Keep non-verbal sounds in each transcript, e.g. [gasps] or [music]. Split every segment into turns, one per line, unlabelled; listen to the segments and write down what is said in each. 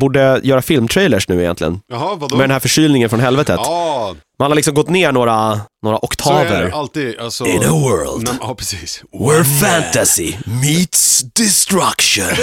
borde göra filmtrailers nu egentligen.
Jaha, vadå?
Med den här förkylningen från helvetet.
ja,
Man har liksom gått ner några, några
så är
oktaver.
det alltid. Alltså,
In a world
Nej, ja, precis.
where fantasy meets destruction.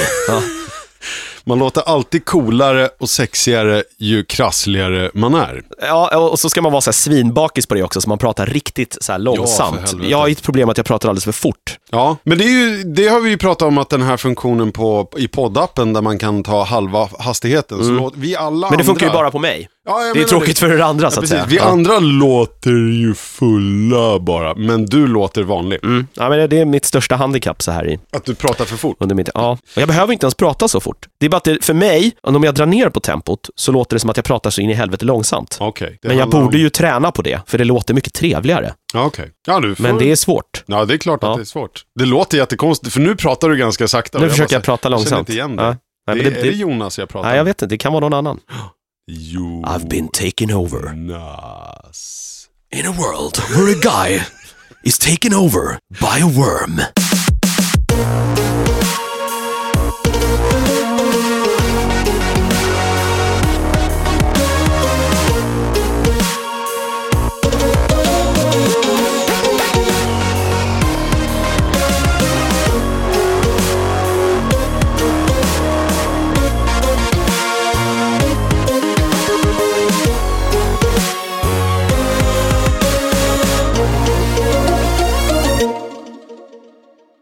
Man låter alltid coolare och sexigare ju krassligare man är.
Ja, och så ska man vara så här svinbakis på det också, så man pratar riktigt så här
för
långsamt.
helvete.
jag har ju ett problem att jag pratar alldeles för fort.
Ja, men det, är ju, det har vi ju pratat om att den här funktionen på, i poddappen där man kan ta halva hastigheten. Så låt, vi alla
Mm. Men det funkar ju
andra-
bara på mig.
Ja, jag
Det är
menar
tråkigt för er andra så att
Precis,
säga.
vi andra låter ju fulla bara, men du låter vanlig.
Mm. Ja, men det- det är mitt största handikapp så här i,
Att du pratar för fort.
under mitt... Ja. Och jag behöver inte ens prata så fort. Det är bara att det, för mig, om jag drar ner på tempot, så låter det som att jag pratar så in i helvete långsamt.
Okej. det
Men jag
handlar
borde
om-
ju träna på det, för det låter mycket trevligare.
Ja, okej. Ja, du får...
Men det är svårt.
Ja, det är klart att
Ja.
det är svårt. Det låter jättekonstigt, för nu pratar du ganska sakta. och
Nu försöker
bara
jag prata
så här, känner
långsamt.
inte igen det.
Ja. Nej,
det,
men det,
är det
det,
Jonas jag pratar
nej, jag
med?
vet inte. Det kan vara någon annan.
Jo.
taken over.
Jonas.
In a world where a guy is taken over by a worm.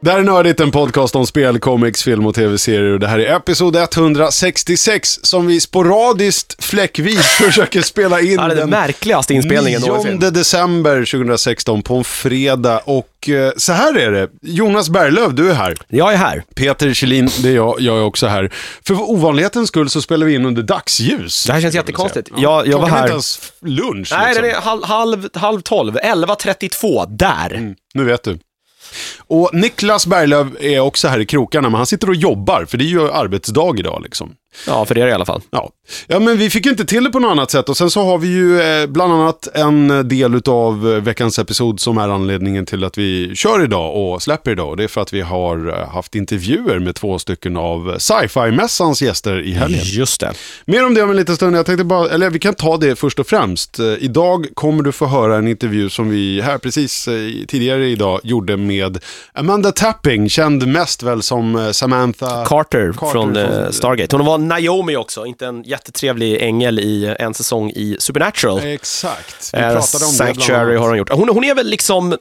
Där är Nördigt, en podcast om spel, comics, film och tv-serier. Och Det här är episod 166 som vi sporadiskt, fläckvis, [laughs] försöker spela in.
Ja, det är den märkligaste inspelningen någonsin.
9 december 2016 på en fredag och eh, så här är det. Jonas Berglöf, du är här.
Jag är här.
Peter Kjellin, det är jag. Jag är också här. För ovanlighetens skull så spelar vi in under dagsljus.
Det här känns
skulle jag vilja
jättekonstigt.
säga.
Jag- jag var
Klockan är
här-
inte ens lunch.
Nej,
liksom.
den är halv, halv, halv tolv. 11.32, där.
Mm, Nu vet du. Och Niklas Berglöf är också här i krokarna, men han sitter och jobbar, för det är ju arbetsdag idag liksom.
Ja, för er i alla fall.
Ja. ja, men vi fick ju inte till det på något annat sätt och sen så har vi ju eh, bland annat en del av veckans episod som är anledningen till att vi kör idag och släpper idag. Och Det är för att vi har eh, haft intervjuer med två stycken av sci-fi-mässans gäster i helgen.
Just det.
Mer om det om en liten stund. Jag tänkte bara, eller vi kan ta det först och främst. Eh, Idag kommer du få höra en intervju som vi här precis eh, tidigare idag gjorde med Amanda Tapping, känd mest väl som eh, Samantha...
Carter,
Carter
från eh,
från-
Stargate. Hon var Naomi också, inte en jättetrevlig ängel i en säsong i Supernatural.
Exakt, vi
Eh,
pratade om det bland
Sanctuary
annat.
har hon gjort. Hon, hon är väl liksom,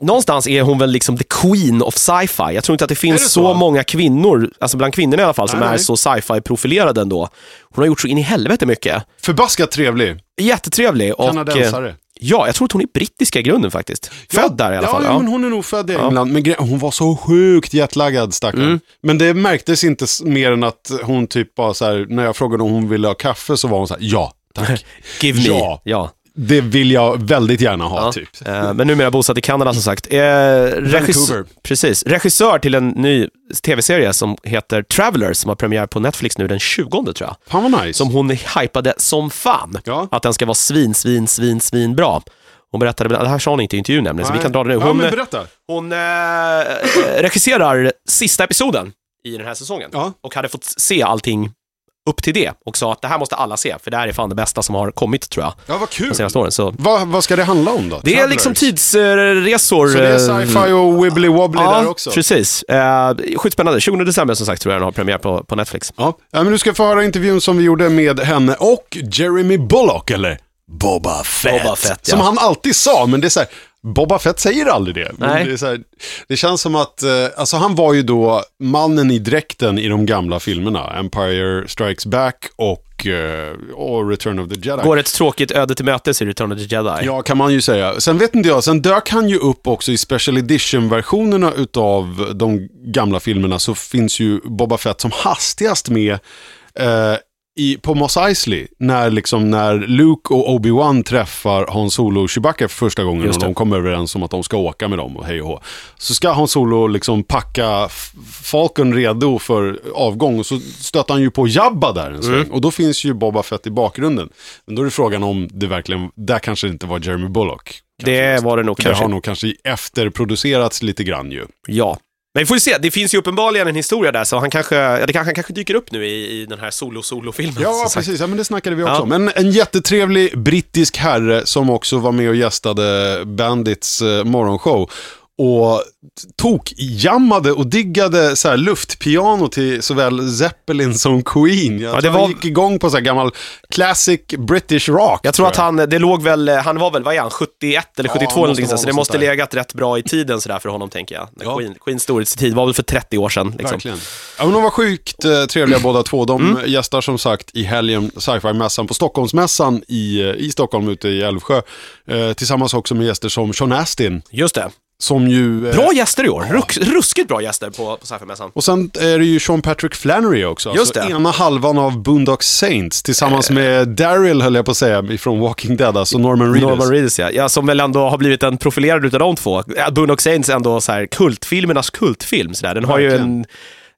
någonstans är hon väl liksom the queen of sci-fi. Jag tror inte att det finns
Är det
så?
så?
många kvinnor, alltså bland kvinnorna i alla fall, som
Nej,
är
nej.
så sci-fi profilerade ändå. Hon har gjort så in i helvete mycket.
Förbaskat trevlig,
Jättetrevlig och... eh,
kanadensare.
Ja, jag tror att hon är brittiska i grunden faktiskt. Född där i alla
ja,
fall.
Ja,
Ja. Mm.
men hon är nog född i England. Men gre- hon var så sjukt jetlaggad stackaren. Men det märktes inte s- mer än att hon typ bara så här, när jag frågade om hon ville ha kaffe så var hon så här, ja, tack.
[laughs] Give me.
Ja.
Ja.
Det vill jag väldigt gärna ha,
Ja.
typ.
Eh, men numera bosatt i Kanada som sagt. Eh, regissör,
Vancouver.
precis. regissör till en ny tv-serie som heter Travelers som har premiär på Netflix nu den 20 tror jag.
Fan vad nice.
som hon hypade som fan.
Ja.
Att den ska vara svin, svin, svin, svin bra. Hon berättade, det här sa hon inte i intervjun nämligen, så vi
Nej.
kan dra det nu.
ja,
Hon,
men berätta.
hon eh, regisserar sista episoden i den här säsongen
Ja.
och hade fått se allting upp till det och sa att det här måste alla se, för det här är fan det bästa som har kommit tror jag,
Ja, vad kul.
de senaste åren. Så
Vad, vad ska det handla om då?
det är
Travelers.
liksom tidsresor. eh,
Så det är sci-fi och wibbly wobbly
Ja,
där också?
precis. Eh, skitspännande. 20 december som sagt tror jag den har premiär på, på Netflix.
Ja. ja, men du ska få höra intervjun som vi gjorde med henne och Jeremy Bullock, eller Boba Fett.
Boba Fett, ja.
Som han alltid sa, men det är så här, Boba Fett säger aldrig det. Men
Nej.
Det, är så här, det känns som att, eh, alltså han var ju då mannen i dräkten i de gamla filmerna, Empire Strikes Back och, eh, och Return of the Jedi.
Går ett tråkigt öde till mötes i Return of the Jedi.
Ja, kan man ju säga. Sen vet inte jag, sen dök han ju upp också i special edition-versionerna utav de gamla filmerna så finns ju Boba Fett som hastigast med eh, i, på Mos Eisley när, liksom, när Luke och Obi-Wan träffar Han Solo och Chewbacca för första gången
Just
och
det.
de kommer överens om att de ska åka med dem och hej och hå. Så ska Han Solo liksom packa f- Falcon redo för avgång och så stöter han ju på Jabba där en sväng.
Mm.
Och då finns ju Boba Fett i bakgrunden. Men då är det frågan om det verkligen, där kanske det inte var Jeremy Bullock.
Det var det nog
För det
kanske.
har nog kanske efterproducerats lite grann ju.
Ja. Men vi får ju se, det finns ju uppenbarligen en historia där, så han kanske, ja, det kanske, han kanske dyker upp nu i, i den här solo-solo-filmen. som
Ja,
sagt.
precis. Ja, men det snackade vi också
Ja.
om. En, en jättetrevlig brittisk herre som också var med och gästade Bandits eh, morgonshow. Och tokjammade och diggade så här luftpiano till såväl Zeppelin som Queen. Jag
Ja, det
tror
var-
han gick igång på så här gammal classic British rock.
Jag tror att han, det låg väl, han var väl, vad är han, 71 eller 72
måste
eller någonting
vara
sånt, så det
något
måste
sånt där.
legat rätt bra i tiden sådär för honom tänker jag. När
Ja.
Queen, Queens storhetstid var väl för 30 år sedan. Liksom.
Verkligen. Ja, men de var sjukt eh, trevliga båda två. De
Mm.
gästar som sagt i helgen sci-fi-mässan på Stockholmsmässan i, eh, i Stockholm ute i Älvsjö. Eh, tillsammans också med gäster som Sean Astin,
Just det.
som ju... eh,
Bra gäster i år, Rux, ruskigt bra gäster på, på Sci-Fi-mässan.
Och sen är det ju Sean Patrick Flannery också.
Just
alltså
det. Eh.
Ena halvan av Boondock Saints tillsammans med Daryl, höll jag på att säga, ifrån Walking Dead, alltså Norman Reedus.
Norman Reedus ja. ja, som väl ändå har blivit en profilerad utav de två. Ja, Boondock Saints är ändå så här kultfilmernas kultfilm sådär. Den har ju
Verkligen.
en,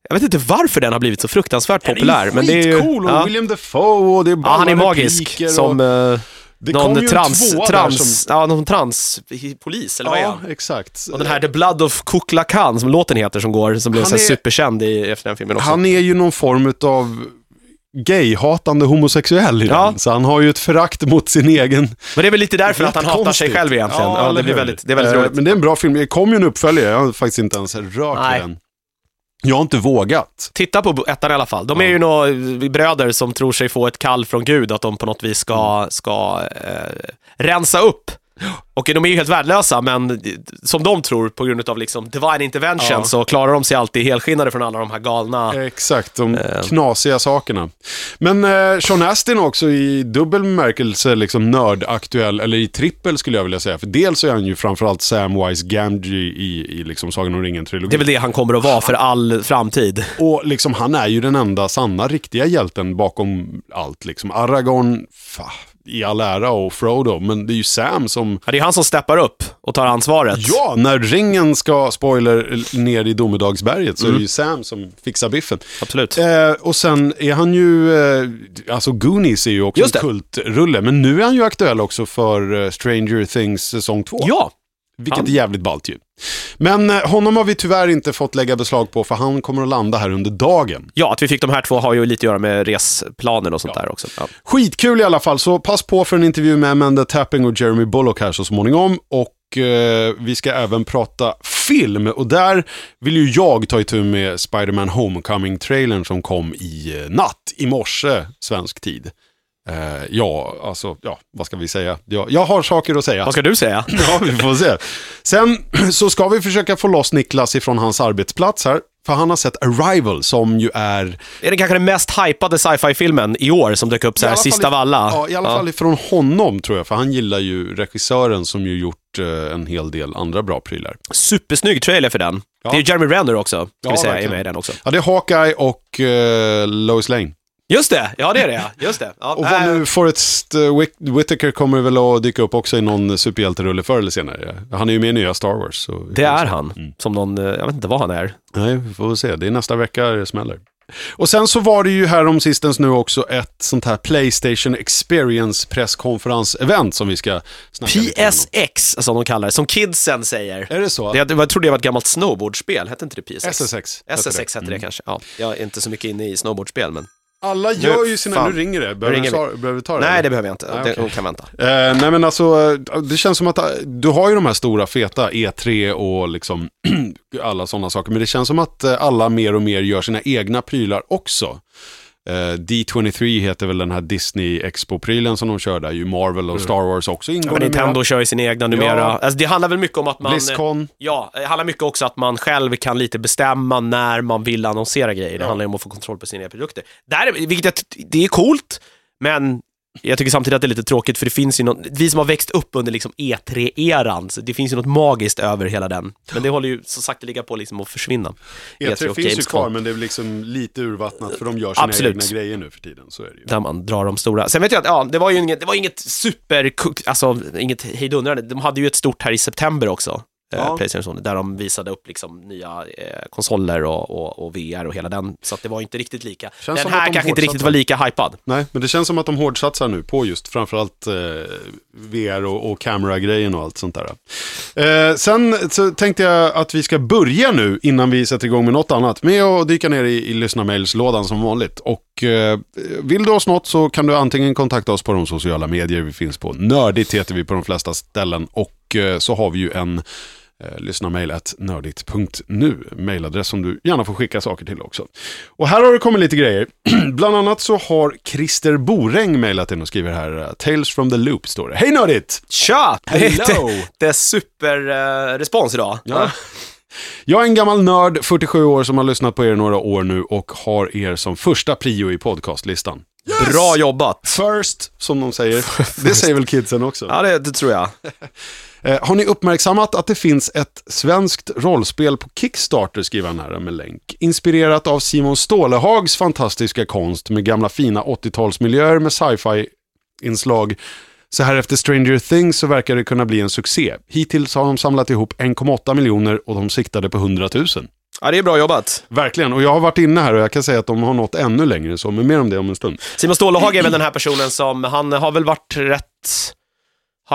jag vet inte varför den har blivit så fruktansvärt populär.
Den är
men
ju
det är ju
skitcool och
ja.
William Defoe och det är
ja, han är
balla
magisk.
repliker och-
Som eh,
Det kom ju
någon
en
trans,
tvåa där
trans,
som-
ja, någon transpolis, eller vad är
Ja,
han?
exakt.
Och den här The Blood of Kukla Khan, som låten heter, som går, som blev
Han
så här
är-
superkänd i, efter den filmen också.
Han är ju någon form av gay-hatande homosexuell i
Ja.
den. Så han har ju ett förakt mot sin egen...
Men det är väl lite därför att han hatar sig
Jättekonstigt.
själv egentligen. Ja,
eller
det, blir
hur?
väldigt, det är väldigt
Eh,
roligt.
Men det är en bra film. Det kom ju en uppföljare, jag har faktiskt inte ens rört
Nej.
Nej. den. Jag har inte vågat.
Titta på ettan i alla fall. De är
Ja.
ju några bröder som tror sig få ett kall från Gud, att de på något vis ska,
Mm.
ska eh, rensa upp. Och de är ju helt värdelösa, men som de tror, på grund av liksom divine intervention,
Ja. Eh.
så klarar de sig alltid helskinnade från alla de här galna...
Exakt, de knasiga sakerna. Men eh, Sean Astin också i dubbel bemärkelse liksom nördaktuell, eller i trippel skulle jag vilja säga. För dels så är han ju framförallt Samwise Gamgee i, i liksom Sagan om ringen-trilogin.
Det är väl det han kommer att vara för all framtid.
Och liksom, han är ju den enda sanna riktiga hjälten bakom allt. Liksom. Aragorn fa, i all ära och Frodo, men det är ju Sam som...
Ja, det är han som steppar upp och tar ansvaret.
Ja, när ringen ska, spoiler, ner i domedagsberget så är det ju Sam som fixar biffen.
Absolut.
Eh, och sen är han ju, eh, alltså Goonies är ju också
Just
en
det.
kultrulle, men nu är han ju aktuell också för eh, Stranger Things säsong 2.
Ja,
Vilket
Han-
är jävligt ballt ju. Men eh, honom har vi tyvärr inte fått lägga beslag på, för han kommer att landa här under dagen.
ja, att vi fick de här två har ju lite att göra med resplaner och sånt där också. Ja.
Skitkul i alla fall, så pass på för en intervju med Amanda Tapping och Jeremy Bullock här så småningom. Och eh, vi ska även prata film. Och där vill ju jag ta itu med Spider-Man Homecoming-trailern som kom i eh, natt, i morse, svensk tid. Eh, ja, alltså, ja, vad ska vi säga? Jag, jag har saker att säga.
Vad ska du säga?
[laughs] Ja, vi får se. Sen så ska vi försöka få loss Niklas ifrån hans arbetsplats här. För han har sett Arrival som ju är
Är det kanske den mest hypade sci-fi-filmen i år som dök upp så
I
här
alla fall
sist
i-
av alla?
Ja, i alla fall ifrån honom tror jag, för han gillar ju regissören som ju gjort eh, en hel del andra bra prylar.
Supersnygg trailer för den. Det är ju Jeremy Renner också, ska
Ja,
vi säga, är
verkligen.
med i den också.
Ja, det är Hawkeye och eh, Lois Lane.
Just det, ja det är det ja. Just det. Ja,
Och vad
äh,
nu, Forrest eh, Whit- Whitaker kommer väl att dyka upp också i någon superhjälterulle förr eller senare. Han är ju med i nya Star Wars. Så
Det är han,
Mm.
som någon, eh, jag vet inte vad han är.
Nej, vi får väl se. Det är nästa vecka det smäller. Och sen så var det ju här om sistens nu också ett sånt här Playstation Experience presskonferens-event som vi ska snacka lite grann om.
PSX, som de kallar det, som kidsen säger.
Är det så?
Det, jag trodde det var ett gammalt snowboardspel, hette inte det PSX?
SSX. heter
SSX hette det kanske, ja. Jag är inte så mycket inne i snowboardspel, men...
Alla gör ju sina...
fan.
Nu ringer det. Behöver,
ringer
du, ta, behöver du ta det?
Nej, det
eller?
behöver jag inte.
Nej,
Det,
okej.
hon kan vänta.
Eh, nej men alltså, eh, det känns som att eh, du har ju de här stora feta E3 och liksom [clears throat] alla sådana saker. Men det känns som att eh, alla mer och mer gör sina egna prylar också. Eh, D23 heter väl den här Disney Expo-prylen som de kör där. Ju Marvel och Star Wars också ingår.
Ja, men
numera.
Nintendo kör ju sina egna numera.
Ja.
Alltså, det handlar väl mycket om att man...
Blizzcon.
Ja, det handlar mycket också att man själv kan lite bestämma när man vill annonsera grejer. Det handlar ju om att få kontroll på sina egna produkter. Där, är- vilket jag, ty- det är coolt, men jag tycker samtidigt att det är lite tråkigt för det finns ju något, vi som har växt upp under liksom E3-eran, så det finns ju något magiskt över hela den. Men det håller ju så sagt ligga på liksom att försvinna.
E3
E och
E finns ju
Gamescom.
kvar men det är liksom lite urvattnat för de gör sina
Absolut.
egna grejer nu för tiden. Så är det ju.
där man drar de stora. Sen vet jag att, ja, det var ju inget, det var inget super, alltså inget hejdundrande. De hade ju ett stort här i september också. eh,
Ja.
Playstation, där de visade upp liksom nya eh, konsoler och, och, och VR och hela den. Så att det var inte riktigt lika.
Känns
den
som att
här
de
kanske inte riktigt
fortsatte.
var lika hypad.
Nej, men det känns som att de hårdsatsar nu på just framförallt eh, VR och, och kamera-grejen och allt sånt där. Eh, sen så tänkte jag att vi ska börja nu innan vi sätter igång med något annat med att dyka ner i, i lyssnarmailslådan som vanligt. Och eh, vill du oss något så kan du antingen kontakta oss på de sociala medier vi finns på. Nördigt heter vi på de flesta ställen och eh, så har vi ju en Eh, lyssna mejl at nördigt.nu, mejladress som du gärna får skicka saker till också. Och här har det kommit lite grejer. [clears throat] Bland annat så har Christer Boräng mejlat in och skriver här, eh, Tales from the loop står det. Hej nördigt!
Tja! [laughs]
Hello!
Det, det är superrespons eh, respons idag.
Ja. Jag är en gammal nörd, 47 år, som har lyssnat på er några år nu och har er som första prio i podcastlistan.
Bra jobbat.
First, som de säger. Det säger väl kidsen också.
Ja, det, det tror jag.
Eh, har ni uppmärksammat att det finns ett svenskt rollspel på Kickstarter, skriver han här med länk. Inspirerat av Simon Stålehags fantastiska konst med gamla fina 80-talsmiljöer med sci-fi-inslag. Så här efter Stranger Things så verkar det kunna bli en succé. Hittills har de samlat ihop 1,8 miljoner och de siktade på 100 000.
Ja, det är bra jobbat.
Verkligen, och jag har varit inne här och jag kan säga att de har nått ännu längre än så, men mer om det om en stund.
Simon Stålehag är väl den här personen som, han har väl varit rätt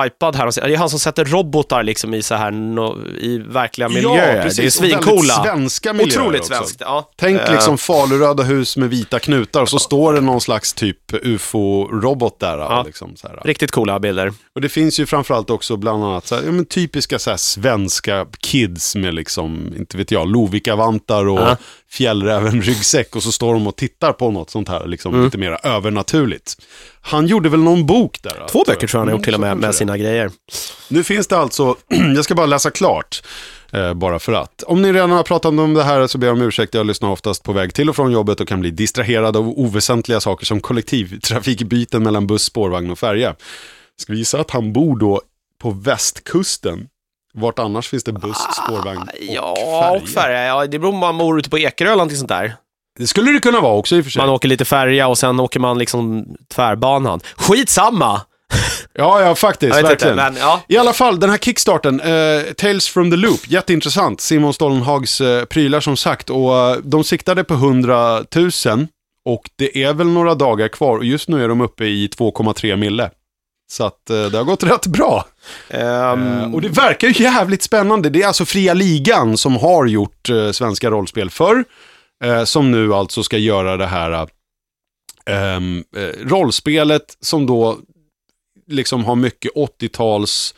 hypad här. Det är han som sätter robotar liksom i så här, no, i verkliga miljöer. det är
Och väldigt
svincoola.
svenska miljöer
Otroligt
också.
svenskt. Ja.
Tänk
Eh,
liksom faluröda hus med vita knutar och så står det någon slags typ ufo-robot där. Liksom, så här.
Riktigt coola bilder.
Och det finns ju framförallt också bland annat så här, ja, men typiska så här, svenska kids med liksom, inte vet jag, Lovikka-vantar och
Ja.
fjällräven-ryggsäck och så står de och tittar på något sånt här liksom,
Mm.
lite mer övernaturligt. Han gjorde väl någon bok där? alltså? va,
Två böcker tror jag han har gjort till och med,
Mm,
med
så kanske
sina
det.
grejer.
Nu finns det alltså, [clears throat] jag ska bara läsa klart, eh, bara för att. Om ni redan har pratat om det här så ber jag om ursäkt, jag lyssnar oftast på väg till och från jobbet och kan bli distraherad av oväsentliga saker som kollektivtrafikbyten mellan buss, spårvagn och färja. Ska visa att han bor då på västkusten. Vart annars finns det buss, spårvagn och
Ah, Ja, och färja. Ja, det beror på om man bor ute på Ekerö eller någonting sånt där.
Det skulle det kunna vara också i och för sig.
Man åker lite färja och sen åker man liksom tvärbanan. Skitsamma!
Ja, ja, faktiskt,
Jag vet inte,
verkligen.
men ja.
I alla fall, den här kickstarten, eh, Tales from the Loop, jätteintressant. Simon Stollenhags eh, prylar som sagt. Och eh, de siktade på 100 000 och det är väl några dagar kvar. Och just nu är de uppe i 2,3 mille. Så att eh, det har gått rätt bra.
Ehm,
Eh, och det verkar ju jävligt spännande. Det är alltså Fria Ligan som har gjort eh, svenska rollspel förr. Eh, som nu alltså ska göra det här eh, ehm, eh, rollspelet som då liksom har mycket 80-tals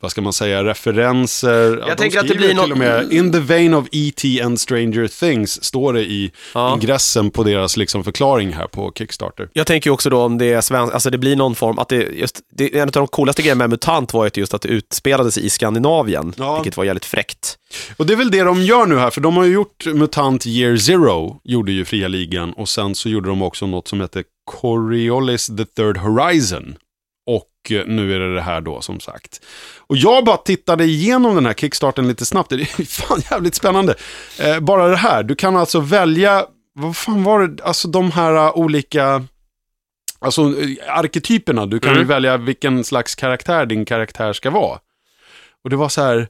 vad ska man säga, referenser. Jag
tänker att det blir
till och med,
något-
In the vein of E.T. and Stranger Things står det i
Ja.
ingressen på deras liksom förklaring här på Kickstarter.
Jag tänker ju också då om det är svensk, alltså det blir någon form, att det just, det, en av de coolaste grejerna med MUTANT var ju att just att det utspelade sig i Skandinavien,
Ja.
vilket var jävligt fräckt.
Och det är väl det de gör nu här, för de har ju gjort MUTANT Year Zero, gjorde ju Fria Ligan, och sen så gjorde de också något som heter Coriolis the Third Horizon. Och eh, nu är det det här då, som sagt. Och jag bara tittade igenom den här kickstarten lite snabbt, [laughs] det är fan jävligt spännande. Eh, bara det här, du kan alltså välja, vad fan var det, alltså de här eh, olika... Alltså eh, arketyperna, du kan ju
Mm.
välja vilken slags karaktär din karaktär ska vara. Och det var så här,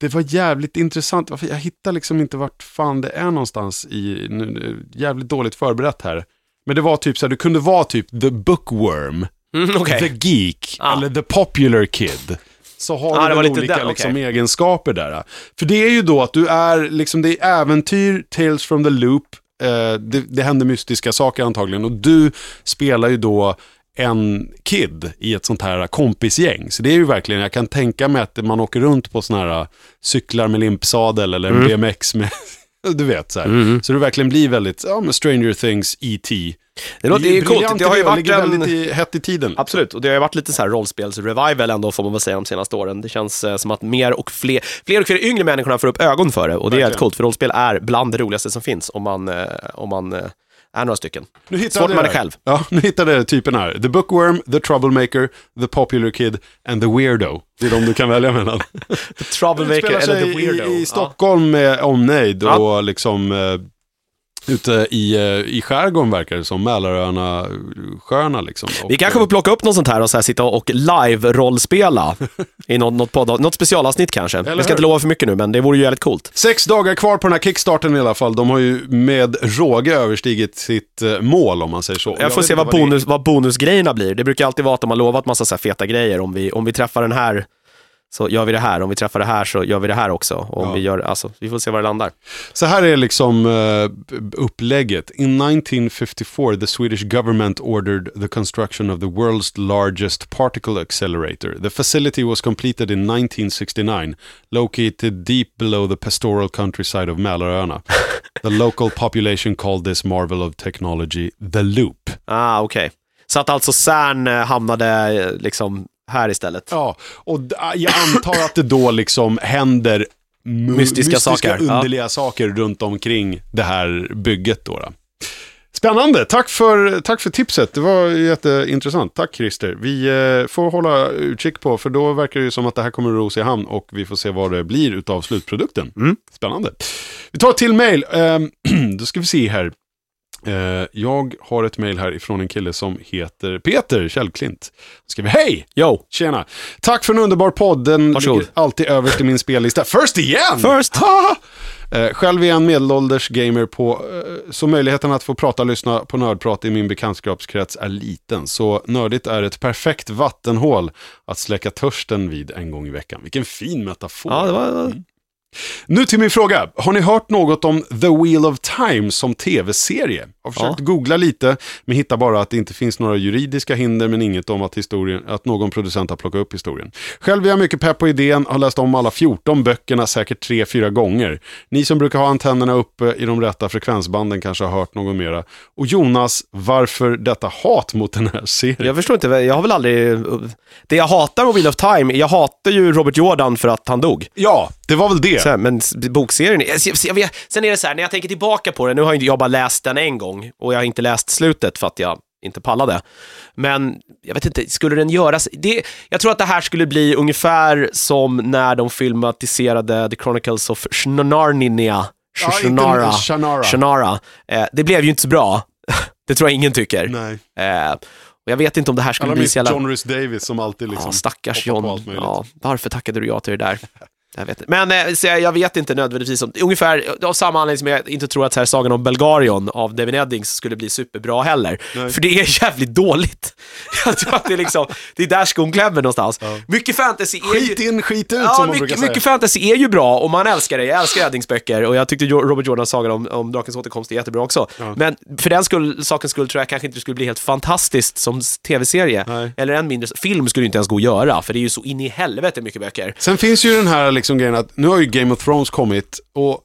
det var jävligt intressant. Varför- Jag hittar liksom inte vart fan det är någonstans i, nu- nu, jävligt dåligt förberett här. Men det var typ så här, du kunde vara typ the bookworm,
Mm, Okej.
the geek
Ah.
eller the popular kid. Så har
Ah, det
du
var
väl
lite
olika
den,
liksom,
okej.
egenskaper där. För det är ju då att du är, liksom det är äventyr, tales from the loop, eh, det, det händer mystiska saker antagligen och du spelar ju då en kid i ett sånt här kompisgäng. Så det är ju verkligen, jag kan tänka mig att man åker runt på såna här cyklar med limpsadel eller
Mm.
en BMX med, [laughs] du vet så här. Så det verkligen blir väldigt, ja men Stranger Things, E E.T.
Det låter ju coolt.
briljant
Det har ju
idé och
varit
ligger väldigt
en...
i, hett i tiden.
Absolut, och det har ju varit lite så här rollspels-revival ändå får man väl säga de senaste åren. Det känns eh, som att mer och fler, fler och fler yngre människorna får upp ögon för det och det är
Verkligen.
jävligt coolt för rollspel är bland det roligaste som finns om man, eh, om man eh, är några stycken.
Nu hittade
Svårt
jag
man
det
är
här.
själv.
Ja, nu hittade jag typen här. The bookworm, the troublemaker, the popular kid and the weirdo. Det är de du kan välja mellan.
[laughs] The
Det
troublemaker
spelar
eller
sig
the weirdo.
i, i
Ja.
Stockholm med omnejd och
Ja.
liksom eh, Ute i, eh, i skärgården verkar det som, Mälaröarna, sjöarna liksom. Och,
Vi kanske får plocka upp något sånt här och så här sitta och live-rollspela i något, något, podd, något specialavsnitt kanske.
Eller
Jag ska
hur?
inte lova för mycket nu, men det vore ju jävligt coolt.
Sex dagar kvar på den här kickstarten i alla fall. De har ju med råge överstigit sitt eh, mål om man säger så.
Jag får
vet
se
inte
vad,
det är.
bonus, vad bonusgrejerna blir. Det brukar alltid vara att de har lovat massa så här feta grejer. Om vi, om vi träffar den här så gör vi det här. Om vi träffar det här så gör vi det här också. Och om
Ja.
vi, gör, alltså, vi får se var det landar.
Så här är liksom eh, upplägget. In 1954 the Swedish government ordered the construction of the world's largest particle accelerator. The facility was completed in 1969, located deep below the pastoral countryside of Mälaröarna. the local population called this marvel of technology the loop.
Ah, okej. Så att alltså CERN eh, hamnade eh, liksom här istället.
Ja, och d- jag antar att det då liksom händer mu-
Mystiska saker, ja.
underliga saker runt omkring det här bygget då. då. Spännande, tack för, tack för tipset. Det var jätteintressant. Tack Christer. Vi eh, får hålla utkik på, för då verkar det ju som att det här kommer att rosa i hamn och vi får se vad det blir utav slutprodukten.
Mm.
Spännande. Vi tar ett till mejl. Ehm, [clears throat] då ska vi se här. Eh, jag har ett mejl här ifrån en kille som heter Peter Källklint. Han skriver, hej!
Yo!
Tjena. Tack för en underbar podd. Den
Varsågod.
ligger alltid överst i min spellista. First igen!
First!
Ha! Eh, själv är jag en medelålders gamer på, eh, så möjligheten att få prata och lyssna på nördprat i min bekantskapskrets är liten. Så nördigt är ett perfekt vattenhål att släcka törsten vid en gång i veckan. Vilken fin metafor.
Ja, det var...
Nu till min fråga. Har ni hört något om The Wheel of Time som tv-serie? Jag har försökt googla lite, men hittar bara att det inte finns några juridiska hinder, men inget om att, historien, att någon producent har plockat upp historien. Själv är jag mycket pepp på idén, har läst om alla 14 böckerna säkert tre fyra gånger. Ni som brukar ha antennerna uppe i de rätta frekvensbanden kanske har hört något mera. Och Jonas, varför detta hat mot den här serien?
Jag förstår inte, jag har väl aldrig... Det jag hatar med Wheel of Time, jag hatar ju Robert Jordan för att han dog.
Ja, det var väl det.
Så här, men s- bokserien, är- jag, jag vet, sen är det så här, när jag tänker tillbaka på den, nu har jag inte- jag har bara läst den en gång och jag har inte läst slutet för att jag inte pallade. Men jag vet inte, skulle den göras? Det, jag tror att det här skulle bli ungefär som när de filmatiserade The Chronicles of Shannarnia.
Ja, inte Shannara.
Shannara. Eh, det blev ju inte så bra. [laughs] det tror jag ingen tycker.
Nej,
Eh, och jag vet inte om det här skulle
alla
bli
minns
så jävla...
John Rhys Davis som alltid liksom...
Ja, stackars
hoppar på
John.
allt möjligt.
Ja, varför tackade du ja till det där? Jag vet inte. Men eh, så jag, jag vet inte nödvändigtvis om, ungefär eh, av samma anledning som jag inte tror att så här, Sagan om Belgarion av Devin Eddings skulle bli superbra heller.
Nej.
För det är jävligt dåligt. [laughs] Jag tror att det är liksom, det är där skon klämmer någonstans. Mycket fantasy är ju...
Skit in, skit ut som
Ja,
man brukar
mycket,
säga.
mycket fantasy är ju bra och man älskar det. Jag älskar Eddings böcker och jag tyckte Jo- Robert Jordans saga om, om Drakens återkomst är jättebra också. Men för den skull, sakens skull tror jag kanske inte det skulle bli helt fantastiskt som s- tv-serie.
Nej.
Eller än mindre, film skulle ju inte ens gå att göra för det är ju så in i helvete mycket böcker.
Sen finns ju den här liksom grejen att nu har ju Game of Thrones kommit och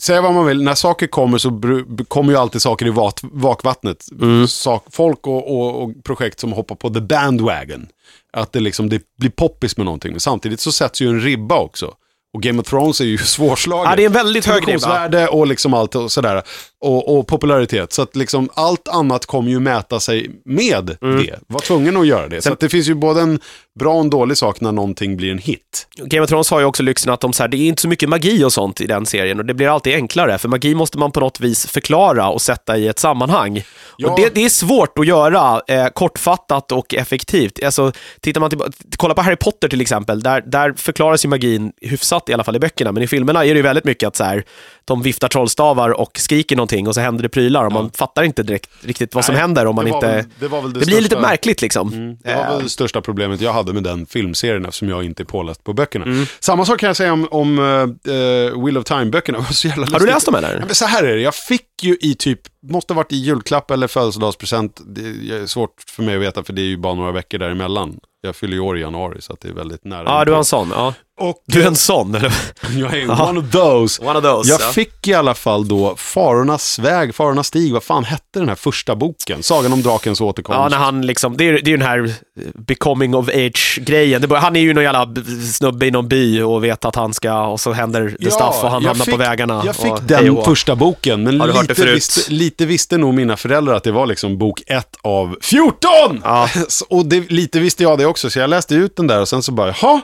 säga vad man vill, när saker kommer så bru- kommer ju alltid saker i vat- vakvattnet. Sak, folk och, och, och projekt som hoppar på the bandwagon. Att det liksom det blir poppis med någonting. Men samtidigt så sätts ju en ribba också. Och Game of Thrones är ju [laughs] svårslaget.
Ja, det är en väldigt hög ribba.
Produktionsvärde och liksom allt och sådär. Och, och popularitet. Så att liksom allt annat kommer ju mäta sig med
Mm.
det. Var tvungen att göra det. Så att det finns ju både en bra och en dålig sak när någonting blir en hit.
Game of Thrones har ju också lyxen att de så här, det är inte så mycket magi och sånt i den serien och det blir alltid enklare för magi måste man på något vis förklara och sätta i ett sammanhang.
Ja.
Och det, det är svårt att göra eh, kortfattat och effektivt. Alltså, tittar man till, kolla på Harry Potter till exempel, där, där förklaras ju magin hyfsat i alla fall i böckerna, men i filmerna är det ju väldigt mycket att så här, de viftar trollstavar och skriker någonting och så händer det prylar och man fattar inte direkt, riktigt vad som
Nej,
händer om man
det var
inte...
väl- det var väl det
blir lite
största- Mm,
märkligt liksom.
Det var väl det största problemet jag hade med den filmserien eftersom jag inte är påläst på böckerna.
Mm.
Samma sak kan jag säga om, om eh, Will of Time-böckerna. [laughs] Det var så jävla
Har du
lustigt.
läst dem eller?
Ja, men Så här är det, jag fick ju i typ, måste ha varit i julklapp eller födelsedagspresent. Det är svårt för mig att veta för det är ju bara några veckor däremellan. Jag fyller ju år i januari så att det är väldigt nära.
Ja, du är en sån. Ja.
Och
Du är en sån, eller?
[laughs] jag är one of those.
One of those.
Jag
ja.
fick i alla fall då Farornas väg, Farornas stig, vad fan hette den här första boken? Sagan om drakens återkomst.
Ja, när han liksom, det är ju det är ju den här eh, becoming of age-grejen. Det bör- Han är ju någon jävla b- snubbe i någon by och vet att han ska, och så händer det stuff och han
jag
hamnar på
fick-
vägarna.
Jag fick
och, hej
den
och hå.
första boken, men
Har du hört det
lite,
förut?
visste, lite visste nog mina föräldrar att det var liksom bok ett av 14!
Ja.
[laughs] Så- och det, lite visste jag det också, så jag läste ut den där och sen så bara, jaha,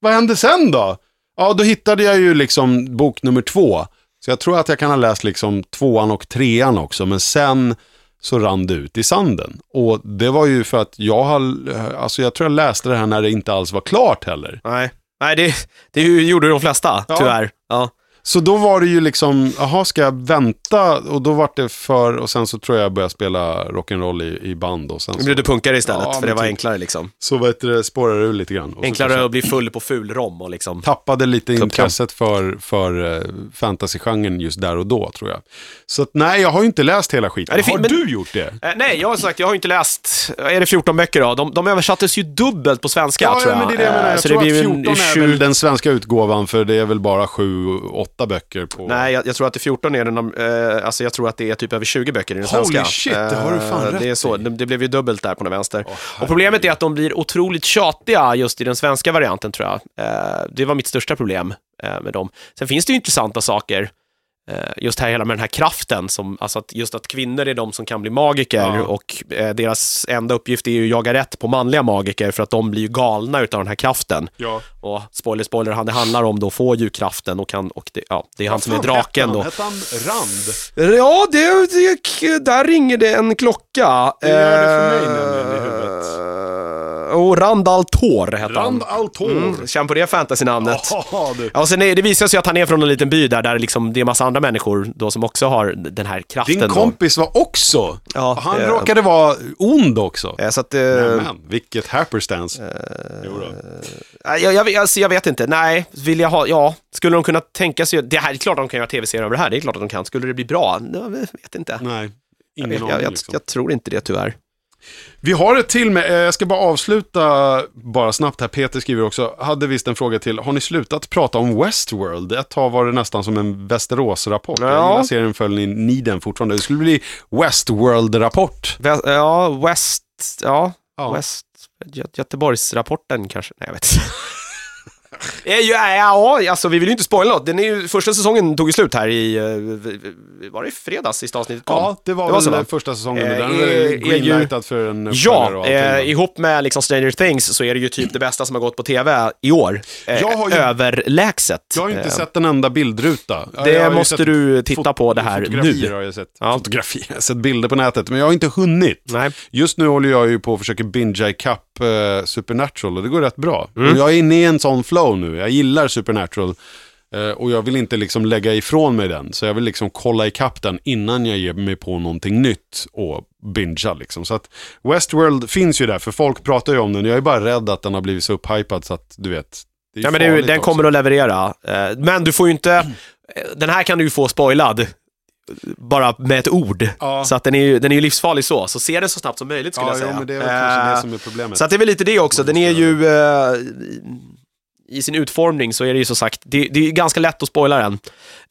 vad hände sen då? Ja, då hittade jag ju liksom bok nummer två. Så jag tror att jag kan ha läst liksom tvåan och trean också, men sen så rann det ut i sanden. Och det var ju för att jag har, alltså jag tror jag läste det här när det inte alls var klart heller.
Nej, Nej det, det gjorde de flesta,
Ja.
tyvärr. Ja.
Så då var det ju liksom, jaha ska jag vänta? Och då var det för, och sen så tror jag jag började spela rock'n'roll i, i band och sen
Nu
så,
blev du punkare istället,
Ja,
för
men
det var
typ.
enklare liksom.
så vad heter det, spårade det ur lite grann. Och så kanske-
Enklare att bli full på fulrom och liksom...
tappade lite
Tuppkam.
intresset för, för eh, fantasygenren just där och då tror jag. Så att, nej, jag har ju inte läst hela skiten.
Ja, det fin-
har
men-
du gjort det?
Eh, nej, jag har sagt, jag har inte läst, är det 14 böcker då? De, de översattes ju dubbelt på svenska
Ja,
tror jag.
men det är det jag menar.
Eh,
Jag
så
tror
det
att
blir
14
en,
är
20...
väl den svenska utgåvan, för det är väl bara sju, åtta böcker på...
Nej, jag, jag tror att det 14 är den, om- eh, alltså jag tror att det är typ över 20 böcker i den
Holy
svenska.
shit, det har du fan
Eh,
rätt
Det är så,
i.
det, det blev ju dubbelt där på den vänster. och problemet är att de blir otroligt tjatiga just i den svenska varianten tror jag. Eh, det var mitt största problem eh, med dem. Sen finns det ju intressanta saker. eh, Just här hela med den här kraften, som, alltså att just att kvinnor är de som kan bli magiker
Ja.
och eh, deras enda uppgift är ju att jaga rätt på manliga magiker för att de blir ju galna utav den här kraften.
Ja.
Och spoiler, spoiler, han det handlar om då får ju kraften och, kan, och det, [laughs] ja, det är han som är
Fan,
draken
hette
då.
han? Hette han Rand?
Ja, det, det, där ringer det en klocka.
Det gör det för mig nämligen i huvudet.
Eh, Och Randall Thor heter
Rand
han.
Altor.
Mm, Känn på det fantasynamnet.
Jaha, du.
Ja, och sen är, det visar sig att han är från en liten by där, där liksom det är massa andra människor då som också har den här kraften.
Din kompis var också.
Ja,
han
eh,
råkade vara ond också.
då. Eh, Så att, eh,
Nämen, vilket happerstance. Jo då.
Nej, Jag, jag, alltså, jag vet inte. Nej, vill jag ha, ja, skulle de kunna tänka sig, det här är klart de kan göra tv-serier över det här, det är klart att de kan. Skulle det bli bra? Jag vet inte.
Nej,
jag,
ingen
vet,
aning
jag, jag,
liksom.
jag tror inte det tyvärr.
Vi har ett till med, eh, jag ska bara avsluta bara snabbt här. Peter skriver också, hade visst en fråga till. Har ni slutat prata om Westworld? Ett tag var det nästan som en Västerås-rapport. Jag
Ja.
gillar serien följer ni den fortfarande. Det skulle bli Westworld-rapport.
Vä- ja, West, ja,
Ja.
West, Gö Göteborgsrapporten kanske? Nej, jag vet
[laughs]
inte. Ja, ja, ja, alltså vi vill ju inte spoila något. Den är ju, första säsongen tog ju slut här i, eh, v- v- var det i fredags sista avsnittet kom?
Ja, det var,
Det var så,
väl
va?
första säsongen.
Eh,
den
är-
är
är ju-
greenlightad för en uppföljare
Ja,
och allting, va?
eh, ihop med liksom Stranger Things så är det ju typ det bästa som har gått på tv i år. Eh,
Jag har ju-
överlägset.
Jag har ju inte
Eh,
sett en enda bildruta. Jag- jag
Det
har ju
måste
sett
du titta på det här
fotografier
nu.
Har jag, sett.
Ja.
Fotografier, jag har sett bilder på nätet, men jag har inte hunnit.
Nej.
Just nu håller jag ju på och försöker bingea ikapp eh, Supernatural och det går rätt bra.
Mm.
Och jag är inne i en sån flow nu, jag gillar Supernatural. eh, Och jag vill inte liksom lägga ifrån mig den, så jag vill liksom kolla ikapp den innan jag ger mig på någonting nytt och bingea liksom. Så att Westworld finns ju där, för folk pratar ju om den. Jag är bara rädd att den har blivit så upphypad så att du vet. Det är
Ja, men det, är ju-
farligt
den
också.
kommer att leverera. Eh, Men du får ju inte, eh, den här kan du ju få spoilad. eh, Bara med ett ord.
Ja.
Så att den är ju den är ju livsfarlig så. Så se den så snabbt som möjligt skulle
ja,
jag säga.
Jo, men det är väl kanske
Eh,
det som är problemet.
Så att det är väl lite det också. Den är ju, eh, i sin utformning så är det ju som sagt, det, det är ganska lätt att spoila den.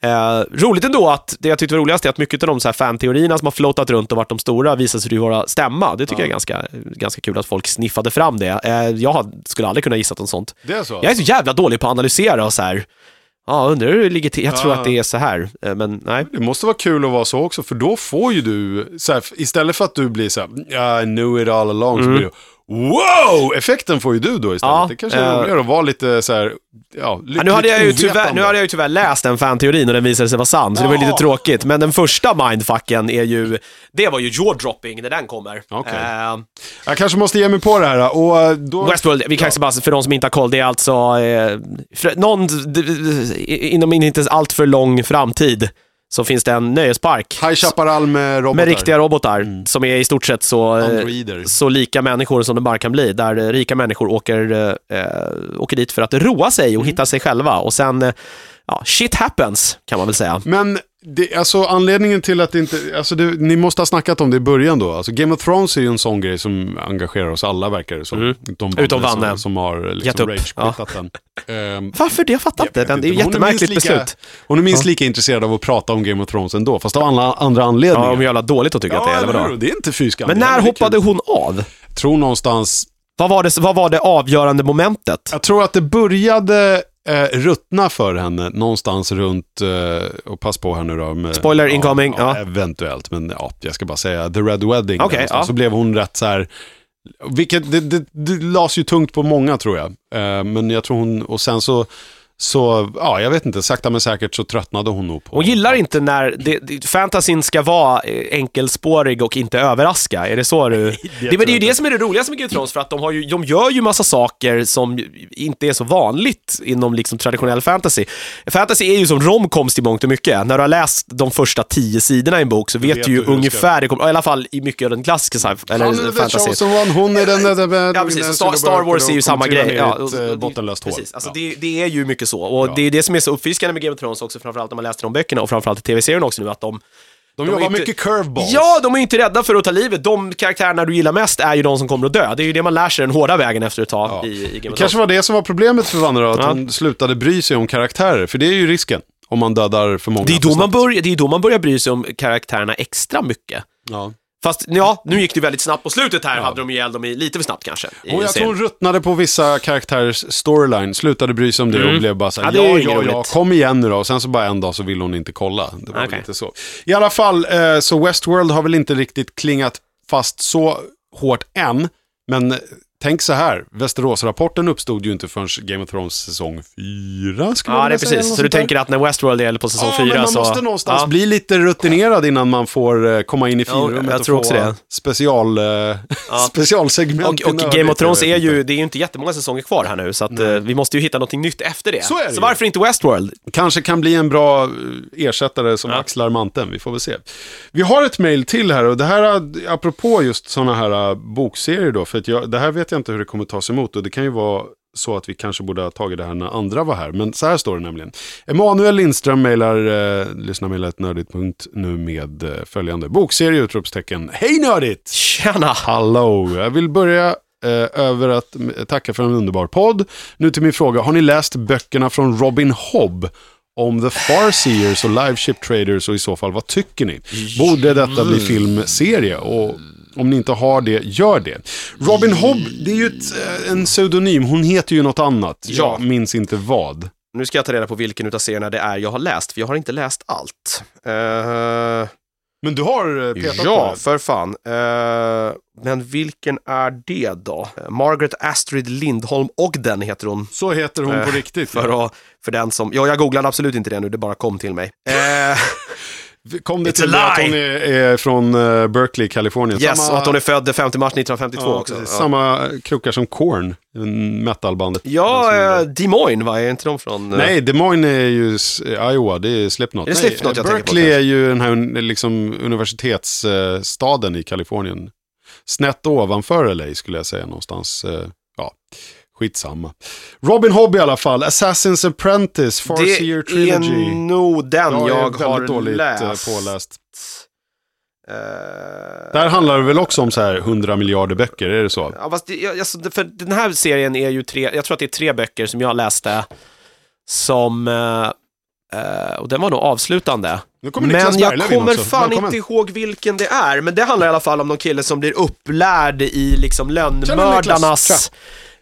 Eh, roligt ändå att, det jag tyckte var roligast är att mycket av de så här fan-teorierna som har floatat runt och varit de stora visar sig ju vara stämma. Det tycker jag är ganska, ganska kul att folk sniffade fram det. Eh, jag hade- skulle aldrig kunna gissa något sånt.
det är så?
Jag är så jävla dålig på att analysera och så här. Ja, undrar hur det ligger till. Jag tror
Ja.
att det är så här, eh, men nej.
Det måste vara kul att vara så också, för då får ju du, så här, istället för att du blir så här, I knew it all along, så blir det wow! Effekten får ju du då istället.
Ja,
det kanske är
eh,
roligare att vara lite så här, ja,
Ja,
lyckligt
nu, hade jag ju tyvärr,
ovetande.
nu hade jag ju tyvärr läst den fan-teorin och den visade sig vara sann, så det var ju
Ja.
lite tråkigt. Men den första mindfucken är ju, det var ju jaw-dropping när den kommer.
Okej.
Eh,
jag kanske måste ge mig på det här och eh, då...
Westworld, vi kanske bara, för de som inte har koll, det är alltså eh, för, någon, d- d- inom en inte allt för lång framtid så finns det en nöjespark
High Chaparral med robotar. Mm.
med riktiga robotar som är i stort sett så, eh,
Androider.
så lika människor som de bara kan bli. Där eh, rika människor åker, eh, eh, åker dit för att roa sig
Mm.
och hitta sig själva. Och sen, eh, ja, shit happens kan man väl säga.
Men det, alltså anledningen till att det inte, alltså det, ni måste ha snackat om det i början då. Alltså Game of Thrones är ju en sån grej som engagerar oss alla verkar det som. Utom,
Mm. Utom
Vanne
Vanne.
som, som har
Gett
liksom
upp.
rage-quittat den. Ehm,
Varför det? Jag fattar inte.
Jag vet
Den, det är ju
inte, men hon
jättemärkligt
minst lika,
beslut.
Hon är minst lika intresserad av att prata om Game of Thrones ändå, fast av alla andra anledningar.
Ja, om jävla dåligt att tycka att det är, eller
eller hur?
vadå?
Det är inte fy skam.
Men
Det är
när
kul.
hoppade hon av?
Jag tror någonstans...
Vad var det, vad var det avgörande momentet?
Jag tror att det började eh, ruttna för henne någonstans runt... Eh, och pass på här nu då. Med,
Spoiler incoming,
Ja,
ja.
Eventuellt, men ja, jag ska bara säga The Red Wedding. där
Okej,
någonstans.
ja.
Så blev hon rätt så här... Vilket, det, det, det lades ju tungt på många tror jag. Eh, men jag tror hon, och sen så Så ja, jag vet inte, sakta men säkert så tröttnade hon nog på...
Hon gillar inte när det, det, fantasin ska vara eh, enkelspårig och inte överraska. Är det så du... det, men
tror
det är ju
jag
det som är det roliga med Game of Thrones, för att de, har ju, de gör ju massa saker som inte är så vanligt inom liksom traditionell fantasy. Fantasy är ju som romcoms i mångt och mycket. När du har läst de första tio sidorna i en bok så vet,
vet
du ju
du hur det ska-
ungefär, det kommer, i alla fall i mycket av den klassiska sci-
Han
eller
är the
fantasy.
chosen one, hon är den...
Ja, precis. Och Star, Star Wars är ju samma grej. Ja, och- och-
Ett, eh, bottenlöst hål.
Precis. Alltså,
Ja.
det, det är ju mycket så. Och det är det som är så uppfriskande med Game of Thrones också, framförallt när man läser de böckerna och framförallt i tv-serien också nu, att de...
De
är
jobbar
inte-
mycket curveballs.
Ja, de är ju inte rädda för att ta livet. De karaktärerna du gillar mest är ju de som kommer att dö. Det är ju det man lär sig den hårda vägen efter ett tag
Ja.
i, i Game
Det
of Thrones.
kanske var det som var problemet för Vanna då, att
Ja.
hon slutade bry sig om karaktärer, för det är ju risken. Om man dödar för många.
Det är,
för
då man
snabbt.
börjar, det är då man börjar bry sig om karaktärerna extra mycket.
Ja.
Fast ja, nu gick det väldigt snabbt på slutet här, hade de ju ihjäl dem i- lite för snabbt kanske. i
Och jag
serien.
tror hon ruttnade på vissa karaktärers storyline, slutade bry sig om det och blev bara såhär,
Mm. Ja, det
ja,
är
ja,
ju
ja,
inget roligt."
kom igen nu då. Och sen så bara en dag så ville hon inte kolla. Det var väl
Okej.
lite så. I alla fall, eh, så Westworld har väl inte riktigt klingat fast så hårt än, men eh, Tänk så här, Västeråsrapporten uppstod ju inte förrän Game of Thrones säsong 4 skulle jag
Ja, det
vilja
är
säga, eller
precis.
något
Så du
sånt där.
tänker att när Westworld är på säsong
men
fyra
man
så...
måste någonstans
Ja.
bli lite rutinerad innan man får eh, komma in i
Ja,
finrummet
jag
och
tror
få
också det.
Special, eh, [laughs] specialsegment.
Och, och
innan
Game of
övrigt,
Thrones
jag
är
vet
ju,
inte.
det är ju inte jättemånga säsonger kvar här nu, så att, eh, vi måste ju hitta någonting nytt efter det.
Så är det ju.
varför inte Westworld?
Kanske kan bli en bra eh, ersättare som axlar manteln, vi får väl se. Vi har ett mejl till här och det här, eh, apropå just sådana här eh, bokserier då, för att jag, det här vet jag inte hur det kommer tas emot och det kan ju vara så att vi kanske borde ha tagit det här när andra var här. Men så här står det nämligen. Emanuel Lindström mejlar eh, lyssnarmejlet.nördigt.nu med eh, följande. Bokserie! Utropstecken. Hej nördigt!
Tjena!
Hallå, jag vill börja eh, över att m- tacka för en underbar podd. Nu till min fråga, har ni läst böckerna från Robin Hobb? Om The Farseers och Live Ship Traders och i så fall, vad tycker ni? Borde detta bli filmserie? Och om ni inte har det, gör det. Robin Hobb, det är ju ett, eh, en pseudonym. Hon heter ju något annat.
Ja.
Jag minns inte vad.
Nu ska jag ta reda på vilken utav serierna det är jag har läst, för jag har inte läst allt. Eh,
Men du har eh, petat
ja,
på det?
för fan. Eh, men vilken är det då? Eh, Margaret Astrid Lindholm Ogden heter hon.
Så heter hon på
Eh,
riktigt.
För, att, för den som... Ja, jag googlade absolut inte det nu, det bara kom till mig.
[laughs]
Eh,
Kom det
It's
till
a
dig att
lie!
hon är, är från eh, Berkeley, Kalifornien?
yes,
Samma-
och att hon är född den 5 mars 1952 också.
precis.
Ja.
Samma krokar som Korn, metalbandet.
Ja,
Den som-
eh, Des Moines va? Är inte de från... eh,
Nej, Des Moines är ju s- Iowa, det är Slipknot.
Är det
Nej,
Slipknot jag tänker på,
Berkeley
kanske?
är ju den här un- liksom, universitetsstaden i Kalifornien. Snett ovanför LA skulle jag säga någonstans. eh, Ja, skitsamma. Robin Hobb i alla fall, Assassin's Apprentice, Farseer
det är
Trilogy.
nog den jag,
är
har
väldigt dåligt eh,
läst.
påläst.
Eh,
Där handlar det väl också om så här 100 miljarder böcker, är det så?
ja, fast det, jag- alltså, det- för den här serien är ju tre, jag tror att det är tre böcker som jag läste som, eh, eh, och den var nog avslutande.
Nu kommer Niklas
Men jag
Berglöf in
kommer
också.
fan
Välkommen.
inte ihåg vilken det är, men det handlar i alla fall om någon kille som blir upplärd i liksom
Niklas.
lönnmördarnas...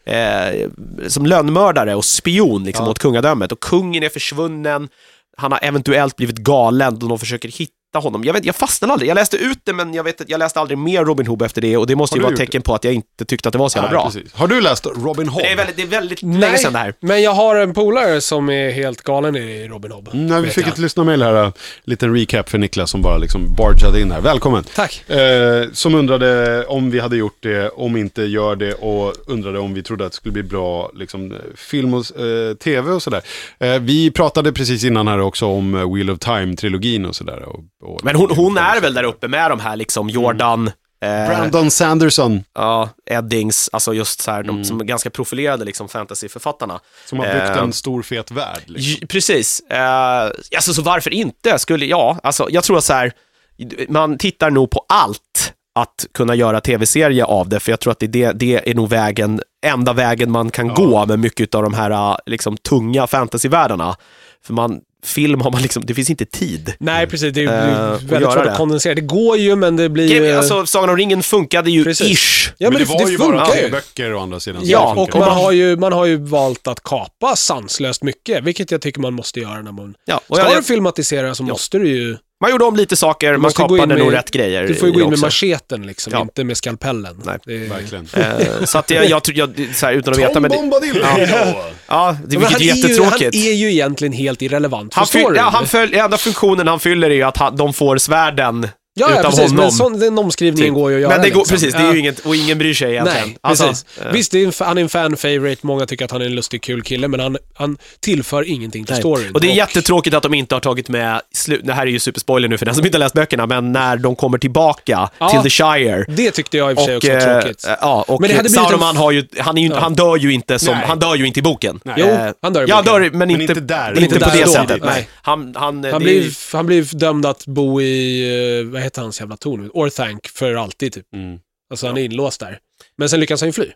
Eh, som lönnmördare och spion liksom åt kungadömet. Och kungen är försvunnen, han har eventuellt blivit galen och de försöker hitta honom. Jag, vet, jag fastnade aldrig, jag läste ut det men jag, vet, att jag läste aldrig mer Robin Hood efter det och det måste
Har
ju
du
vara ett
gjort
tecken på att jag inte tyckte att det var så jävla
Nej,
bra.
precis. Har du läst Robin Hobb?
Det är väldigt, det är väldigt länge sedan det här.
men jag har en polare som är helt galen i Robin Hobb.
Mm, Nej, vi
vet
fick
jag.
ett lyssnarmail här. äh, Liten recap för Niklas som bara liksom bargade in här. Välkommen!
Tack.
Eh, som undrade om vi hade gjort det, om inte gör det och undrade om vi trodde att det skulle bli bra liksom, film och eh, tv och sådär. Eh, vi pratade precis innan här också om eh, Wheel of Time-trilogin och sådär. Och, och,
Men hon, hon är väl där uppe med de här liksom, Jordan, eh,
Mm. Brandon Sanderson,
Ja, Eddings, alltså just så här, de som är ganska profilerade liksom, fantasyförfattarna.
som har byggt
Eh,
en stor fet värld. Liksom.
J- Precis. Eh, alltså, så varför inte? Skulle, ja, alltså, jag tror att så här, man tittar nog på allt att kunna göra tv-serie av det, för jag tror att det, det, det är nog vägen, enda vägen man kan gå med mycket av de här eh, liksom, tunga fantasyvärldarna. För man, film har man liksom, det finns inte tid.
Nej, precis. Det är ju
Eh,
det är ju
och
väldigt
göra
svårt
det.
att kondensera. Det går ju, men det blir ju...
Alltså, Sagan om ringen funkade ju
Precis.
ish.
ja,
men det, var ju bara
funkar
tre
ju.
böcker å andra sidan. så det
Ja,
funkar
och
ju.
man har, ju, man har ju valt att kapa sanslöst mycket, vilket jag tycker man måste göra när man...
Ja, och
Ska
jag-
du filmatisera så måste du ju...
Man gjorde om lite saker, man
måste gå
kapade
in
nog
med-
rätt grejer.
Du får
i
ju gå
det
in med
också.
macheten liksom,
Ja.
inte med skalpellen.
Nej,
det är,
Verkligen.
Eh, Så att jag, jag, tror- jag så här, utan att veta,
Tom
men... det-
Bombadil!
[laughs]
Ja.
Ja, det, vilket är
Men han, är ju, han
jättetråkigt.
är ju egentligen helt irrelevant för
Han fyll,
storyn.
ja, han följ, enda funktionen han fyller är ju att han, de får svärden
ja, ja,
utav
precis.
honom.
Men sån, den omskrivningen
Typ.
går ju att göra.
Men det går,
liksom.
precis, det är
Ja.
ju inget, och ingen bryr sig egentligen.
Nej,
Alltså,
precis.
eh,
Visst, det är en, fa- han är en fan-favorite, många tycker att han är en lustig, kul kille, men han, han tillför ingenting till
nej.
storyn.
Och det är jättetråkigt att de inte har tagit med, slu- det här är ju superspoiler nu för den som inte har läst böckerna, men när de kommer tillbaka
Ja.
till The Shire.
det tyckte jag i och för sig
Och,
också var
eh,
tråkigt.
ja, och
Men det hade blivit en-
Saruman har ju, han, är ju, han dör ju inte som,
Nej.
han dör ju inte i boken.
Nej.
Jo,
Eh,
han dör i
Ja,
boken.
dör, men, inte,
inte där.
Inte,
Inte
på
där
det
då.
sättet.
Nej.
Nej. Han, han, eh,
han,
det är ju-
blir, han blir dömd att bo i, eh, vad heter hans jävla torn? nu? Orthanc för alltid, typ.
Mm.
Alltså, han är inlåst där. Men sen lyckas han ju fly.
Eh,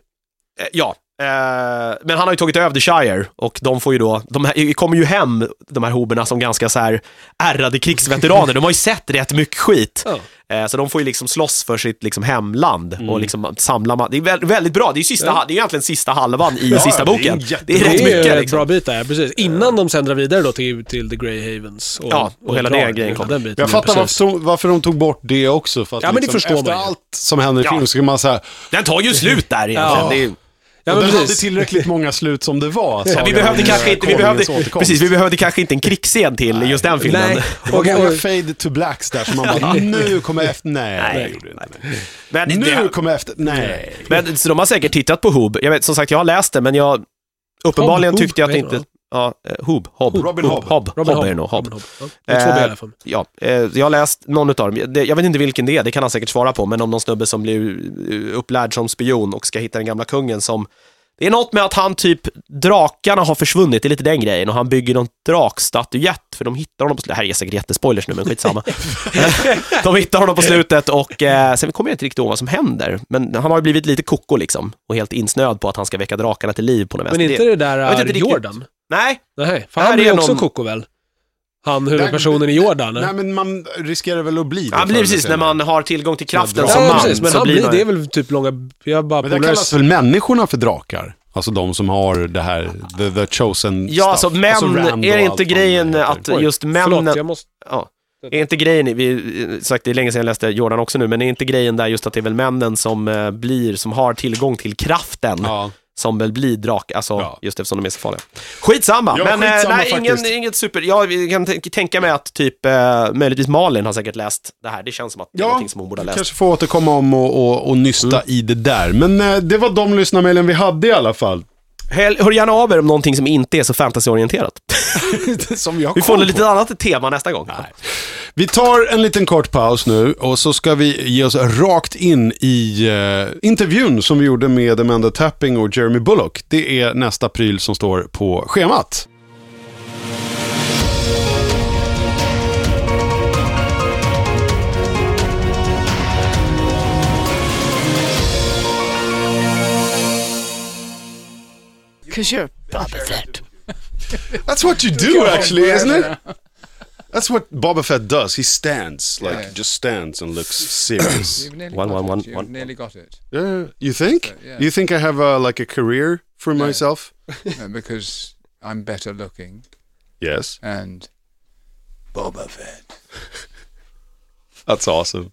Ja, eh, men han har ju tagit över The Shire och de får ju då, de här, kommer ju hem, de här hoberna som ganska så här ärrade krigsveteraner. De har ju sett rätt mycket skit.
Ja.
Eh, Så de får ju liksom slåss för sitt liksom hemland
Mm.
och liksom samla, ma- det är vä- väldigt bra, det är ju sista, ha- det är egentligen sista halvan i
Ja,
sista
det är
boken.
jättebra.
Det är
Det
rätt
är ju
mycket
ett
liksom.
bra bit där, precis. Innan de sen drar vidare då till, till The Grey Havens. Och,
Ja, och hela
drar.
den grejen kom.
Den biten,
Jag fattar
precis.
varför, varför de tog bort det också. För att liksom
Ja, men det förstår
efter
man ju.
allt som händer i
Ja.
filmen så kan man säga,
Den tar ju slut där egentligen.
Ja.
Det är ju...
Ja,
den
men
hade
precis.
tillräckligt många slut som det var.
Ja,
sagan
vi
om,
behövde
eh,
kanske inte, vi behövde,
konungens återkomst.
precis, vi behövde kanske inte en krigsscen till i just den filmen.
Nej.
Det var
Och,
många
och,
fade to blacks där som man bara, nu kommer efter, nej, det gjorde det inte.
Men
Nu
det,
kommer efter, nej.
Men så de har säkert tittat på Hob. Jag vet, som sagt, jag har läst det, men jag... Uppenbarligen
Hob,
tyckte jag att
Hob,
det
heter
inte... Ja, eh, Hob. Hob.
Robin
Hob.
Hob.
Hob
Robin Hobb.
är det nog.
Robin
Hob.
Hobb. Ja, det är
Eh,
två B i alla fall.
Ja, eh, jag har läst någon av dem. Det- Jag vet inte vilken det är, det kan han säkert svara på, men om någon snubbe som blir eh, upplärd som spion och ska hitta den gamla kungen som... Det är något med att han typ, drakarna har försvunnit, det är lite den grejen, och han bygger någon drakstatyett, för de hittar honom på slutet. Det här är säkert jättespoilers nu, men skitsamma. de hittar honom på slutet och eh, sen kommer jag inte riktigt ihåg vad som händer, men han har ju blivit lite koko liksom, och helt insnöad på att han ska väcka drakarna till liv på något
Men
vänster.
inte det där
Alltså, jag vet
är
inte riktigt.
Jordan?
Nej,
Nej, för
Här
han
är
blir ju också
någon-
koko väl? Han huvudpersonen i Jordan?
Nej, men man riskerar väl att bli det.
han blir
förr
precis,
eller
när
senare.
man har tillgång till kraften
Ja,
som man,
precis, men
så
han
blir
blir,
man...
det är väl typ långa... Jag bara
Men det
polares-
kallas väl människorna för drakar? Alltså de som har det här, the, the chosen
Ja, alltså
stuff.
män,
Rand och
är det inte
allt vad det
grejen
heter.
att
Oj.
just männen...
Förlåt, jag måste...
ja, är inte grejen, i- vi, eh, sagt, det är länge sedan jag läste Jordan också nu, men är inte grejen där just att det är väl männen som eh, blir, som har tillgång till kraften,
Ja.
som väl blir drak, alltså
Ja.
just eftersom de är så farliga. Skitsamma,
Ja,
men eh,
skitsamma
nej, ingen,
faktiskt.
inget super, jag kan tän- tänka mig att typ, eh, möjligtvis Malin har säkert läst det här, det känns som att det är
Ja,
någonting som hon borde ha läst.
kanske får återkomma om och, och, och nysta i det där. Men eh, det var de lyssnarmailen vi hade i alla fall.
Hör, hör gärna av er om någonting som inte är så fantasyorienterat.
[laughs] som jag
Vi får
kom
ett lite annat tema nästa gång.
Vi tar en liten kort paus nu och så ska vi ge oss rakt in i eh, intervjun som vi gjorde med Amanda Tapping och Jeremy Bullock. Det är nästa pryl som står på schemat.
Cause you're Boba Fett.
That's what you do actually, isn't [laughs] it? That's what Boba Fett does. He stands, like
Yeah.
just stands and looks serious.
You've nearly
One,
got
one,
it.
one,
You've
one.
nearly got it.
[coughs] Yeah, you think?
yeah.
You think I have a, like a career for myself?
No, because I'm better looking
Yes.
and Boba [laughs] Fett.
That's awesome.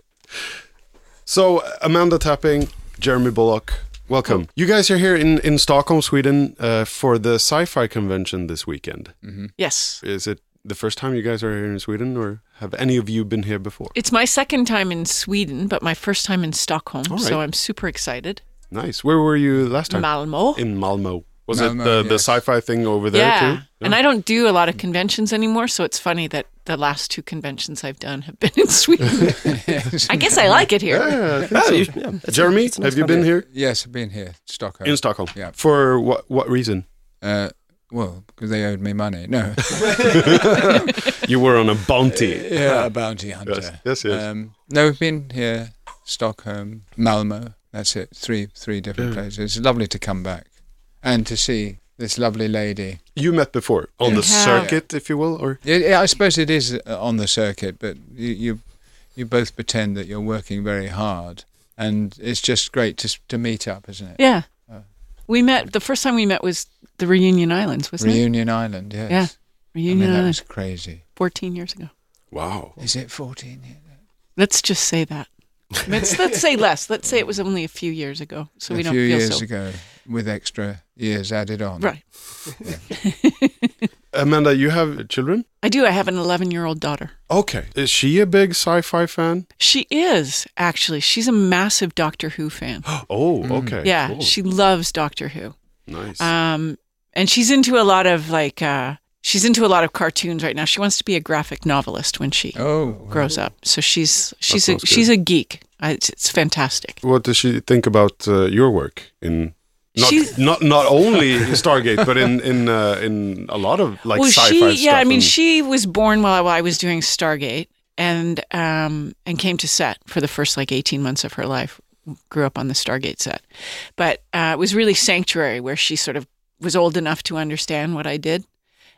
So Amanda Tapping, Jeremy Bullock, welcome. You guys are here in in Stockholm, Sweden, uh, for the sci-fi convention this weekend.
Yes.
Is it the first time you guys are here in Sweden, or have any of you been here before?
It's my second time in Sweden, but my first time in Stockholm,
All
so
right.
I'm super excited.
Nice. Where were you last time?
Malmo.
in Malmo. Was
Malmö,
it the, the
yes.
sci-fi thing over there
yeah.
too?
And I don't do a lot of conventions anymore, so it's funny that the last two conventions I've done have been in [laughs] Sweden. I guess I like it
[laughs]
here.
Yeah,
Ja,
I think so.
ju- ja, it's a-
Jeremy,
it's a nice
have
country.
you been here
Yes, I've been here, Stockholm.
in Stockholm?
Yeah.
For what what reason?
uh, well, because they owed me money. No. [laughs]
You were on a bounty.
yeah, a bounty hunter.
Yes, yes, yes.
Um, no, we've been here, Stockholm, Malmo. That's it. Three, three different places. It's lovely to come back and to see this lovely lady.
You met before on the
Yeah.
circuit, if you will, or
Yeah, yeah, I suppose it is uh, on the circuit, but you, you you both pretend that you're working very hard, and it's just great to s- to meet up, isn't it?
Yeah. We met, the first time we met was the Reunion Islands, wasn't it?
Reunion Island, yes.
Yeah.
I
Reunion
mean, that
Islands,
was crazy.
14 years ago.
Wow.
Is it 14 yet?
Let's just say that. Let's, let's say less. Let's say it was only a few years ago,
[laughs]
so
a
we don't
few
feel
years
so.
ago, with extra years added on.
Right.
Amanda, you have children?
I do. I have an 11 year old daughter.
Okay. Is she a big sci-fi fan?
She is, actually. She's a massive Doctor Who fan.
[gasps] Oh, [gasps] okay.
yeah,
cool.
she loves Doctor Who.
nice.
Um, and she's into a lot of like, uh, she's into a lot of cartoons right now. She wants to be a graphic novelist when she
Oh,
grows up. So she's she's a,
sounds good.
she's a geek. I, it's, it's fantastic.
what does she think about uh, your work in not,
She's-
not [laughs] not only in Stargate, but in in uh, in a lot of like
well,
sci-fi
she
stuff?
yeah, I mean,
and-
she was born while I, while I was doing Stargate, and um, and came to set for the first like eighteen months of her life. Grew up on the Stargate set, but uh, it was really Sanctuary where she sort of was old enough to understand what I did.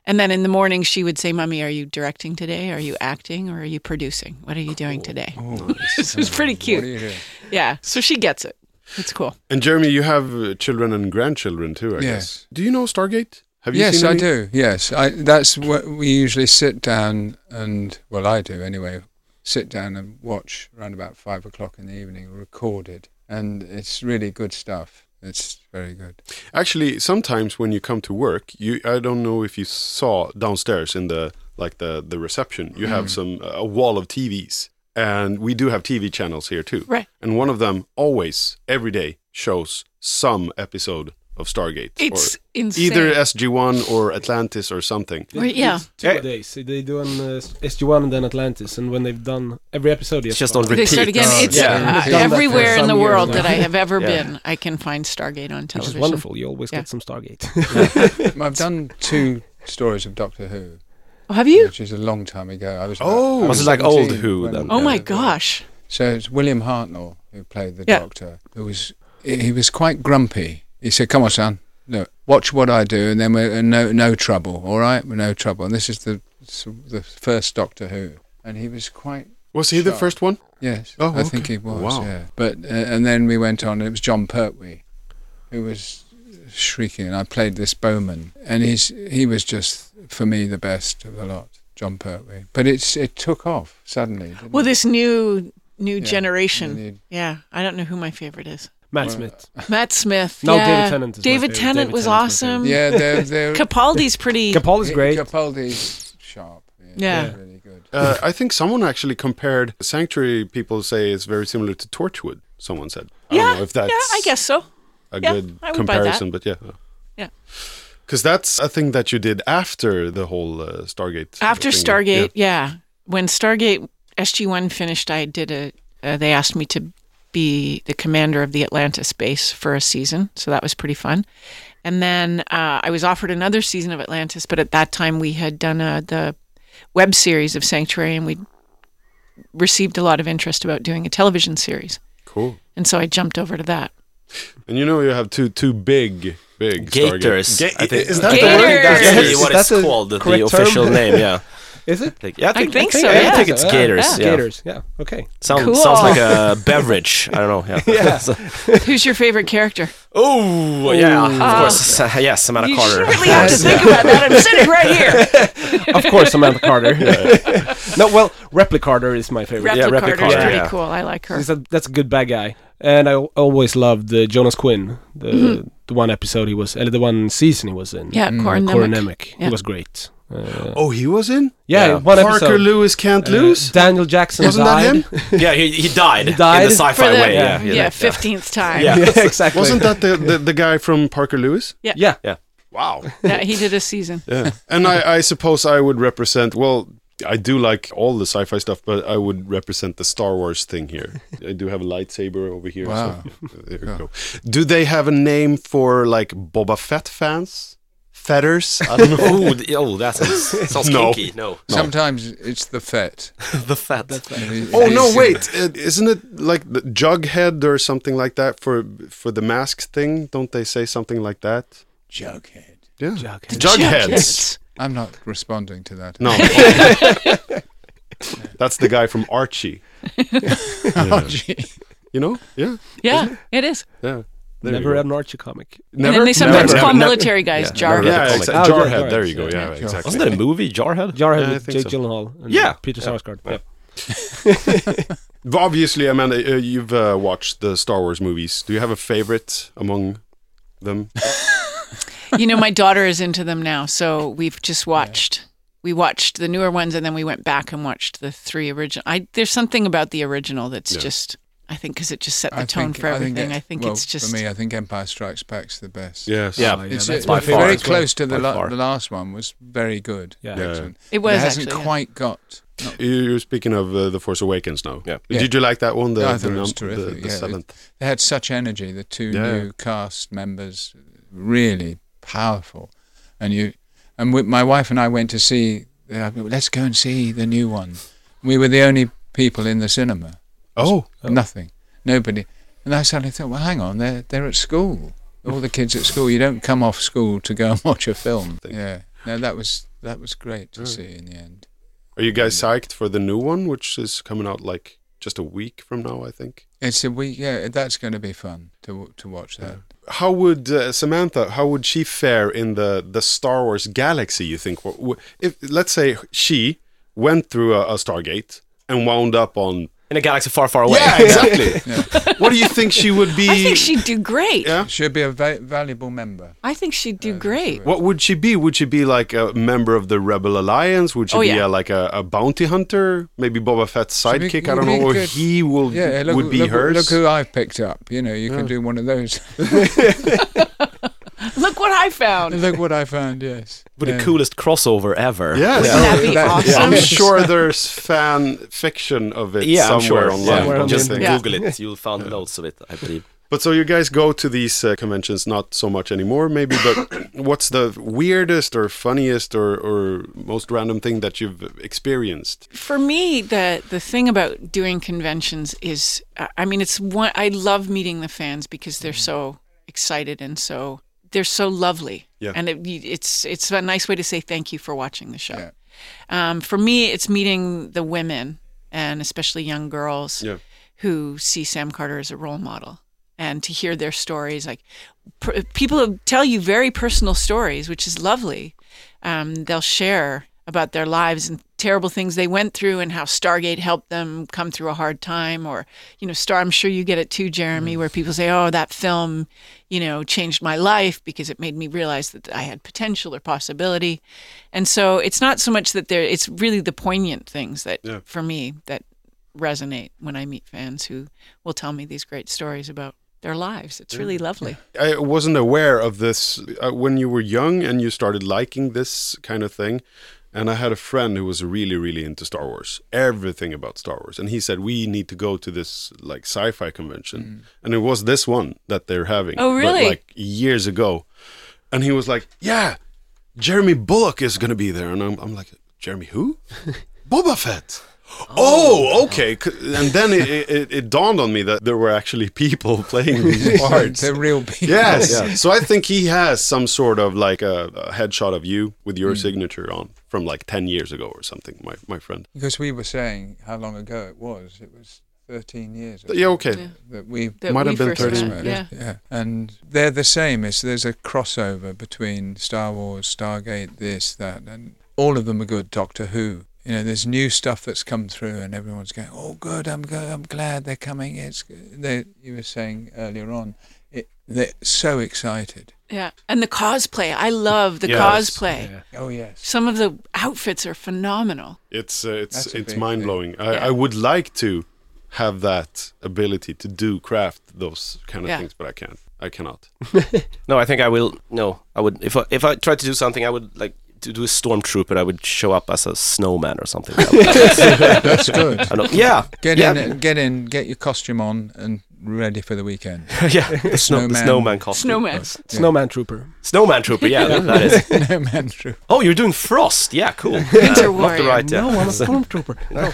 And then in the morning, she would say, "Mummy, are you directing today? Are you acting, or are you producing? What are you doing today?"
Oh,
[laughs] this was pretty
what are
cute.
you doing?
Yeah, so she gets it. It's cool.
And Jeremy, you have uh, children and grandchildren too, I guess.
Yes.
Do you know Stargate? Have you
yes,
seen
I
any?
do. Yes, I, that's what we usually sit down and well, I do anyway. Sit down and watch around about five o'clock in the evening, recorded, and it's really good stuff. It's very
[laughs]
good.
Actually, sometimes when you come to work, you I don't know if you saw downstairs in the like the the reception, you
Mm.
have some uh, a wall of TVs, and we do have TV channels here too.
Right.
And one of them always every day shows some episode of Stargate.
It's
or
insane.
either SG One or Atlantis or something.
Well, yeah.
It's two a
Eh.
days. They do an uh, SG1 and then Atlantis, and when they've done every episode,
It's
yes,
just on
They
repeat.
start again.
Oh,
it's
yeah.
uh,
We've done that
everywhere
for
in the
some years
world
now.
that I have
[laughs]
ever
Yeah.
been. I can find Stargate on television.
which is wonderful. You always
Yeah.
get some Stargate. [laughs]
I've done two stories of Doctor Who,
Oh, have you?
which is a long time ago. I was
Oh.
I
Was it like old
17
Who
when-
then?
Oh my
Yeah.
gosh!
Mm-hmm.
So it's William Hartnell who played the
Yeah.
doctor. Who was he was quite grumpy. He said, "Come on, son, look, watch what I do, and then we're in no no trouble. All right, we're no trouble." And this is the the first Doctor Who, and he was quite
Was he the
Sure.
first one?
yes.
Oh,
I think
okay.
he was.
Wow.
Yeah. But uh, and then we went on. and It was John Pertwee, who was shrieking, and I played this Bowman, and he's he was just for me the best of the lot. John Pertwee, but it's it took off suddenly. didn't
Well,
it?
this new new
Yeah.
generation.
And then
Yeah, I don't know who my favorite is.
Matt Smith.
Matt Smith.
No,
yeah.
David Tennant is my
David
favorite.
Tennant
David Tennant's
was
my
awesome.
you- Yeah, they're,
[laughs]
they're
Capaldi's pretty.
Capaldi's great.
Capaldi's sharp.
Yeah.
he's Really good.
Uh, I think someone actually compared Sanctuary. People say it's very similar to Torchwood. Someone said. I
yeah,
don't know if that's
yeah, I guess so.
a
Yeah,
good
I would buy that.
comparison, but yeah.
Yeah.
Because that's a thing that you did after the whole uh, Stargate.
After
thing.
Stargate, yeah. When Stargate SG One finished, I did a. Uh, they asked me to be the commander of the Atlantis base for a season, so that was pretty fun. And then uh, I was offered another season of Atlantis, but at that time we had done uh, the web series of Sanctuary, and we received a lot of interest about doing a television series,
Cool.
and so I jumped over
[laughs]
to that.
And you know you have two two big big Stargate-
Gators.
Ga-
I think
is that
Gators!
the word?
That's
Gators!
the- what
Is that
it's
the
called, the,
correct
official
term?
name, yeah.
Is it?
[laughs] Like, yeah I think,
think so,
I
Oh, yeah.
think it's
Yeah.
Gators. Yeah.
Gators. Yeah. Okay.
Sound,
Cool.
Sounds like a [laughs] beverage. I don't know. [laughs] Yeah.
Who's your favorite character?
Oh, yeah. Of
Uh,
course. Yes, Amanda
you
Carter.
should really have to think about that. I'm sitting right here.
of course, Samantha Carter. [laughs] no, well, Replicator is my favorite.
[laughs]
Replicator
Yeah,
is
Replicator,
pretty
yeah.
cool. I like her.
He's a- that's a good bad guy. And I al- always loved uh, Jonas Quinn, the the one episode he was, uh, the one season he was in.
Mm-hmm. Yeah,
Mm,
Corin
Corin
Nemec.
Nemec.
Yeah.
He was great. Uh,
Oh, he was in.
yeah,
yeah.
one
Parker
episode.
Lewis can't
Uh,
lose.
Daniel Jackson
Wasn't that
died.
him?
[laughs] yeah, he, he died.
died?
in the sci-fi
for the
way.
yeah,
Yeah, yeah. [laughs]
15th time.
Yeah.
Yeah.
[laughs]
[laughs]
yeah, exactly.
Wasn't that the, the the guy from Parker Lewis?
Yeah.
Wow.
he did a season.
Yeah. [laughs] And I, I suppose I would represent, well, I do like all the sci fi stuff, but I would represent the Star Wars thing here. I do have a lightsaber over here.
Wow.
So there you go. Do they have a name for like Boba Fett fans? Fetters? I don't know.
Oh, th- oh,
[laughs]
that sounds, sounds
No.
kinky. [laughs] No.
Sometimes it's the fet.
the fat.
oh, no, wait. Uh, isn't it like the Jughead or something like that for for the mask thing? Don't they say something like that?
Jughead.
Yeah.
Jughead.
Jugheads.
Jugheads.
I'm not responding to [laughs] that.
No. That's the guy from Archie.
Oh, gee.
You know? Yeah.
Yeah, it is.
Yeah. There
Never
you
read an Archie comic.
go.
and then they sometimes
never,
call
never.
military guys
Yeah,
jar.
never.
Yeah,
Jarhead.
exa-
Oh,
Jarhead.
Jarhead,
There you go.
yeah.
Yeah,
Jarhead.
exactly.
Wasn't that a movie, Jarhead?
Jarhead
Yeah, I
with
think
Jake
so.
Gyllenhaal and
Yeah.
Peter Sarsgaard. Oh, Yep.
Obviously, Amanda, uh, you've uh, watched the Star Wars movies. Do you have a favorite among them?
you know, my daughter is into them now, so we've just watched. We watched the newer ones, and then we went back and watched the three original. I there's something about the original that's
Yeah.
just. I think because it just set the
I
tone
think-
for
I think
everything. I think,
it- well,
it's just.
for me. I think Empire Strikes Back's the best.
Yes.
Yeah.
Oh,
It's,
that's
it
by
was
far
very
as well.
close to the,
By
la-
far.
the last one was very good.
Yeah.
Yeah.
Excellent.
it was
it hasn't
actually. yeah.
quite got.
You're speaking of uh, The Force Awakens now.
Yeah.
Did you like that one? The,
Yeah, I thought
the
it was
num-
terrific,
The, the
yeah.
seventh.
They had such energy. The two
Yeah.
new cast members, really powerful, and you and we, my wife and I went to see. Uh, let's go and see the new one. We were the only people in the cinema.
Oh,
Nothing. Nobody. And I suddenly thought, well, hang on, they're they're at school. All the kids at school. You don't come off school to go and watch
[laughs]
a film. Yeah. No, that was that was great to see in the end.
are you guys psyched for the new one, which is coming out like just a week from now, I think?
It's a week. Yeah, that's going to be fun to to watch that.
How would uh, Samantha? How would she fare in the the Star Wars galaxy? You think? Wh- wh- If let's say she went through a, a Stargate and wound up on
In a galaxy far, far away.
yeah, exactly.
[laughs]
What do you think she would be?
I think she'd do great.
Yeah.
She'll be a va- valuable member.
I think she'd do great.
What would she be? Would she be like a member of the Rebel Alliance? Would she
Oh,
be
yeah.
a, like a, a bounty hunter? Maybe Boba Fett's
be-
sidekick? I
would
don't
be
know. Or
good.
he will
Yeah, look,
would be
look,
hers. Oh.
Look who I've picked up. You know, you can do one of
[laughs]
those. [laughs]
Look what I found.
look what I found. Yes,
But
Yeah. Oh,
the coolest crossover ever.
yeah,
Wouldn't that be
that-
awesome?
yeah.
I'm sure there's fan fiction of it
Yeah, I'm
somewhere
sure.
online.
Somewhere
don't you
online.
think?
Yeah.
Google it. You'll find loads of it, I believe.
But so you guys go to these uh, conventions not so much anymore, maybe. But what's the weirdest or funniest or, or most random thing that you've experienced?
for me the the thing about doing conventions is I- i mean it's one i love meeting the fans because
Mm-hmm.
they're so excited and so they're so lovely
Yeah.
and it, you- it's it's a nice way to say thank you for watching the show
Yeah.
um, for me it's meeting the women and especially young girls
Yeah.
who see sam carter as a role model and to hear their stories like pr- people tell you very personal stories which is lovely um, they'll share about their lives and terrible things they went through and how Stargate helped them come through a hard time or you know star I'm sure you get it too Jeremy where people say oh that film you know changed my life because it made me realize that I had potential or possibility and so it's not so much that there it's really the poignant things that
Yeah.
for me that resonate when I meet fans who will tell me these great stories about their lives it's really lovely
I wasn't aware of this uh, when you were young and you started liking this kind of thing. And I had a friend who was really, really into Star Wars, everything about Star Wars. And he said, We need to go to this like sci fi convention. And it was this one that they're having.
Mm. Oh,
but,
really?
like years ago. And he was like, Yeah, Jeremy Bullock is going to be there. And I'm, I'm like, Jeremy
[laughs]
who? Boba Fett. Oh, okay. C- And then it, it, it- it dawned on me that there were actually people [laughs] playing
[laughs]
these parts.
they're
[laughs]
real people.
Yes. So I think he has some sort of like a, a headshot of you with
Mm.
your signature on from like 10 years ago or something, my, my friend.
because we were saying how long ago it was. It was thirteen years. or
Yeah,
something
okay.
That we
that
Might
we
have been
first
30
met.
minutes.
yeah
yeah. And they're the same. It's there's a crossover between Star Wars, Stargate, this, that, and all of them are good. Doctor Who. You know, there's new stuff that's come through, and everyone's going, "Oh, good! I'm go- I'm glad they're coming." It's good." they. You were saying earlier on, it, they're so excited.
Yeah, and the cosplay. I love the
Yes.
cosplay.
Oh
[laughs]
yes.
Some of the outfits are phenomenal.
It's uh, it's
That's a
it's
big
mind blowing. I,
Yeah.
I would like to have that ability to do craft those kind of
Yeah.
things, but I can't. I cannot. [laughs]
No, I think I will. No, I would. If I, if I tried to do something, I would like to do a stormtrooper. I would show up as a snowman or something.
That's good.
I don't, yeah,
Get
yeah,
in, get in, get your costume on, and ready for the weekend.
[laughs] yeah. The, snow, snowman. the
Snowman.
snowman costume.
Snowman.
Snowman Trooper.
Snowman trooper. Yeah, that is.
[laughs] no man true.
Oh, you're doing frost. Yeah, cool.
Winter
Not the
warrior.
right. Yeah.
No, [laughs] I'm a stormtrooper. no.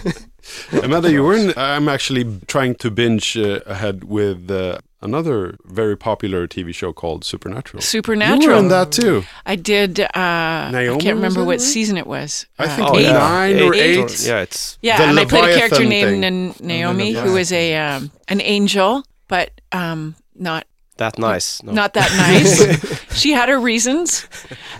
Amanda, you were in. I'm actually trying to binge uh, ahead with uh, another very popular TV show called Supernatural.
Supernatural.
You were in that too.
I did. Uh, I
Naomi,
can't remember
was it,
what
right?
season it was.
I
Uh,
think
Oh, yeah.
nine or
Eight.
eight.
Yeah, it's.
Yeah,
The
and I played a character
Leviathan thing.
named Nan- Naomi, who was a um, an angel, but um, not
That nice. No.
Not that nice. she had her reasons.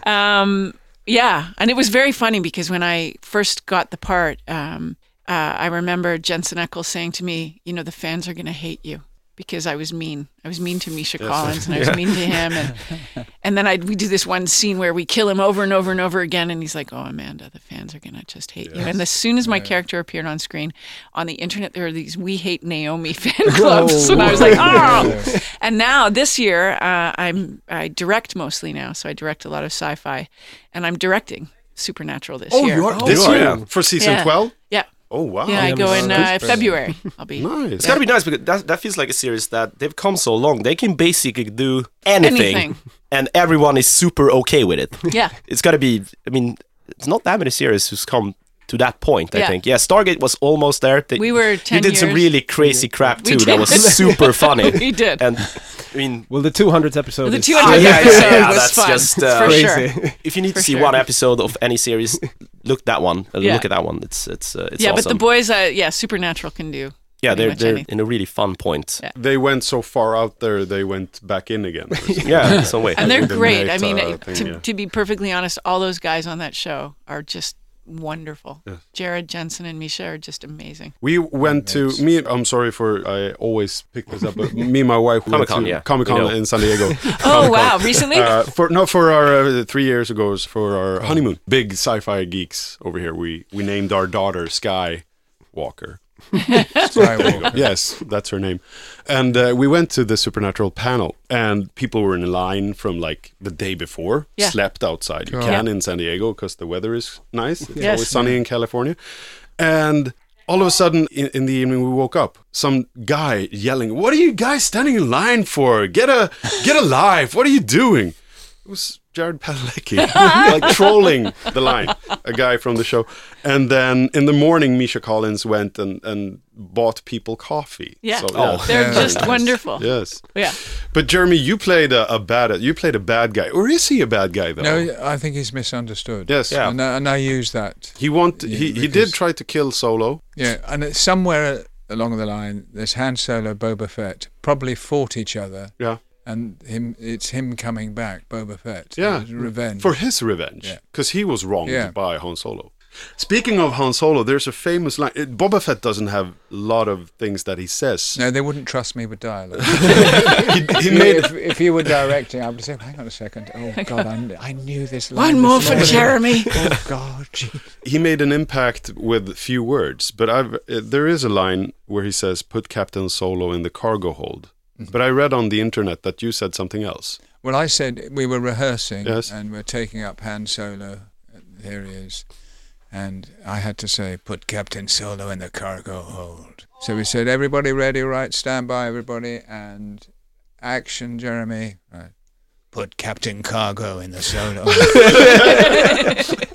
Um, yeah, and it was very funny because when I first got the part, um, uh, I remember Jensen Ackles saying to me, "You know, the fans are going to hate you." Because I was mean, I was mean to Misha Collins, and I was mean to him, and and then I we do this one scene where we kill him over and over and over again, and he's like, "Oh, Amanda, the fans are gonna just hate you." And as soon as my character appeared on screen, on the internet there are these "We Hate Naomi" [laughs] fan clubs, and I
[laughs]
was like, "Oh!" and now this year, uh, I'm I direct mostly now, so I direct a lot of sci-fi, and I'm directing Supernatural this year.
you
this
are,
year
Oh,
yeah.
for Oh, season
Yeah.
12?
Yeah,
Oh, wow.
yeah, I go in uh, February. I'll be
[laughs] Nice.
It's gotta be nice because that, that feels like a series that they've come so long. They can basically do anything,
Anything.
and everyone is super okay with it.
yeah.
[laughs] It's gotta be. I mean, it's not that many series who's come to that point. I
Yeah.
think. Yeah, Stargate was almost there. They-
We were 10
You did some
years.
really crazy crap
[laughs] We
too. That
did.
was super funny.
[laughs] We did.
And I
[laughs]
mean, [laughs]
Well, the 200th episode.
The
is
200
yeah, yeah,
episode
yeah,
was
that's
fun,
just, uh,
for
crazy.
sure.
if you need to
For
see
sure.
one episode of any series, look that one. Uh,
Yeah.
Look at that one. It's it's uh, it's
yeah,
awesome.
but the boys, uh, yeah, Supernatural can do.
yeah,
pretty
they're
much
they're in
anything.
a really fun point.
Yeah.
They went so far out there, they went back in again.
Yeah, in some way.
and they're
think the
great.
night,
I mean,
uh,
uh,
thing,
to,
yeah.
to be perfectly honest, all those guys on that show are just wonderful. Jared Jensen and Misha are just amazing.
We went to me. I'm sorry for I always pick this up, but me and my wife went
Comic-Con,
to
yeah,
Comic Con
we know.
in San
[laughs]
Diego.
Oh wow! Recently,
Uh, for no, for our uh, three years ago, it was for our honeymoon. Big sci-fi geeks over here. We we named our daughter Sky Walker. [laughs]
Skywalker.
Yes, that's her name. And uh, we went to the supernatural panel, and people were in line from like the day before.
Yeah.
Slept outside. You
Yeah.
can in San Diego because the weather is nice. It's
Yes.
always sunny in California, and. All of a sudden, in, in the evening, we woke up. Some guy yelling, "What are you guys standing in line for? Get a get a life! What are you doing?" It was Jared Padalecki, [laughs] like trolling the line, a guy from the show. And then in the morning, Misha Collins went and, and bought people coffee.
Yeah.
Oh.
they're
Yeah.
just wonderful. Yeah.
Yes. But Jeremy, you played a, a bad you played a bad guy, or is he a bad guy though?
No, I think he's misunderstood.
Yes. Yeah.
And, I, and I use that.
He want he, he did
because-
try to kill Solo.
Yeah, and it's somewhere along the line, there's Han Solo, Boba Fett, probably fought each other,
Yeah.
and him. It's him coming back, Boba Fett.
Yeah.
It's revenge.
For his revenge,
Yeah.
because he was wronged
Yeah.
by Han Solo. Speaking of Han Solo, there's a famous line. it- Boba Fett doesn't have a lot of things that he says.
no, they wouldn't trust me
[laughs]
with dialogue.
He, he
[laughs] You-
made
if, if you were directing, I would say, hang on a second. Oh God, I'm, I knew this. Line
One more
this
for
morning.
Jeremy.
Oh God. gee.
he made an impact with few words, but I've uh, there is a line where he says, "Put Captain Solo in the cargo hold." But I read on the internet that you said something else.
Well, I said we were rehearsing
Yes.
and we're taking up Han Solo. and Here he is. And I had to say, put Captain Solo in the cargo hold. So we said, everybody ready, right? Stand by, everybody. And action, Jeremy. Right. Put Captain Cargo in the solo.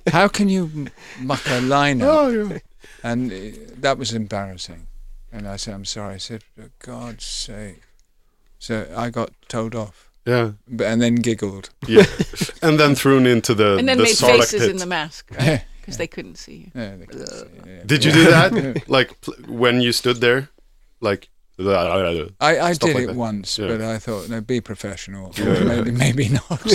How can you m- muck a line up? And uh, that was embarrassing. And I said, I'm sorry. I said, for God's sake. So I got told off
Yeah,
b- and then giggled.
yeah, and then thrown into the
And then
the
made
Sarlacc
faces
pit.
in the mask, right?
Yeah,
Because they couldn't see you.
yeah, they could see, yeah.
Did you do that? like pl- when you stood there, like.
I, I
Stuff
did
like
it
that.
once,
Yeah.
but I thought, no, be
[laughs]
professional. Or maybe, maybe not.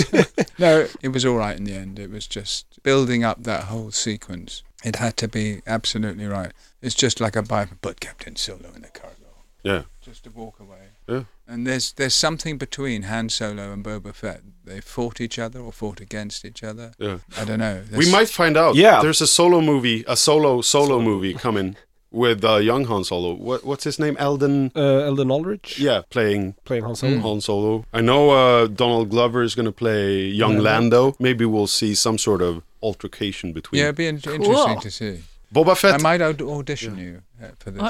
no, it was all right in the end. It was just building up that whole sequence. It had to be absolutely right. It's just like a Bible, but Captain Solo in the cargo.
Yeah.
Just to walk away.
Yeah.
And there's there's something between Han Solo and Boba Fett. They fought each other or fought against each other.
Yeah.
I don't know.
We
There's-
might find out.
Yeah.
there's a solo movie, a solo solo movie coming with uh, young Han Solo. What, what's his name? Elden.
Uh, Eldon Aldrich
Yeah, playing
playing Han
Mm.
Solo.
Han Solo. I know uh, Donald Glover is going to play young Lando. Maybe we'll see some sort of altercation between
Yeah, it'd be in- interesting
Cool.
to see.
Boba
I
Fett.
might aud- audition you uh, for this.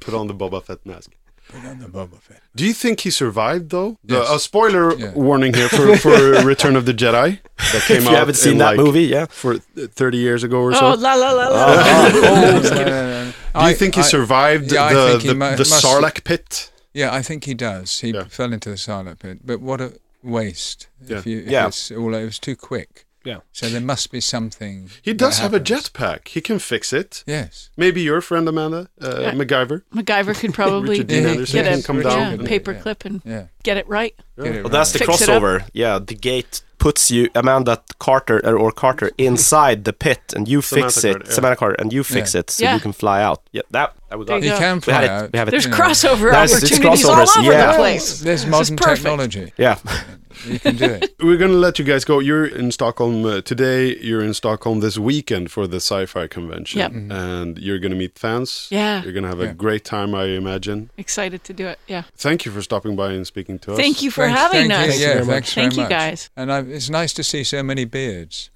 Put on the Boba Fett mask.
Put on the Boba Fett.
Do you think he survived though? The-
Yes.
a spoiler
Yeah.
warning here
[laughs]
for, for Return of the Jedi that came
if
out.
you haven't seen
in,
that
like,
movie, yeah.
for th- 30 years ago or
Oh
so.
la la la la!
Oh.
[laughs]
No, no, no, no.
Do you
I-
think he
I-
survived
yeah, I
the
think he
the,
mu-
the
must-
Sarlacc pit?
Yeah, I think he does. He
Yeah.
fell into the silent pit, but what a waste! If
Yeah.
you, if
Yeah.
it's all it was too quick.
Yeah.
So there must be something.
He
that
does have a
happens.
jetpack. He can fix it.
Yes.
Maybe your friend Amanda uh,
Yeah.
MacGyver.
[laughs] MacGyver could probably
Richard Dean
get
Anderson
a
can come down
yeah,
and-
paper
yeah.
clip and
Yeah.
get it right.
Get it
Well, that's the
right.
Fix it up.
crossover. Yeah, the gate puts you Amanda Carter or, or Carter inside the pit, and you fix
Samantha
it.
Carter, yeah.
Samantha Carter, and you fix
Yeah.
it, so
Yeah.
you can fly out. Yeah, that I would
There
love.
you
He
go.
can
We
fly
had
out.
it. We have it.
There's
Yeah.
crossover
There's- it's
opportunities all
crossovers,
over
yeah.
the place.
There's
This is
modern
perfect.
technology.
[laughs] yeah.
You can do it.
We're going to let you guys go. You're in Stockholm uh, today. You're in Stockholm this weekend for the sci-fi convention,
Yep.
and you're going to meet fans.
Mm-hmm. Yeah.
You're going to have a
Yeah.
great time, I imagine.
Excited to do it. Yeah.
Thank you for stopping by and speaking to us.
Thank you [laughs] for
Thanks-
having
thank you.
us.
Yeah,
very much.
thanks very
Thank you
much.
guys.
And I, it's nice to see so many beards.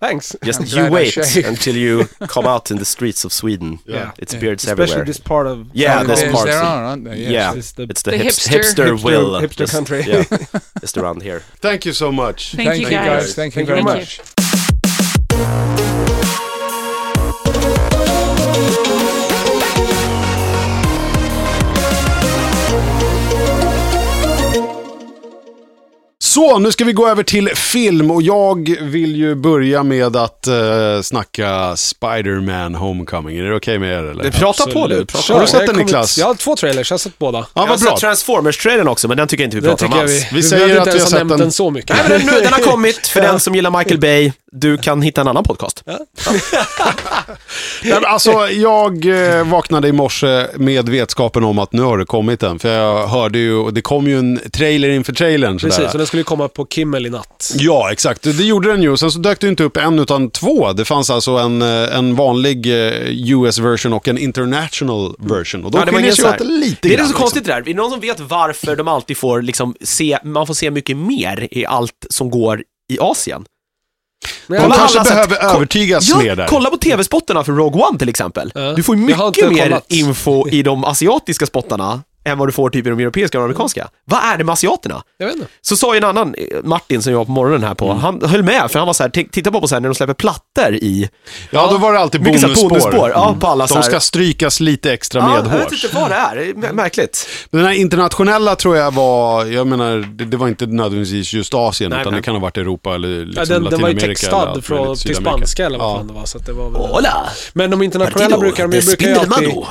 Thanks.
Just
glad
you
I
wait [laughs]
shaved.
until you come out in the streets of Sweden.
Yeah. Yeah.
It's
Yeah.
beards
Especially
everywhere.
this part of
Yeah,
How many
that's
beards
part-
There are, aren't there? Yes.
Uh, yeah,
It's
it's
the-
the,
The
hips-
hipster-
hipster, will.
hipster
just-
country.
Yeah, [laughs] just around here.
Thank you so much.
Thank, you guys.
Thank you
Thank
very
you.
much.
Så, nu ska vi gå över till film och jag vill ju börja med att uh, snacka Spider-Man Homecoming. Är det okej med er eller?
Prata på du.
Absolut.
Har du sett
Jag
den,
kommit-
Niklas?
Jag har två trailers, jag har sett båda.
Ja,
jag har
vad bra.
sett Transformers-trailern också, men den tycker jag inte vi
Det
pratar om
tycker jag vi...
alls.
Vi säger
behöver inte
att vi
ens
har sett
ha nämnt
den.
den så mycket.
Nej, men den, nu,
[laughs]
den har kommit för den som gillar Michael Bay. Du kan hitta en annan podcast.
Nej, men Alltså, jag eh, vaknade i morse med vetskapen om att nu har det kommit en. För jag hörde ju, och det kom ju en trailer inför trailern. Sådär.
[laughs] Precis, så den skulle ju komma på Kimmel i natt.
Ja, exakt. Det gjorde den ju. Och Sen så dök det inte upp en, utan två. Det fanns alltså en, eh, en vanlig US-version och en international version. Och de
Ja, det var
skiljer
ingen
sig
så här-
åt lite
Det liksom. är det
grann, liksom.
så konstigt det där. Är det någon som vet varför de alltid får liksom se, man får se mycket mer i allt som går i Asien?
Men
Liksom.
Kolla
De
jag-
kanske
alla sätt-
behöver
ko-
övertygas mer
Ja,
där.
kolla på tv-spottarna för Rogue One till exempel.
Ja.
Du får ju
Jag har
mycket
inte
mer
kollat.
info i de asiatiska spottarna än vad du får typ i de europeiska och de amerikanska. Vad är det med asiaterna?
Jag
Liksom
vet inte.
Så sa ju en annan, eh, Martin som jag var på morgonen här på, han höll med för han var så här, "T- titta bara på så här när de släpper plattor i...
Ja, då var det alltid
Mycket så här
bonusspår. Mm.
bonusspår, ja, på alla så
De
här-
ska strykas lite extra
Ja, jag vet
medhårs.
inte vad det är, det är m- märkligt.
Den här internationella tror jag var, jag menar, det, det var inte nödvändigtvis just Asien,
Nej,
utan
men-
det kan ha varit Europa eller liksom
Ja, den, den var ju
Latinamerika eller
textad
allt
från,
möjligt,
till
Sydamerika.
spanska eller vad
Ja.
fan det var, så att det var väl...
Hola!
Men de internationella
Partido
brukar, de
de
brukar ju alltid...
Spindelmano.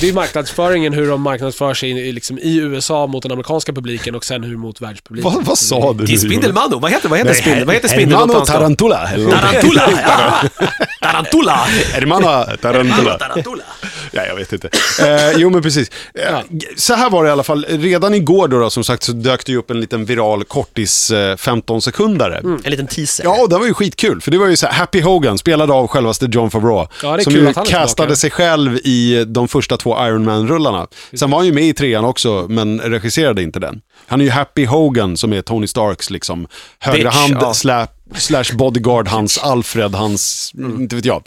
Det är ju marknadsföringen, hur de marknadsför sig i- liksom, i USA mot den amerikanska publiken och sen hur mot världspubliken.
[laughs] Vad, vad sa du?
Till
nu, Jonas?
Spindelmano, vad heter, vad heter, spindel, vad heter spindel?
Hermano
någonstans då?
Tarantula. eller någonting.
Tarantula! ja. Tarantula!
[laughs] Hermano
Hermano
Tarantula.
Tarantula.
Ja, jag vet inte. Eh, jo, men precis. Eh, så här var det i alla fall. Redan igår då, då som sagt, så dök det ju upp en liten viral kortis eh, 15-sekundare.
Mm.
En liten teaser.
Ja, och det var ju skitkul, för det var ju så här, Happy Hogan, spelad av självaste John Favreau,
Ja, det är
som
kul
ju
att han är
castade
tillbaka.
sig själv i de första två Iron Man-rullarna. Sen var han ju med i trean också, men regisserade inte den. Han är ju Happy Hogan, som är Tony Starks liksom högra
Bitch,
hand,
ja.
sla, slash bodyguard, hans Alfred, hans,
Mm.
inte vet jag.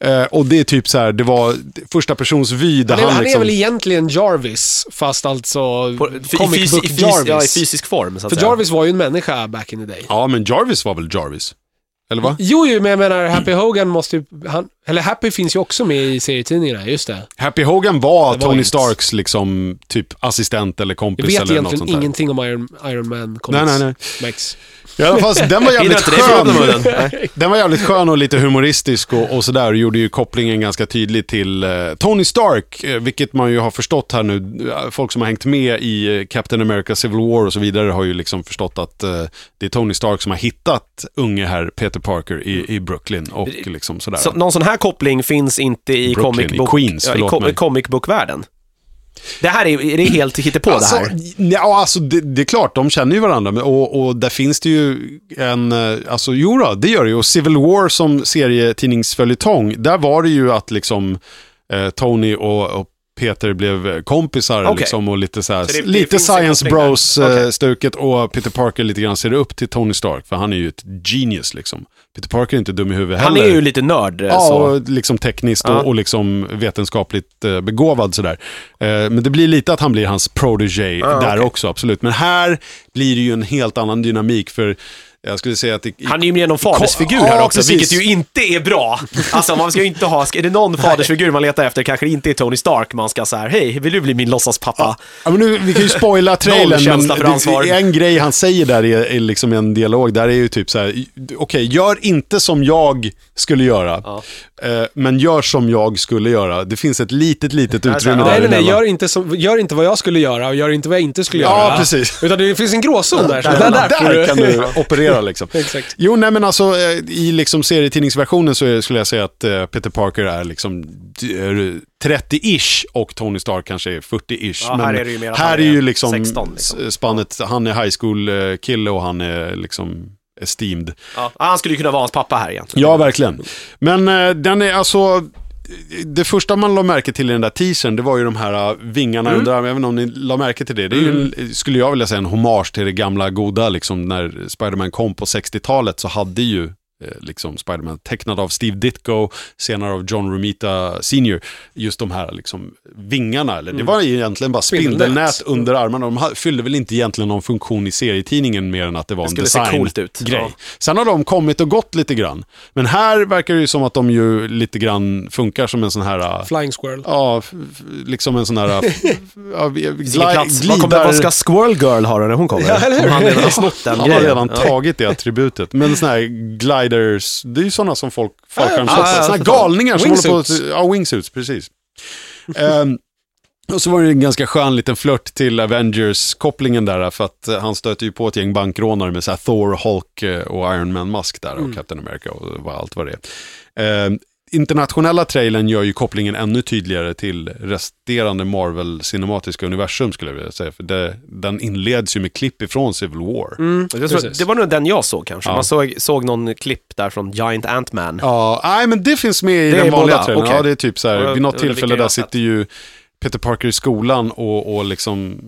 Eh, och det är typ så här, det var första persons vy där
Han är,
han,
han är
liksom...
väl egentligen Jarvis, fast alltså
På,
comic
i,
book
fysi, i, fys,
Jarvis.
ja, I fysisk form, så att
För
säga.
Jarvis var ju en människa back in the day.
Ja, men Jarvis var väl Jarvis? Eller va?
Jo, jo, men jag menar Happy Hogan måste ju... Han, eller Happy finns ju också med i serietidningarna, just det.
Happy Hogan var,
Det var
Tony
inget.
Starks liksom, typ assistent eller
Jag
kompis
vet
eller något sånt
egentligen
där.
ingenting om Iron, Iron Man
Nej,
comics.
nej, nej.
Max.
I alla fall, den [laughs] var jävligt
Hindrar inte dig från att öppna
skön.
munnen.
Den var jävligt skön och lite humoristisk och, och sådär. Och gjorde ju kopplingen ganska tydlig till eh, Tony Stark, eh, vilket man ju har förstått här nu. Eh, Folk som har hängt med i eh, Captain America Civil War och så vidare har ju liksom förstått att eh, det är Tony Stark som har hittat unge här Peter Parker i, i Brooklyn och liksom sådär.
Så, någon sån här koppling finns inte i
Brooklyn,
comic
i
book...
Queens,
ja, i
förlåt
co-
mig.
comic book-världen. Det här är, är det helt hittepå
Alltså,
det här.
Ja, alltså det, det är klart, de känner ju varandra. men- Och, och där finns det ju en... eh, Alltså, jo då, det gör det ju. Och Civil War som serietidningsföljetong, där var det ju att liksom eh, Tony och, och Peter blev eh, kompisar
Okej.
liksom, och lite så här,
Så det- det
lite
finns en
science
koppling där. Okej.
bros-stuket och Peter Parker lite grann ser upp till Tony Stark, för han är ju ett genius liksom. Peter Parker är inte dum i huvudet
Han
heller.
är ju lite nörd. eh,
Ja,
så.
och liksom tekniskt
Ja.
och, och liksom vetenskapligt eh, begåvad sådär. Eh, men det blir lite att han blir hans protege där också, absolut. Men här blir det ju en helt annan dynamik för Jag skulle säga att... i- i-
Han är ju med någon fadersfigur
Ko-
här
ja,
också,
precis.
vilket ju inte är bra. Alltså man ska ju inte ha, är det någon fadersfigur man letar efter kanske det inte är Tony Stark man ska så här, hej, vill du bli min låtsaspappa?
Ja, men nu, vi kan ju spoila trailern, men
känsla för ansvar.
det, det, en grej han säger där är, är liksom en dialog, där är ju typ så här, "I- okej, gör inte som jag skulle göra, eh, men gör som jag skulle göra. Det finns ett litet, litet
här,
utrymme
ja.
där
Nej, nej, nej.
emellan.
Gör inte, som, gör inte vad jag skulle göra och gör inte vad jag inte skulle
Ja,
göra.
precis.
Utan det finns en gråzon där. Så
Där,
där, där, får
där
[laughs]
du-
kan du operera liksom.
Exakt.
Jo, nej men alltså eh, i liksom serietidningsversionen så är- skulle jag säga att eh, Peter Parker är liksom d- är 30-ish och Tony Stark kanske är 40-ish.
Ja,
men
här är det ju mer att
här
han
är ju
är
liksom,
16 liksom.
s- spannet, han är high school-kille och han är liksom esteemed.
Ja, han skulle ju kunna vara hans pappa här egentligen.
Ja, verkligen. Men eh, den är alltså... Det första man la märke till i den där teasern, det var ju de här eh, vingarna
Mm.
under armen. Jag vet inte om ni la märke till det. Det är ju, en- skulle jag vilja säga, en hommage till det gamla goda. Liksom, när Spider-Man kom på 60-talet så hade ju eh, liksom Spider-Man tecknad av Steve Ditko, senare av John Romita Sr. Just de här liksom, vingarna, eller
Mm.
det var ju egentligen bara
Spindelnät.
spindelnät under armarna. De ha- fyllde väl inte egentligen någon funktion i serietidningen mer än att det var
Det
en
skulle se
design
coolt ut.
grej.
Ja.
Sen har de kommit och gått lite grann. Men här verkar det ju som att de ju lite grann funkar som en sån här... äh,
Flying Squirrel.
Ja, f- f- liksom en sån här... äh,
[laughs]
f- ja, vi-
Vilken
glid-
plats. Vad, kommer, vad ska Squirrel Girl ha då när hon kommer?
Ja, eller hur?
Om han redan har snott den
Han har
grejen.
redan
Ja.
tagit det attributet. Men såna här gliders, det är ju såna som folk fallskärmshoppar.
Ah, ja, ja,
såna här
förstår.
galningar som håller på att...
Wingsuits.
Ja, wingsuits, precis. Ehm, och så var det en ganska skön liten flört till Avengers-kopplingen där, för att eh, han stöter ju på ett gäng bankrånare med så här Thor, Hulk eh, och Iron Man-mask där
Mm.
och Captain America och vad allt vad det är. Ehm, internationella trailern gör ju kopplingen ännu tydligare till resterande Marvel-cinematiska universum skulle jag vilja säga, för det, den inleds ju med klipp ifrån Civil War.
Det var,
Precis.
det var nog den jag såg kanske.
Ja.
Man såg, såg någon klipp där från Giant Ant-Man.
Ja, nej men det finns med i
Det är
den vanliga
båda,
trailern.
okej.
Ja, det är typ så
Och
här,
jag
vid något
undrar vilka
tillfälle
jag
där
har sett.
sitter ju Peter Parker i skolan och, och liksom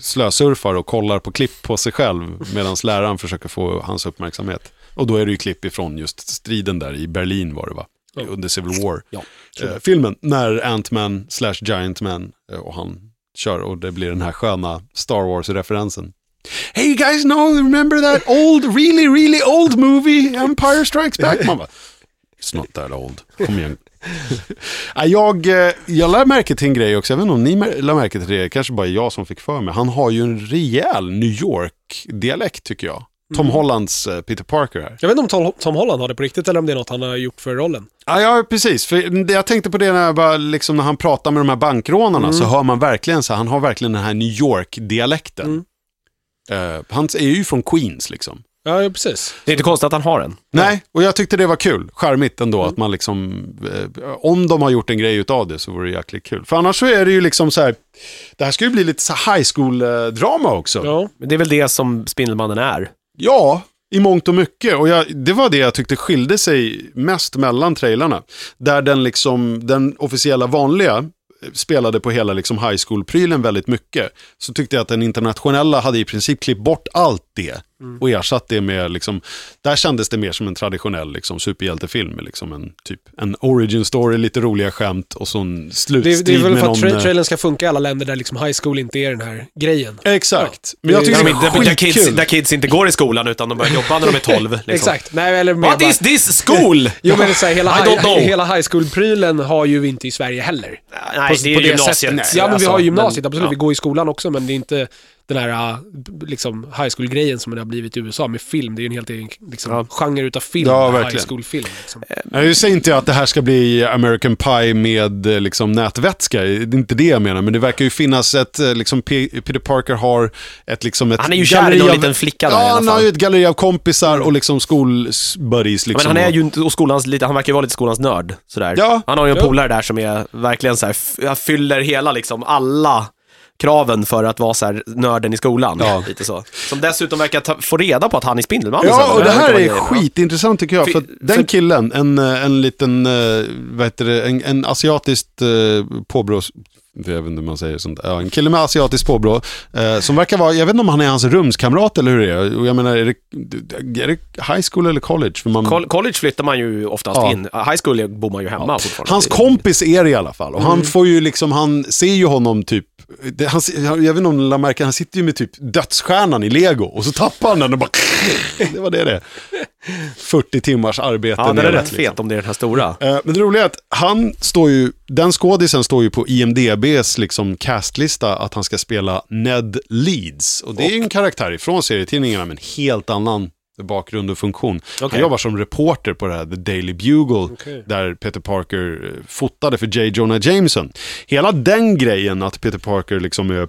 slösurfar och kollar på klipp på sig själv medan läraren försöker få hans uppmärksamhet. Och då är det ju klipp ifrån just striden där i Berlin var det va? Under Civil War.
Ja,
eh, filmen, när Ant-Man slash Giant Man eh, och han kör och det blir den här sköna Star Wars-referensen. Hey you guys know, remember that old, really, really old movie, Empire Strikes Back? Man bara, It's not that old. Kom igen. Nej, jag, eh, jag lade märke till en grej också, jag vet inte om ni mär- lade märke till det, kanske bara jag som fick för mig. Han har ju en rejäl New York-dialekt tycker jag. Tom Hollands eh, Peter Parker här.
Jag vet inte om Tom- Tom Holland har det på riktigt eller om det är något han har gjort för rollen.
Ja, ja precis. För jag tänkte på det när, jag bara, liksom, när han pratar med de här bankrånarna så hör man verkligen så här, han har verkligen den här New York-dialekten. Eh, han är ju från Queens liksom.
Ja, ja, precis.
Det är inte konstigt att han har den.
Nej, och jag tyckte det var kul. Charmigt ändå att man liksom, eh, om de har gjort en grej utav det så vore det jäkligt kul. För annars så är det ju liksom så här, det här ska ju bli lite så här high school-drama också.
Ja.
Men Det är väl det som Spindelmannen är.
Ja, i mångt och mycket. Och jag, det var det jag tyckte skilde sig mest mellan trailarna. Där den, liksom, den officiella vanliga eh, spelade på hela liksom high school-prylen väldigt mycket. Så tyckte jag att den internationella hade i princip klippt bort allt det.
Mm.
Och ersatt det med, liksom, där kändes det mer som en traditionell liksom, superhjältefilm. med Liksom en, typ, en origin story, lite roliga skämt och så en
Det, är-
slutstrid
det är väl
med
för att
någon...
tra-
eh,
trailern ska funka i alla länder där liksom high school inte är den här grejen.
Exakt. Men
Det
jag
är-
tycker
Där,
det
de,
är
inte- där, kids,
skitkul.
där kids inte går i skolan utan de börjar jobba när de är 12. [laughs] Liksom.
Exakt. Nej, eller mer
What
bara-
is this [laughs] school?
Jo, men det är så här, hela,
I don't know.
high, hela high school-prylen har ju vi inte i Sverige heller.
Nej, det är ju gymnasiet.
sättet. Ja, men vi
Alltså,
har gymnasiet,
men-
absolut.
ja.
Vi går i skolan också, men det är inte den här äh, liksom, high school-grejen som det har blivit i USA med film. Det är ju en helt egen liksom, genre utav film,
Ja,
high
verkligen.
school-film. Liksom.
Eh,
Nej, jag säger inte jag att det här ska bli American Pie med eh, liksom, nätvätska. Det är inte det jag menar, men det verkar ju finnas ett, eh, liksom, P- Peter Parker har ett, liksom, ett
Han är ju kär i
galleri
någon
av-
liten flicka där
Ja,
i alla
han har
fall.
ju ett galleri av kompisar och liksom skolbuddies. Liksom,
Men han är
och-
ju inte, och skolans lite, han verkar ju vara lite skolans nörd. Sådär.
Ja.
Han har ju en
Ja.
polare där som är verkligen så här, f- han fyller hela liksom alla kraven för att vara så här nörden i skolan.
Ja.
Lite så. Som dessutom verkar ta, få reda på att han är Spindelmannen. sen.
Ja, och det här
verkar
är
vara grejen,
skitintressant tycker jag.
För-
För att den
för-
killen, en, eh, en liten, eh, vad heter det, en, en asiatiskt eh, påbrå, Jag vet inte hur man säger sånt. Ja, en kille med asiatiskt påbrå. Eh, som verkar vara, jag vet inte om han är hans rumskamrat eller hur det är. Och Jag menar, är det, är det high school eller college? För man,
Col- College flyttar man ju oftast
Ja.
in. High school bor man ju hemma fortfarande.
Hans kompis är det i alla fall. Och
Mm.
han får ju liksom, han ser ju honom typ, det, han, se- jag vet inte om ni lade märke, han sitter ju med typ dödsstjärnan i lego. Och så tappar han den och bara, [laughs] det var det det. 40 timmars arbete.
Ja, den är
neråt,
rätt fet om det är den här stora.
Eh, Men det roliga är att han står ju, den skådisen står ju på IMDBs liksom castlista att han ska spela Ned Leeds. Och det är ju en karaktär ifrån serietidningarna men helt annan bakgrund och funktion.
Okej.
Han jobbar som reporter på det här The Daily Bugle
Okej.
där Peter Parker eh, fotade för J. Jonah Jameson. Hela den grejen att Peter Parker liksom är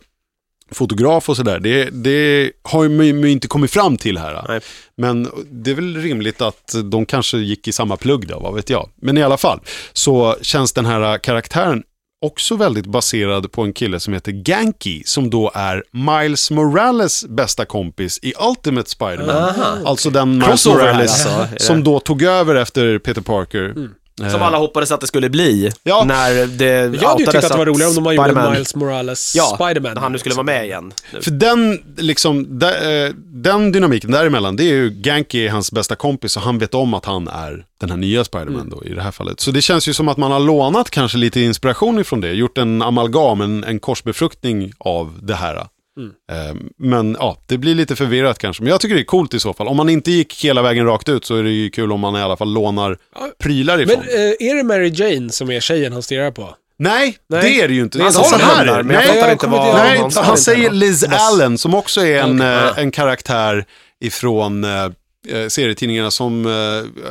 fotograf och sådär, det, det har ju man ju inte kommit fram till här.
Nej.
Men det är väl rimligt att de kanske gick i samma plugg då, vad vet jag. Men i alla fall så känns den här karaktären också väldigt baserad på en kille som heter Ganky som då är Miles Morales bästa kompis i Ultimate Spider-Man. Alltså den Miles
Ah. Crossover här
Morales
alltså, är det. Mm.
som då tog över efter Peter Parker. Eh,
Som alla hoppades att det skulle bli.
Ja.
När det
Jag hade ju tyckt att det var roligare om de hade gjort en
Spiderman-
Miles Morales
Ja,
Spiderman. Eh.
när han nu skulle vara med igen. Nu.
För den, liksom, de, eh, den dynamiken däremellan, det är ju Ganky är hans bästa kompis och han vet om att han är den här nya Spiderman
Mm.
då i det här fallet. Så det känns ju som att man har lånat kanske lite inspiration ifrån det, gjort en amalgam, en, en korsbefruktning av det här.
Mm.
Eh, Men ja, det blir lite förvirrat kanske. Men jag tycker det är coolt i så fall. Om man inte gick hela vägen rakt ut så är det ju kul om man i alla fall lånar prylar ifrån.
Men eh, är det Mary Jane som är tjejen han stirrar på?
nej,
nej.
det är det ju inte.
Det är
Alltså,
någon
så
som
här
hamnar,
är det.
men jag
Nej,
fattar inte
kommer
vad
inte ihåg.
Nej,
någon
han
sa.
säger Liz Allen som också är en,
Okej.
eh, en karaktär ifrån eh, eh, serietidningarna som, eh,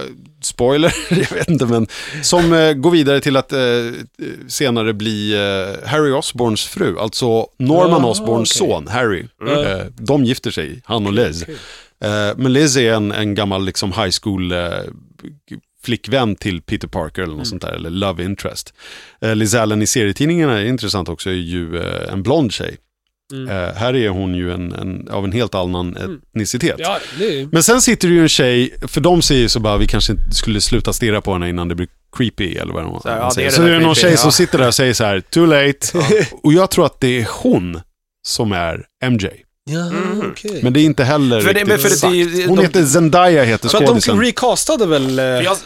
spoiler, [laughs] jag vet inte men, som eh, går vidare till att eh, senare bli eh, Harry Osborns fru, alltså Norman
Ah,
Osborns
okej.
son Harry.
Mm.
Eh, de gifter sig, han och Liz. Eh, men Liz är en, en gammal liksom, high school eh, flickvän till Peter Parker
Mm.
eller något sånt där, eller love interest. Eh, Liz Allen i serietidningarna är intressant också, är ju eh, en blond tjej.
Mm.
Eh, här är hon ju en, en, av en helt annan
Mm.
etnicitet.
Ja, det är...
Men sen sitter det ju en tjej, för de säger ju så bara vi kanske inte skulle sluta stirra på henne innan det blir creepy eller vad de
här, ja,
han säger.
det är
Så
det
är
där
det någon
creepy,
tjej
ja.
som sitter där och säger så här,
[laughs]
too late. Och jag tror att det är hon som är MJ.
Ja,
Mm.
okej.
Men det är inte heller
För det- men
riktigt
för det- det-
exakt.
de-
Hon heter Zendaya heter
För att de
skådisen.
recastade väl... eh,
För, jag,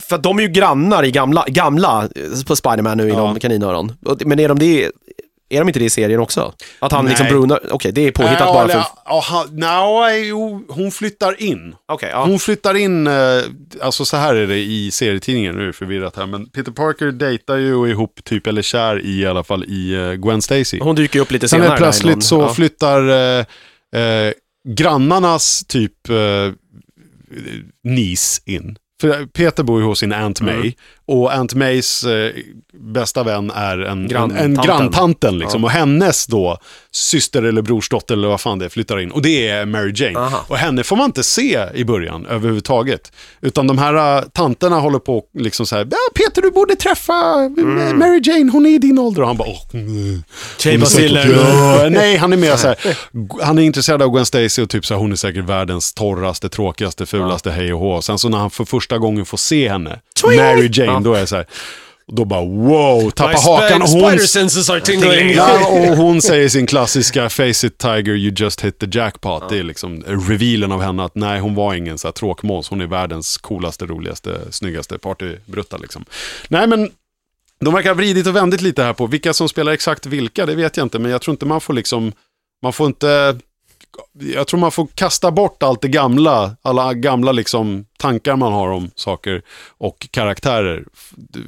för att de är ju grannar i gamla, gamla eh, på Spiderman nu inom kaninöron. Och- Men är de det, är de inte det i serien också? Att han
Nej.
liksom bruna, okej det är påhittat
Ja,
bara för...
eller- ja, han- nej, jo, hon flyttar in.
Okej, ja.
Hon flyttar in, eh, alltså så här är det i serietidningen, nu är det förvirrat här, men Peter Parker dejtar ju och är ihop typ, eller kär i i alla fall, i eh, Gwen Stacy.
Hon dyker ju upp lite
Sen
senare.
är plötsligt
där i
så
någon-
flyttar eh, eh, grannarnas typ eh, niece in. För Peter bor ju hos sin Aunt May
Mm.
och Aunt Mays eh, bästa vän är en, en, en
Granntanten.
granntanten. Liksom.
Ja.
Och hennes då syster eller brorsdotter eller vad fan det är flyttar in. Och det är Mary Jane.
Aha.
Och henne får man inte se i början överhuvudtaget. Utan de här eh, tanterna håller på och liksom så här, ja, Peter du borde träffa eh,
Mm.
Mary Jane, hon är i din ålder. Och han bara, åh, nej.
Tjej
Hon är
Basiller.
säkert- Ja, Nej, han är mer så här. Han är intresserad av Gwen Stacy och typ så här, hon är säkert världens torraste, tråkigaste, fulaste hej och hå. Sen så när han för första gången får se henne, Mary Jane, då är jag så här. Då bara wow, tappa
My
hakan. Och
spi-
hon,
Spider senses are tingling.
ja, och hon säger sin klassiska face it tiger, you just hit the jackpot. Det är liksom revealen av henne att nej, hon var ingen så här tråkmåns. Hon är världens coolaste, roligaste, snyggaste partybrutta liksom. Nej, men de verkar ha vridit och vändit lite här på vilka som spelar exakt vilka, det vet jag inte, men jag tror inte man får liksom, man får inte, jag tror man får kasta bort allt det gamla, alla gamla liksom tankar man har om saker och karaktärer.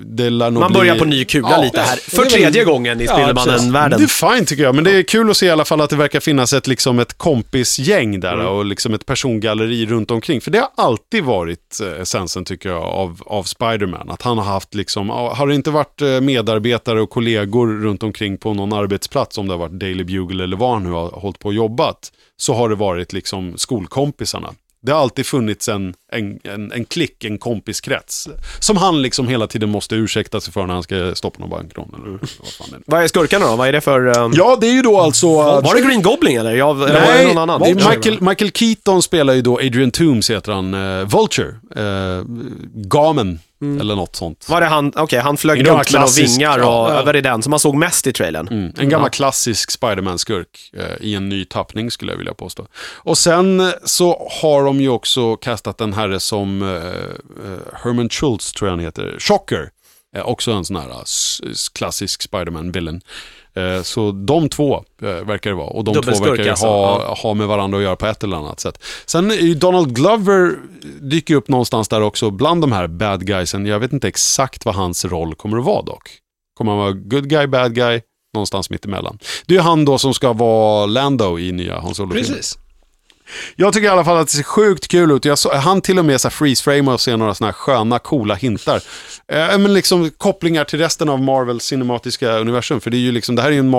Det lär nog
Man
bli...
börjar på ny kula
Ja.
lite här.
Det
För
är väl-
tredje gången i
Ja,
Spindelmannen-världen.
Det är fint tycker jag, men det är kul att se i alla fall att det verkar finnas ett, liksom, ett kompisgäng där och liksom ett persongalleri runt omkring. För det har alltid varit eh, essensen tycker jag av, av Spiderman. Att han har haft, liksom, ja, har det inte varit eh, medarbetare och kollegor runt omkring på någon arbetsplats, om det har varit Daily Bugle eller vad han nu har hållit på och jobbat, så har det varit liksom skolkompisarna. Det har alltid funnits en, en, en, en klick, en kompiskrets. Som han liksom hela tiden måste ursäkta sig för när han ska stoppa någon bankrån. Eller vad fan det är.
Vad är skurkarna då? Vad är det för... ehm,
Mm. Ja, det är ju då alltså...
Var det Green Goblin eller? Jag, eller var det
Nej,
någon annan?
det är Michael, Michael Keaton spelar ju då Adrian Toomes, heter han, eh, Vulture, eh, Gamen
Mm.
Eller något sånt.
Var det han, okej, han
En
flög
gammal
runt med några
klassisk-
vingar och,
ja,
var det den som man såg mest i trailern?
Mm. En gammal klassisk Spiderman-skurk eh, i en ny tappning skulle jag vilja påstå. Och sen eh, så har de ju också kastat en herre som eh, eh, Herman Schultz tror jag han heter, Shocker. Eh, också en sån här eh, s- s- klassisk Spiderman-villain. Eh, så de två eh, verkar det vara. Och de två
Dubbelskurk
verkar ju
alltså,
ha, ha med varandra att göra på ett eller annat sätt. Sen är ju Donald Glover dyker upp någonstans där också bland de här bad guysen. Jag vet inte exakt vad hans roll kommer att vara dock. Kommer han vara good guy, bad guy? Någonstans mitt emellan. Det är ju han då som ska vara Lando i nya Hans solo
Precis.
Jag tycker i alla fall att det ser sjukt kul ut. Jag så, han till och med så här freeze-framar och ser några sådana här sköna, coola hintar. Eh, men liksom kopplingar till resten av Marvels cinematiska universum. För det är ju liksom, det här är ju en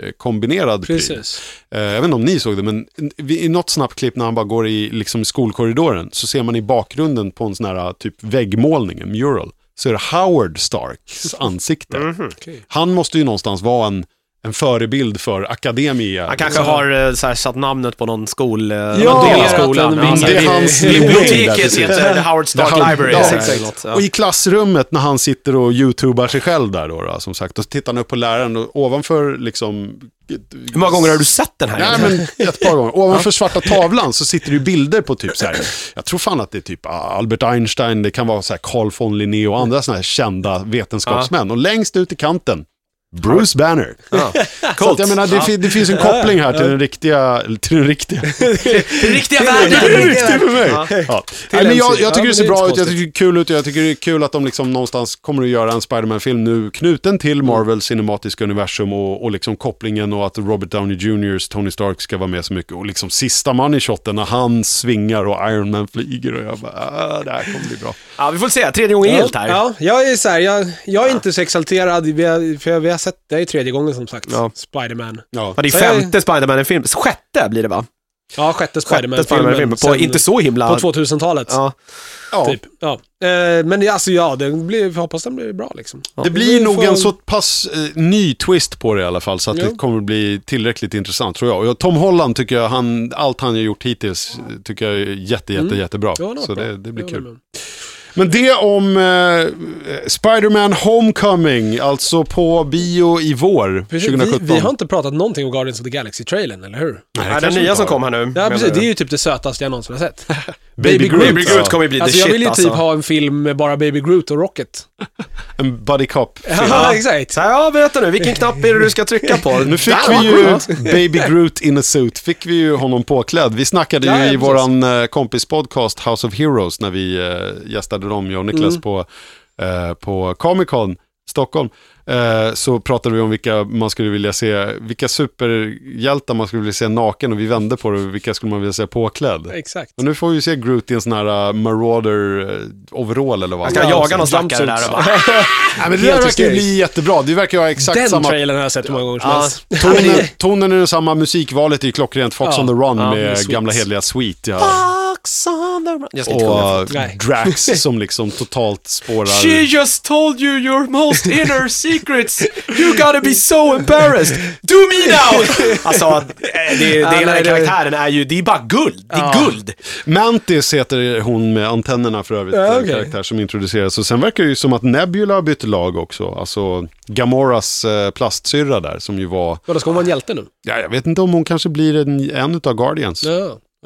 Marvel-Sony-kombinerad pryl.
Precis.
Eh, Jag vet inte om ni såg det, men i i något snabbt klipp när han bara går i liksom, skolkorridoren så ser man i bakgrunden på en sån här typ väggmålning, en mural, så är det
[laughs]
Howard Starks ansikte.
Mhm,
Okej.
Han måste ju någonstans vara en, en förebild för akademia.
Han kanske har eh, så här, satt namnet på någon skol... eh, någon del
Ja,
av
det är
skolan.
att en
så
det
här,
är
vinge-
[laughs] hans
i- i-
Biblioteket
där,
heter Howard
Där
Stark
han-
Library.
ja,
så här,
exakt.
eller något, ja.
Och i klassrummet när han sitter och youtubar sig själv där då, då som sagt, då tittar han upp på läraren och ovanför liksom...
Hur många gånger har du sett den här?
Nej,
egentligen?
men ett par gånger. Ovanför svarta tavlan så sitter det ju bilder på typ så här. Jag tror fan att det är typ ah, Albert Einstein, det kan vara så här Carl von Linné och andra sådana här kända vetenskapsmän. Och längst ut i kanten, Bruce Banner.
[laughs]
Så att jag menar, det, fi- det finns en koppling här till den riktiga, till den riktiga,
Den riktiga
till den
världen!
riktiga typ för mig. Ja. Nej, men jag,
MC. Ja,
jag tycker
men
det
det
ser
är inte
bra ut,
konstigt.
jag tycker det är kul ut, jag tycker det är kul att de liksom någonstans kommer att göra en Spider-Man-film nu knuten till Marvel cinematiska universum och, och liksom kopplingen och att Robert Downey Jr.'s Tony Stark ska vara med så mycket och liksom sista man i shotten när han svingar och Iron Man flyger och jag bara, ah, det här kommer bli bra.
Ja, vi får se. Tredje gången gillt här.
Ja, jag är så här, jag, jag är inte så exalterad, vi har, för vi har sett, det är ju tredje gången som sagt,
Ja.
Spiderman.
Ja.
Ja, det är femte Spiderman-filmen. Sjätte blir det va?
Ja, sjätte
Sjätte Spiderman-filmen.
Spiderman-filmen.
På
sen-
inte så himla...
På 2000-talet,
Ja.
Ja.
typ. Ja. Eh, men det- alltså ja, det blir, vi hoppas den blir bra liksom.
Det
Vi
blir nog
får-
en så pass eh, ny twist på det i alla fall så att
Jo.
det kommer bli tillräckligt intressant tror jag. Och jag- Tom Holland tycker jag, han, allt han har gjort hittills eh, tycker jag är jätte, jätte, jättebra.
Mm. Ja, det var
så
bra.
det, det blir
Jag
kul.
håller med.
Men det om eh, Spider-Man Homecoming, alltså på bio i vår
Precis,
2017.
Vi, vi har inte pratat någonting om Guardians of the Galaxy-trailern, eller hur?
Nej,
Ja, den nya
kanske inte
som
har.
kom här nu.
Ja,
menar
precis.
du?
Det är ju typ det sötaste jag någonsin har sett.
Baby Groot.
Baby Groot kommer ju bli
Alltså
the
jag
shit
vill ju typ
alltså.
ha en film med bara Baby Groot och Rocket. [laughs]
En buddy cop.
Ja, exakt.
Så här, ja, vänta nu. Vilken knapp är det du ska trycka på?
Nu fick
Där,
vi
va?
ju Baby Groot in a suit, fick vi ju honom påklädd. Vi snackade ju
Ja, ja,
i
precis.
våran eh, kompispodcast House of Heroes när vi eh, gästade dem, jag och Niklas,
Mm.
på, eh, på Comic Con Stockholm. Eh, så pratade vi om vilka man skulle vilja se, vilka superhjältar man skulle vilja se naken och vi vände på det, vilka skulle man vilja se påklädd?
Exakt.
Men nu får vi ju se Groot i en sån här uh, Marauder eh, overall eller vad
Jag ska
han har.
jaga någon stackare där och bara...
[laughs]
Nej, men det där
Helt
verkar ju
hysteriskt.
bli jättebra. Det verkar ju ha exakt
Den
samma...
trailern har jag sett hur många gånger som
Ja.
helst.
Tonen, tonen är densamma, musikvalet är ju klockrent. Fox
Ja.
on the Run
Ja,
med
med Sweet.
gamla hederliga Sweet. Ja.
Fox on the run. Jag ska inte sjunga.
Och
Nej. [laughs]
Drax som liksom totalt spårar...
She just told you your most inner secrets. You gotta be so embarrassed. Do me now! [laughs] Alltså, eh, det, det,
Ja,
hela
nej,
den
det-
karaktären är ju, det är bara guld. Det är guld.
Mantis heter hon med antennerna för övrigt,
Ja,
eh,
okej.
karaktär som introduceras. Och sen verkar det ju som att Nebula har bytt lag också. Alltså Gamoras eh, plastsyrra där, som ju var...
Vadå, ska hon vara en hjälte nu?
Ja, jag vet inte om hon kanske blir en, en av Guardians.
Ja,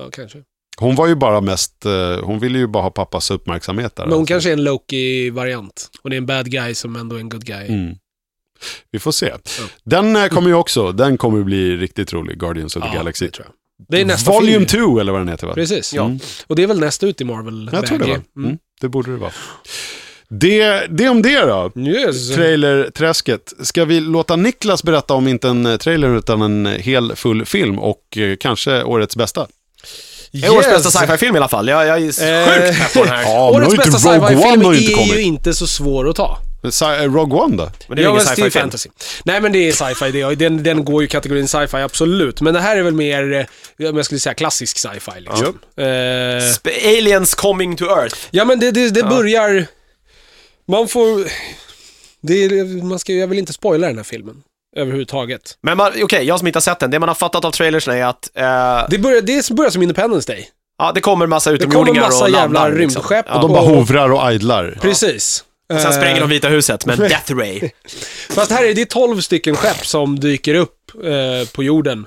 ja kanske.
Hon var ju bara mest... Eh, hon ville ju bara ha pappas uppmärksamhet där.
Men hon
alltså.
kanske är en Loki-variant. Hon är en bad guy som ändå är en good guy.
Mm. Vi får se. Den eh, kommer ju också, den kommer bli riktigt rolig, Guardians of the
Ja,
Galaxy. Mm.
det tror jag. Det är nästa
Volume
film.
2 eller vad den heter va?
Precis.
Ja.
Mm.
Och det är väl nästa ut i marvel
Jag tror det va?
väg.
Mm. Det borde det vara. Det, det om det då.
Mm. Yes.
Trailerträsket. Ska vi låta Niklas berätta om inte en eh, trailer utan en eh, hel full film och eh, kanske årets bästa?
Det är årets bästa sci-fi-film i alla fall. Jag, jag är
Eh,
sjukt pepp på den här.
Ja,
Årets
har ju
bästa
inte- Rogue
sci-fi-film
One har ju inte
är ju
kommit.
inte så svår att ta.
Men sci- eh, Rogue One då?
Men det är ju ingen
men Steve
sci-fi-film.
fantasy. Nej, men det är sci-fi. Det är, den, den går ju i kategorin sci-fi, absolut. Men det här är väl mer, eh, om jag skulle säga klassisk sci-fi. Liksom. Eh,
Sp- Aliens coming to earth.
ja, men det, det, det börjar... Man får... Det är, man ska, jag vill inte spoila den här filmen överhuvudtaget.
Men man- okej, jag som inte har sett den, det man har fattat av trailers är att... Eh,
Det börjar, det börjar som Independence Day.
Ja, det kommer massa
Det kommer
utomjordingar
massa
och
jävla
landar. liksom.
rymdskepp.
Ja.
Och de bara hovrar och idlar.
Precis.
Sen spränger
Eh,
de Vita huset
[laughs]
med en Death Ray.
Fast här är det 12 stycken skepp som dyker upp eh, på jorden.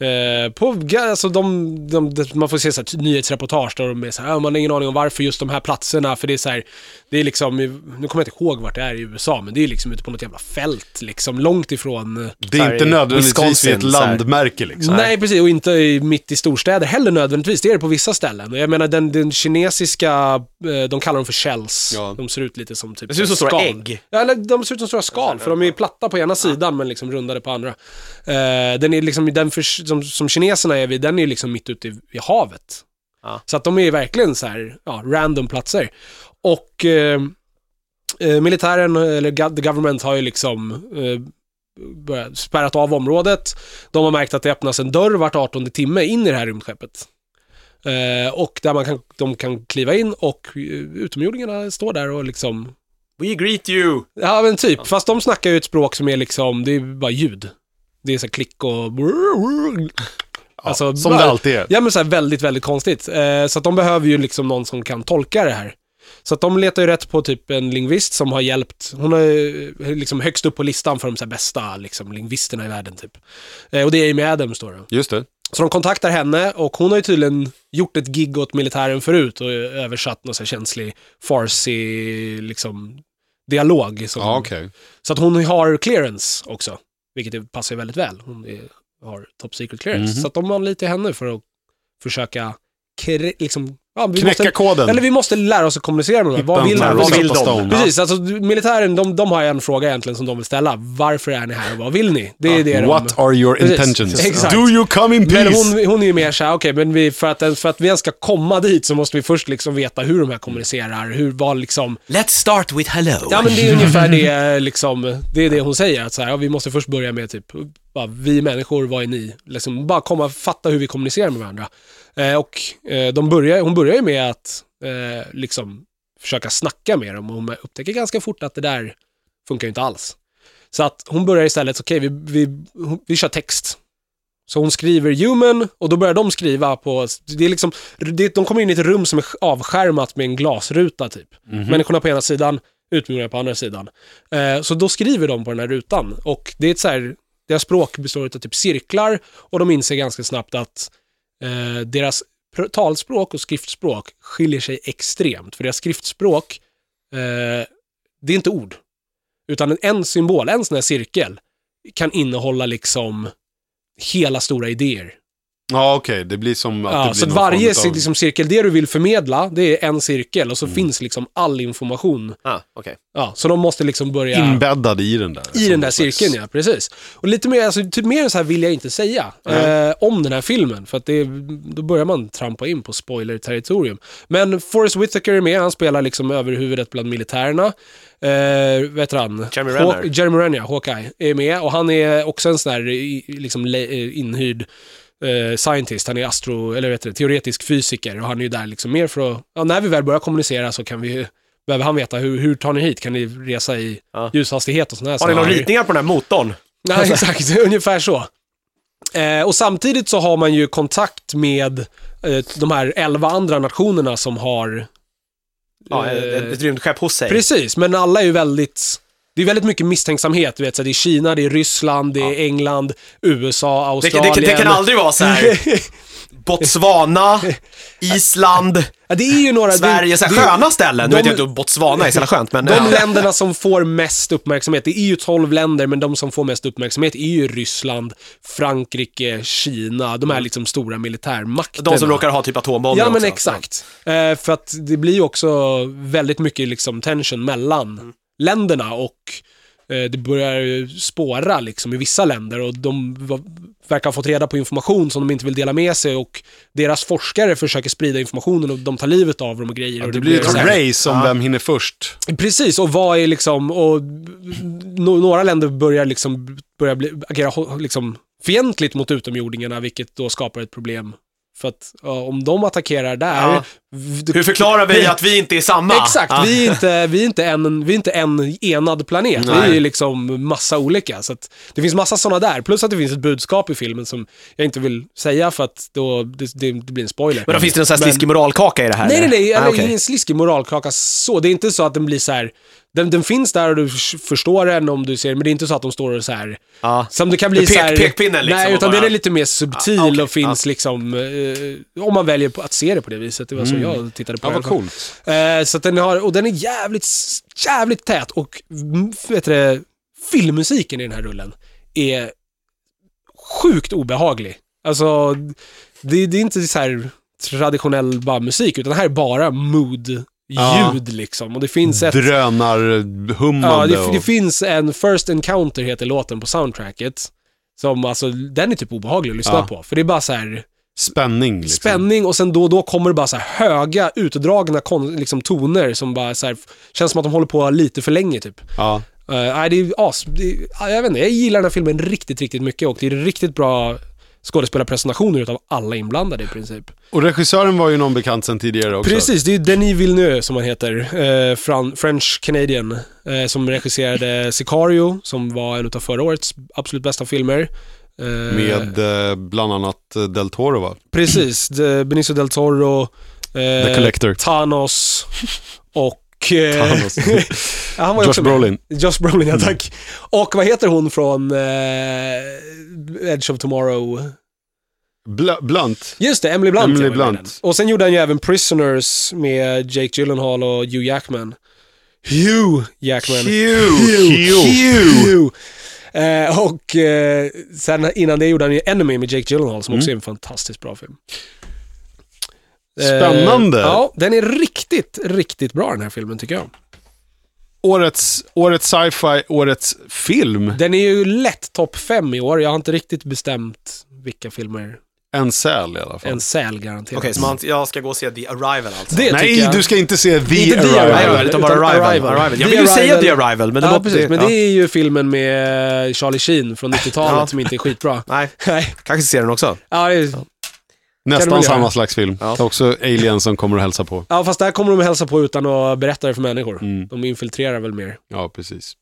Eh, på, ga- alltså de, de, de, man får se så här, nyhetsreportage där de är så här, "Ah, man har ingen aning om varför just de här platserna, för det är så här, det är liksom, i- nu kommer jag inte ihåg vart det är i USA, men det är liksom ute på något jävla fält liksom, långt ifrån... eh,
Det är inte
Sorry,
nödvändigtvis
Wisconsin,
vid ett
så här.
landmärke liksom.
Nej, precis, och inte i, mitt i storstäder heller nödvändigtvis, det är det på vissa ställen. Och jag menar den, den kinesiska, eh, de kallar dem för shells,
Ja.
de ser ut lite som typ
Det ser ut som stora
skal.
ägg.
Ja, eller de ser ut som stora skal, för de är ju platta på ena sidan men liksom rundade på andra. Eh, den är liksom, den för, som, som kineserna är vid, den är ju liksom mitt ute i, i havet.
Ja.
Så att de är ju verkligen så här, ja, random platser. Och eh, eh, militären, eller go- the government, har ju liksom eh, börjat- spärrat av området. De har märkt att det öppnas en dörr vart 18 timme in i det här rymdskeppet. Eh, och där man kan, de kan kliva in och eh, utomjordingarna står där och liksom
We greet you!
Ja men typ, fast de snackar ju ett språk som är liksom, det är bara ljud. Det är så här klick och... Alltså,
Som
bara-
det alltid är.
Ja men så här väldigt, väldigt konstigt. Eh, så att de behöver ju liksom någon som kan tolka det här. Så att de letar ju rätt på typ en lingvist som har hjälpt, hon är eh, liksom högst upp på listan för de så här bästa liksom, lingvisterna i världen typ. Eh, och det är Amy Adams då. då.
Just det.
Så de kontaktar henne och hon har ju tydligen gjort ett gig åt militären förut och översatt någon så här känslig farsi liksom, dialog. Som,
Ja, okej.
Så att hon har clearance också, vilket det passar ju väldigt väl. Hon är, har top secret clearance.
Mhm.
Så att de anlitar henne för att försöka kre- liksom, ja, vi
Knäcka
måste,
koden.
eller vi måste lära oss att kommunicera med dem. Vad vill,
Hitta en
vad vill
Rosetta
de?
Stone.
Precis, alltså militären, de, de har en fråga egentligen som de vill ställa. Varför är ni här och vad vill ni? Det är det de...
What are your
Precis.
intentions?
Exakt.
Do you come in
Men
peace?
hon, hon är ju mer såhär, okej, men vi, för, att, ens- för att vi ens ska komma dit så måste vi först liksom veta hur de här kommunicerar, hur, vad liksom...
Let's start with hello.
Ja, men det är ungefär det liksom, det är det hon säger, att så här, ja, vi måste först börja med typ, bara, vi människor, vad är ni? Liksom, bara komma, fatta hur vi kommunicerar med varandra. Eh, och eh, de börjar, hon börjar ju med att eh, liksom försöka snacka med dem och hon upptäcker ganska fort att det där funkar ju inte alls. Så att hon börjar istället, okej, vi, vi, vi kör text. Så hon skriver human och då börjar de skriva på, det är liksom, det, de kommer in i ett rum som är avskärmat med en glasruta typ. Människorna på ena sidan, utmurarna på andra sidan. Eh, så då skriver de på den här rutan och det är ett så här, deras språk består av typ cirklar och de inser ganska snabbt att eh, deras pr- talspråk och skriftspråk skiljer sig extremt. För deras skriftspråk, eh, det är inte ord. Utan en symbol, en sån här cirkel, kan innehålla liksom hela stora idéer.
Ja, okej. Det blir som att det
Ja,
blir
så att
någon
varje
form av-
liksom, cirkel, det du vill förmedla, det är en cirkel och så
Mm.
finns liksom all information.
Ah, okej.
Ja, så de måste liksom börja...
inbäddad i den där.
I den där cirkeln, ja. Precis. Och lite mer, alltså, typ mer så här vill jag inte säga eh, om den här filmen, för att det, är- då börjar man trampa in på spoiler-territorium. Men Forrest Whitaker är med, han spelar liksom överhuvudet bland militärerna. Eh, vet du han?
Jeremy
Haw-
Renner.
Jeremy Renner, ja, Hawkeye, är med och han är också en sån här i- liksom, le- eh, inhyrd eh, scientist, han är astro, eller vet du, teoretisk fysiker och han är ju där liksom mer för att, ja, när vi väl börjar kommunicera så kan vi, behöver han veta hur, hur tar ni hit, kan ni resa i
Ja.
ljushastighet och sådana här
Har ni några
saker? [laughs]
ritningar på den här motorn?
Ja, exakt. [laughs] Ungefär så. Eh, och samtidigt så har man ju kontakt med eh, de här elva andra nationerna som har...
Ja,
eh,
ett, ett rymdskepp hos sig.
precis, men alla är ju väldigt... Det är väldigt mycket misstänksamhet. Du vet, så här, det är Kina, det är Ryssland, det är England, USA,
Det,
Australien.
det, det, det kan aldrig vara så
[laughs]
här. Botswana, Island,
Ja, det är ju några...
Sverige, så här
det- det-
sköna ställen. Nu
de-
vet jag inte om Botswana är så jävla skönt, men... eh,
De
ja.
länderna som får mest uppmärksamhet, det är ju 12 länder, men de som får mest uppmärksamhet är ju Ryssland, Frankrike, Kina, de här liksom stora militärmakterna.
Mm. De som råkar ha typ atombomber
Ja, men
också.
exakt. Eh, för att det blir ju också väldigt mycket liksom tension mellan
Mm.
länderna och eh, det börjar ju spåra liksom i vissa länder och de va- verkar ha fått reda på information som de inte vill dela med sig och deras forskare försöker sprida informationen och de tar livet av dem och grejer.
Ja,
och
det blir ett
så här-
race om vem hinner först.
Precis, och vad är liksom, och no, några länder börjar liksom, börjar bli, agera ho- liksom fientligt mot utomjordingarna, vilket då skapar ett problem För att ja, om de attackerar där...
Ja.
v- det-
Hur förklarar vi att vi inte är samma?
[laughs]
Ah.
Exakt,
Ja.
vi, är inte, vi, är inte en, vi är inte en enad planet.
Nej.
Vi är liksom massa olika. Så att det finns massa sådana där. Plus att det finns ett budskap i filmen som jag inte vill säga för att då, det, det, det blir en spoiler.
Men då finns det en sån här
Men-
sliskig moralkaka i det här?
Nej, nej, nej.
eller?
Eller
Ah, okej.
ingen sliskig moralkaka så. Det är inte så att den blir så här. Den, den finns där och du f- förstår den om du ser den, men det är inte så att de står och så här.
Ja.
Som det kan bli
Med Ah. pek-
så här,
pekpinnen liksom
Nej,
och
utan
bara-
den är lite mer subtil
Ah, okej.
och finns liksom, eh, om man väljer på att se det på det viset. Det var
Mm.
så jag tittade på
Ja,
den.
vad coolt.
Eh, så att den har, och den är jävligt, s- jävligt tät och mm, vet du, det, filmmusiken i den här rullen är sjukt obehaglig. Alltså, det, det är inte så här traditionell bara musik, utan det här är bara mood-ljud
Ja.
liksom. Och det finns ett... Ja,
Drönarhummande.
det, det finns en First Encounter heter låten på soundtracket. Som alltså, den är typ obehaglig att lyssna
Ja.
på. För det är bara så här...
och spänning. Liksom.
Spänning och sen då och då kommer det bara så här höga, utdragna kon- liksom toner som bara så här, känns som att de håller på lite för länge typ.
Ja.
Eh, nej, det är as... Det är, ja, jag vet inte, jag gillar den här filmen riktigt, riktigt mycket och det är riktigt bra skådespelarpresentationer utav alla inblandade i princip.
Och regissören var ju någon bekant sen tidigare också.
Precis, det är Denis Villeneuve som han heter, eh, fran- French Canadian, eh, som regisserade Sicario, som var en utav förra årets absolut bästa filmer. Eh,
Med eh, bland annat eh, Del Toro va?
Precis, de- Benicio del Toro, eh,
The Collector. [laughs]
Thanos och... Eh,
Thanos.
[laughs] ja, han var ju
Josh
också med.
Brolin. Mm.
Josh Brolin, ja tack. Och vad heter hon från eh, Edge of Tomorrow?
Bl- Blunt.
Just det, Emily Blunt.
Emily
ja, var med
Blunt.
den. Och sen gjorde han ju även Prisoners med Jake Gyllenhaal och Hugh Jackman. Hugh Jackman. Hugh. Eh, och eh, sen innan det gjorde han ju Enemy med Jake Gyllenhaal som också är en fantastiskt bra film. Eh,
Spännande.
ja, den är riktigt, riktigt bra den här filmen tycker jag.
Årets, årets sci-fi, årets film.
Den är ju lätt topp fem i år. Jag har inte riktigt bestämt vilka filmer.
En säl i alla fall.
En säl garanterat.
Okej, så man, jag ska gå och se The Arrival alltså?
Det tycker
Nej,
jag.
du ska inte se The
Inte The
Arrival.
Nej,
Arrival.
väl, utan bara
Utan
Arrival.
Arrival.
Arrival. Jag
The
vill ju säga
Arrival.
The Arrival, men det
ja,
låter...
precis. Men
ja.
det är ju filmen med Charlie Sheen från 90-talet
Ja.
som inte är skitbra.
Nej,
Nej.
kanske ser den också.
Ja, det är- Kan
Nästan
du väl göra?
samma slags film.
Ja.
Det är också Alien som kommer och hälsa på.
ja, fast där kommer de hälsa på utan att berätta det för människor.
Mm.
De infiltrerar väl mer.
Ja, precis.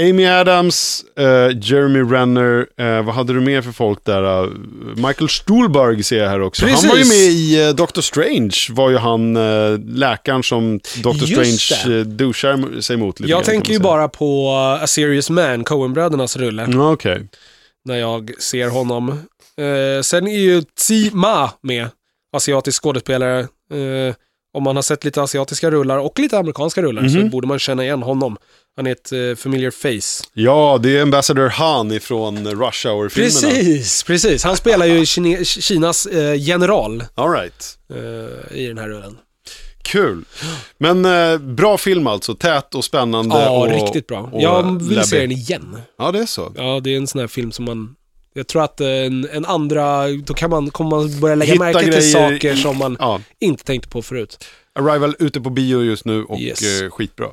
Amy Adams, eh, Jeremy Renner, eh, vad hade du mer för folk där? eh? Michael Stuhlbarg ser jag här också.
Precis.
Han var ju med i eh, Doctor Strange, var ju han eh, läkaren som Doctor
Just
Strange eh, duschar sig mot. Lite
Jag
grann, kan
tänker
man
ju
säga. Mm.
bara på uh, A Serious Man, Coen-brödernas rulle,
Ja, Okej.
när jag ser honom. Eh, sen är ju Tsi Ma med, asiatisk skådespelare. Eh, om man har sett lite asiatiska rullar och lite amerikanska rullar så
Mhm.
borde man känna igen honom. Han är ett eh, familiar face.
Ja, det är Ambassador Han ifrån Rush Hour-filmerna.
Precis, precis. Han spelar ju Kine- Kinas eh, general
All right.
eh, i den här rullen.
Kul. Men eh, bra film alltså. Tät och spännande.
Ja,
och,
riktigt bra.
och
jag vill se
läbbig.
den igen.
Ja, det är så.
Ja, det är en sån här film som man... Jag tror att eh, en, en andra... Då kan man, kommer man börja lägga
Hitta
märke till
grejer
saker
i-
som man
Ja.
inte tänkte på förut.
Arrival ute på bio just nu och
Yes. Mm.
eh, skitbra.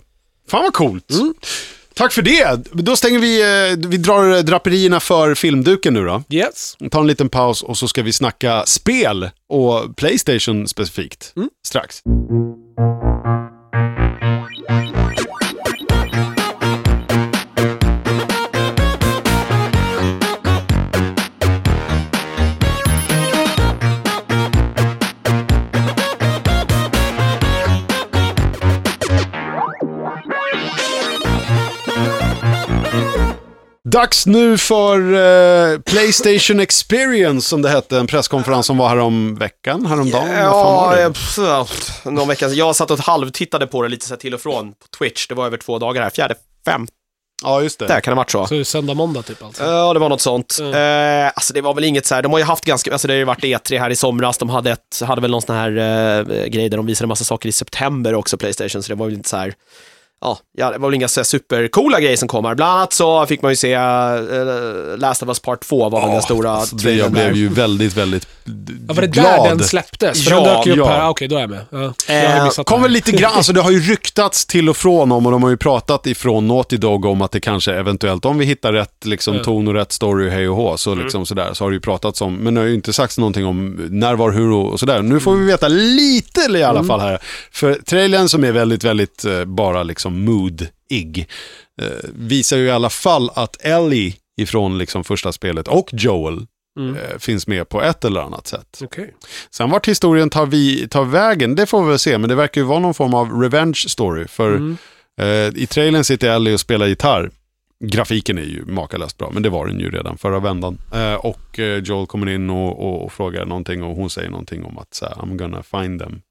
Fan vad coolt. Tack för det. Då stänger vi, eh, vi drar draperierna för filmduken nu då.
Yes.
Ta en liten paus och så ska vi snacka spel och Playstation specifikt
Mm.
strax. Dags nu för eh, Playstation Experience som det hette, en presskonferens som var häromveckan, häromdagen. Vad fan var
Ja,
det?
eh, pff, någon vecka sedan. Jag satt och halvtittade på det lite så här till och från på Twitch. Det var över två dagar här. Fjärde, femte
ja, Eh, just det.
kan det ha varit så.
Så söndag, måndag typ alltså.
Ja, det var något sånt.
Mm.
Eh, alltså det var väl inget så här, de har ju haft ganska, alltså det har ju varit E3 här i somras, de hade, ett, hade väl någon sån här eh, grej där de visade massa saker i september också, Playstation, så det var väl inte så här, ja, ja, det var väl inga så här supercoola grejer som kom här. Bland annat så fick man ju se eh, Last of Us Part 2 var väl den stora
alltså, det jag
trailern där.
blev ju väldigt, väldigt d-
Ja, var det
glad.
där den släpptes? För
Ja,
den dök ju upp
ja.
här. Ah, Okej, då är jag med. Ja. jag
Eh,
har missat
Kommer
det här.
lite grann, alltså det har ju ryktats till och från om och de har ju pratat ifrån Naughty Dog om att det kanske eventuellt, om vi hittar rätt liksom, ton och rätt story, hej och hå,
Mm.
så, liksom, sådär, så har det ju pratats om, men det har ju inte sagts någonting om när, var, hur och, och sådär. Nu får
Mm.
vi veta lite i alla fall här. För trailern som är väldigt, väldigt eh, bara liksom mood-ig, eh, visar ju i alla fall att Ellie ifrån liksom, första spelet och Joel
Mm.
eh, finns med på ett eller annat sätt.
Okej.
Sen vart historien tar, vi, tar vägen, det får vi väl se, men det verkar ju vara någon form av revenge story. För
Mm.
eh, i trailern sitter Ellie och spelar gitarr. Grafiken är ju makalöst bra, men det var den ju redan förra vändan. Eh, och eh, Joel kommer in och, och, och frågar någonting och hon säger någonting om att så här, I'm gonna find them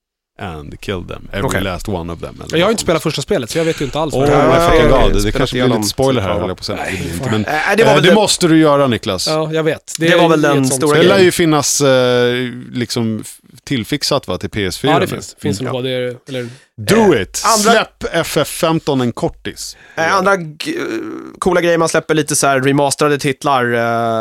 and kill them, every
Okej.
last one of them. Eller
Jag har
något
ju inte spelat första spelet, så jag vet ju inte alls. vad
sånt.
det
Åh,
är.
Ja,
jag är fucking glad. Det
spelat
kanske blir
igenom
lite spoiler här,
typ,
höll jag på att säga. Nej, det, blir inte, men,
Eh,
det,
det var väl
det
den-
måste du göra Niklas.
Ja, jag vet.
Det var
är
väl den
ett sånt
stora
Det
spel.
lär ju finnas eh, liksom f- tillfixat va, till PS4.
Ja, det
nu.
finns. finns en
Mm, Ja.
HD, eller...
Do it!
Eh, andra-
Släpp FF15 en kortis.
Eh, andra g- coola grejer man släpper lite så här remasterade titlar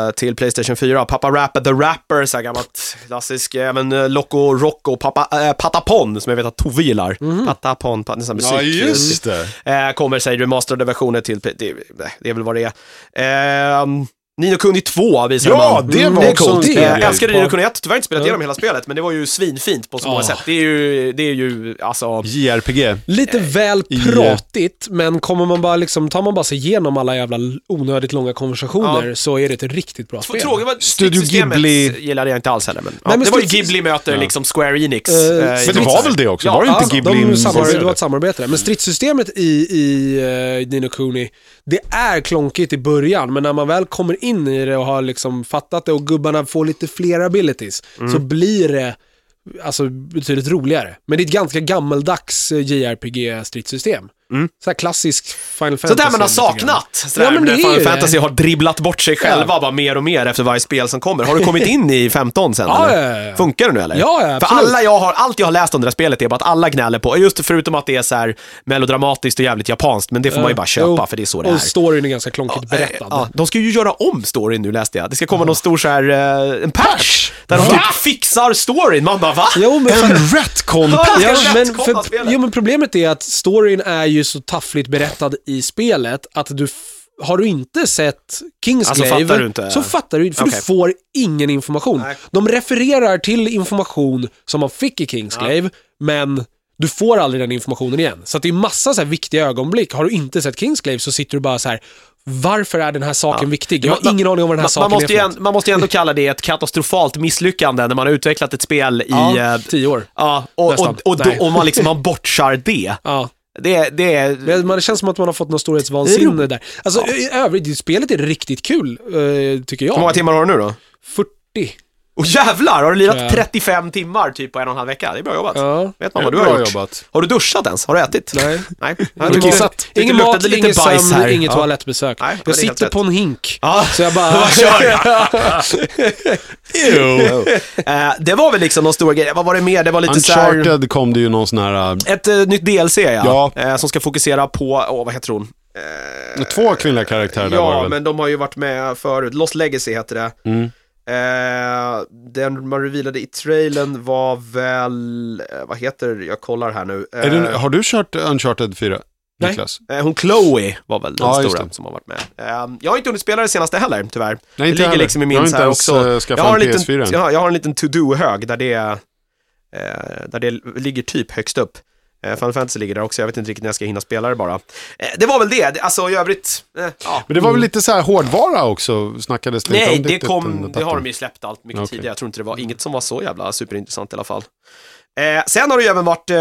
eh, till Playstation 4. Papa Rappa the Rapper, så här gammalt klassisk. Även eh, Loco Rocco, Papa, eh, Patapon, som jag vet att Tove gillar. Patapon, pat, nästan musik.
det.
Eh, kommer sig remasterade versioner till, det, det- det är väl vad det är. Eh, Nino Kuni 2 visar
Ja,
man.
det var
det är
också
coolt.
en
Eh,
trevlig
Jag
grej.
älskade Nino Kuni 1, tyvärr inte spelat
Ja.
igenom hela spelet, men det var ju svinfint på så många
Ja.
sätt. Det är ju, det är ju alltså...
JRPG.
Lite
Eh,
väl
i-
pratigt, men kommer man bara liksom, tar man bara sig igenom alla jävla l- onödigt långa konversationer så är det ett riktigt bra spel.
Tråkigt var
Studio
stridssystemet
Ghibli-
gillade jag inte alls heller. Men, ja,
Nej, men
det var ju
strids-
Ghibli möter liksom Square Enix.
Eh,
eh, i
men
Men det
något
var
sätt.
väl det också?
Ja, alltså,
var det
Ja, alltså,
inte Ghibli
de samarbetade, det var
involverade?
ett samarbete. Men stridssystemet i, i eh, Nino Kuni, det är klonkigt i början, men när man väl kommer in i det och har liksom fattat det och gubbarna får lite fler abilities, så
Mm.
blir det alltså, betydligt roligare. Men det är ett ganska gammeldags eh, JRPG-stridssystem. Mm. Så här klassisk Final Fantasy.
Sånt där man har
lite grann.
saknat. Sådär,
Ja, men
när
det är
Final
ju det.
Fantasy har dribblat bort sig själva bara mer och mer efter varje spel som kommer. Har du
[laughs]
kommit in i 15 sen?
Ja,
eller?
ja, ja, ja.
Funkar det nu eller?
Ja, ja,
För
absolut.
alla jag har, allt jag har läst om det här spelet är bara att alla gnäller på, just förutom att det är så här melodramatiskt och jävligt japanskt, men det får man ju bara köpa
Eh, Jo,
för det är så det är. Eh,
Och storyn är ganska klonkigt berättad.
Ja, de ska ju göra om storyn nu läste jag. Det ska komma någon stor så här, eh, en patch, där de typ fixar storyn. Man bara va?
Jo, [laughs] men för-
En retcon
Ja,
Ja,
Ganska
men,
lätt
för,
kopplat
jo, men problemet är att storyn är ju så taffligt berättad i spelet att du f- har du inte sett Kingsglaive
Alltså, fattar du inte?
så fattar du inte, för
Okej.
du får ingen information.
Nej.
De refererar till information som man fick i Kingsglaive, men du får aldrig den informationen igen. Så att det är massa så här viktiga ögonblick. Har du inte sett Kingsglaive så sitter du bara så här, varför är den här saken viktig? Jag har ingen aning om vad den här
man, man
saken
måste
är
ju
för
ändå,
något.
Man måste ju ändå kalla det ett katastrofalt misslyckande när man har utvecklat ett spel i...
ja,
eh,
tio år.
ja, och, och,
Nästan.
och, då,
Nej.
och man liksom man bortsar det.
Ja.
Det, det är...
[laughs] Men man- det känns som att man har fått någon storhetsvansinne där. Alltså i övrigt, det- spelet är riktigt kul, eh, tycker jag.
Hur många timmar har du nu då?
40.
Och jävlar, har du
Ja.
lirat 35 timmar typ på en och en halv vecka? Det är bra jobbat.
Ja.
Vet man vad du
Bra
har gjort?
jobbat.
Har du duschat ens? Har du ätit?
Nej.
Nej.
Det var- Ingen mat, ingen sömn, inget
ja. [laughs]
toalettbesök.
Nej, men det är
jag
helt
sitter
rätt.
på en hink.
[laughs] Ja.
Så jag bara...
Eh, det var väl liksom de stora grejerna. Vad var det mer? Det var lite så här...
Uncharted kom det ju någon sån här...
Ett eh, nytt DLC ja.
Ja.
Eh, som ska fokusera på, åh vad heter hon?
eh, Två kvinnliga karaktärer där var
ja,
det väl? Mm.
men de har ju varit med förut. Lost Legacy heter det. Eh, den man revealade i trailern var väl, eh, vad heter, jag kollar här nu. Eh,
Är det, har du kört Uncharted 4?
Nej.
Niklas?
eh, hon Chloe var väl den
Ja, just
stora
det.
som har varit med. Eh, jag har inte hunnit spela det senaste heller, tyvärr.
Nej,
det ligger
heller.
liksom i
Jag har
min så
inte
här
ens
också.
eh,
jag, har
skaffat
en
en
liten,
PS4 än.
jag, har, jag har en liten to-do-hög där det, eh, där det ligger typ högst upp. Eh, Final Fantasy ligger där också, jag vet inte riktigt när jag ska hinna spela det bara. Eh, det var väl det, alltså i övrigt, eh, ja.
Men det var väl lite så här hårdvara också, snackades det inte
Nej,
om Typ
det,
riktigt under
kom, det
datorn.
har de ju släppt allt mycket
Okej.
tidigare. Jag tror inte det var inget som var så jävla superintressant i alla fall. Eh, sen har det ju även varit eh,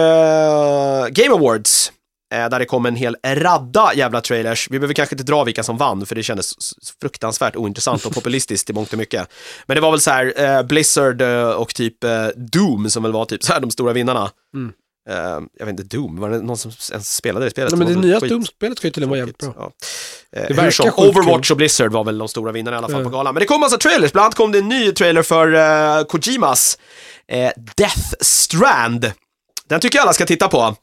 Game Awards. Eh, där det kom en hel radda jävla trailers. Vi behöver kanske inte dra vilka som vann, för det kändes s- s- fruktansvärt ointressant och populistiskt i mångt och mycket. Men det var väl så här, eh, Blizzard eh, och typ eh, Doom som väl var typ så här de stora vinnarna.
Mm.
Eh, jag vet inte, Doom, var det någon som ens spelade det spelet?
Nej, men det
var
nya
skit-
Doom-spelet ska ju tydligen vara jävligt bra.
Ja. Eh,
Det
hur
verkar
som,
sjukt
Overwatch och Blizzard var väl de stora vinnarna i alla fall på galan. Men det kom massa trailers, bland annat kom det en ny trailer för eh,
[laughs]
Kojimas eh, Death Strand. Den tycker jag alla ska titta på.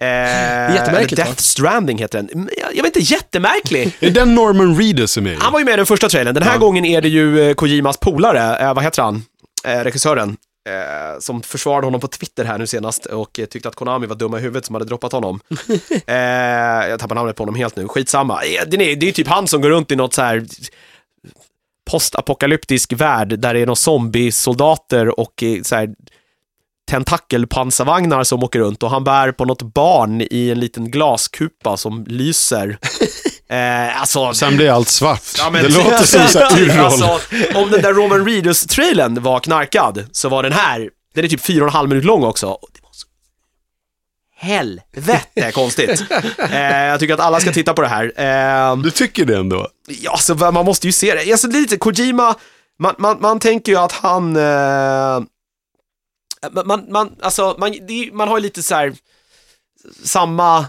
Jättemärkligt. Death Stranding heter den. Mm, Jag, jag vet inte, jättemärklig.
Är den Norman Reedus är med i?
Mm. Han var ju med i den första trailern. Den här gången är det ju eh, Kojimas polare, eh, vad heter han, eh, regissören, eh, som försvarade honom på Twitter här nu senast och eh, tyckte att Konami var dumma i huvudet som hade droppat honom. eh, jag tappar namnet på honom helt nu, skitsamma. Eh, Det är, det är ju typ han som går runt i något så här postapokalyptisk värld där det är några zombiesoldater och eh, så här tentakelpansarvagnar som åker runt och han bär på något barn i en liten glaskupa som lyser. Eh, alltså,
Sen blir allt svart.
Ja, men- typ
det låter som så här urroll.
Alltså, om den där Roman Reedus-trailern var knarkad, så var den här, den är typ fyra och en halv minut lång också. Och det var så helvete
[laughs]
konstigt. Eh, jag tycker att alla ska titta på det här. Eh,
Du tycker det ändå?
ja, alltså, va- man måste ju se det. Alltså, lite Kojima, man, man, man tänker ju att han... Eh, man- man, man, alltså, man, det, är- man har ju lite så här samma...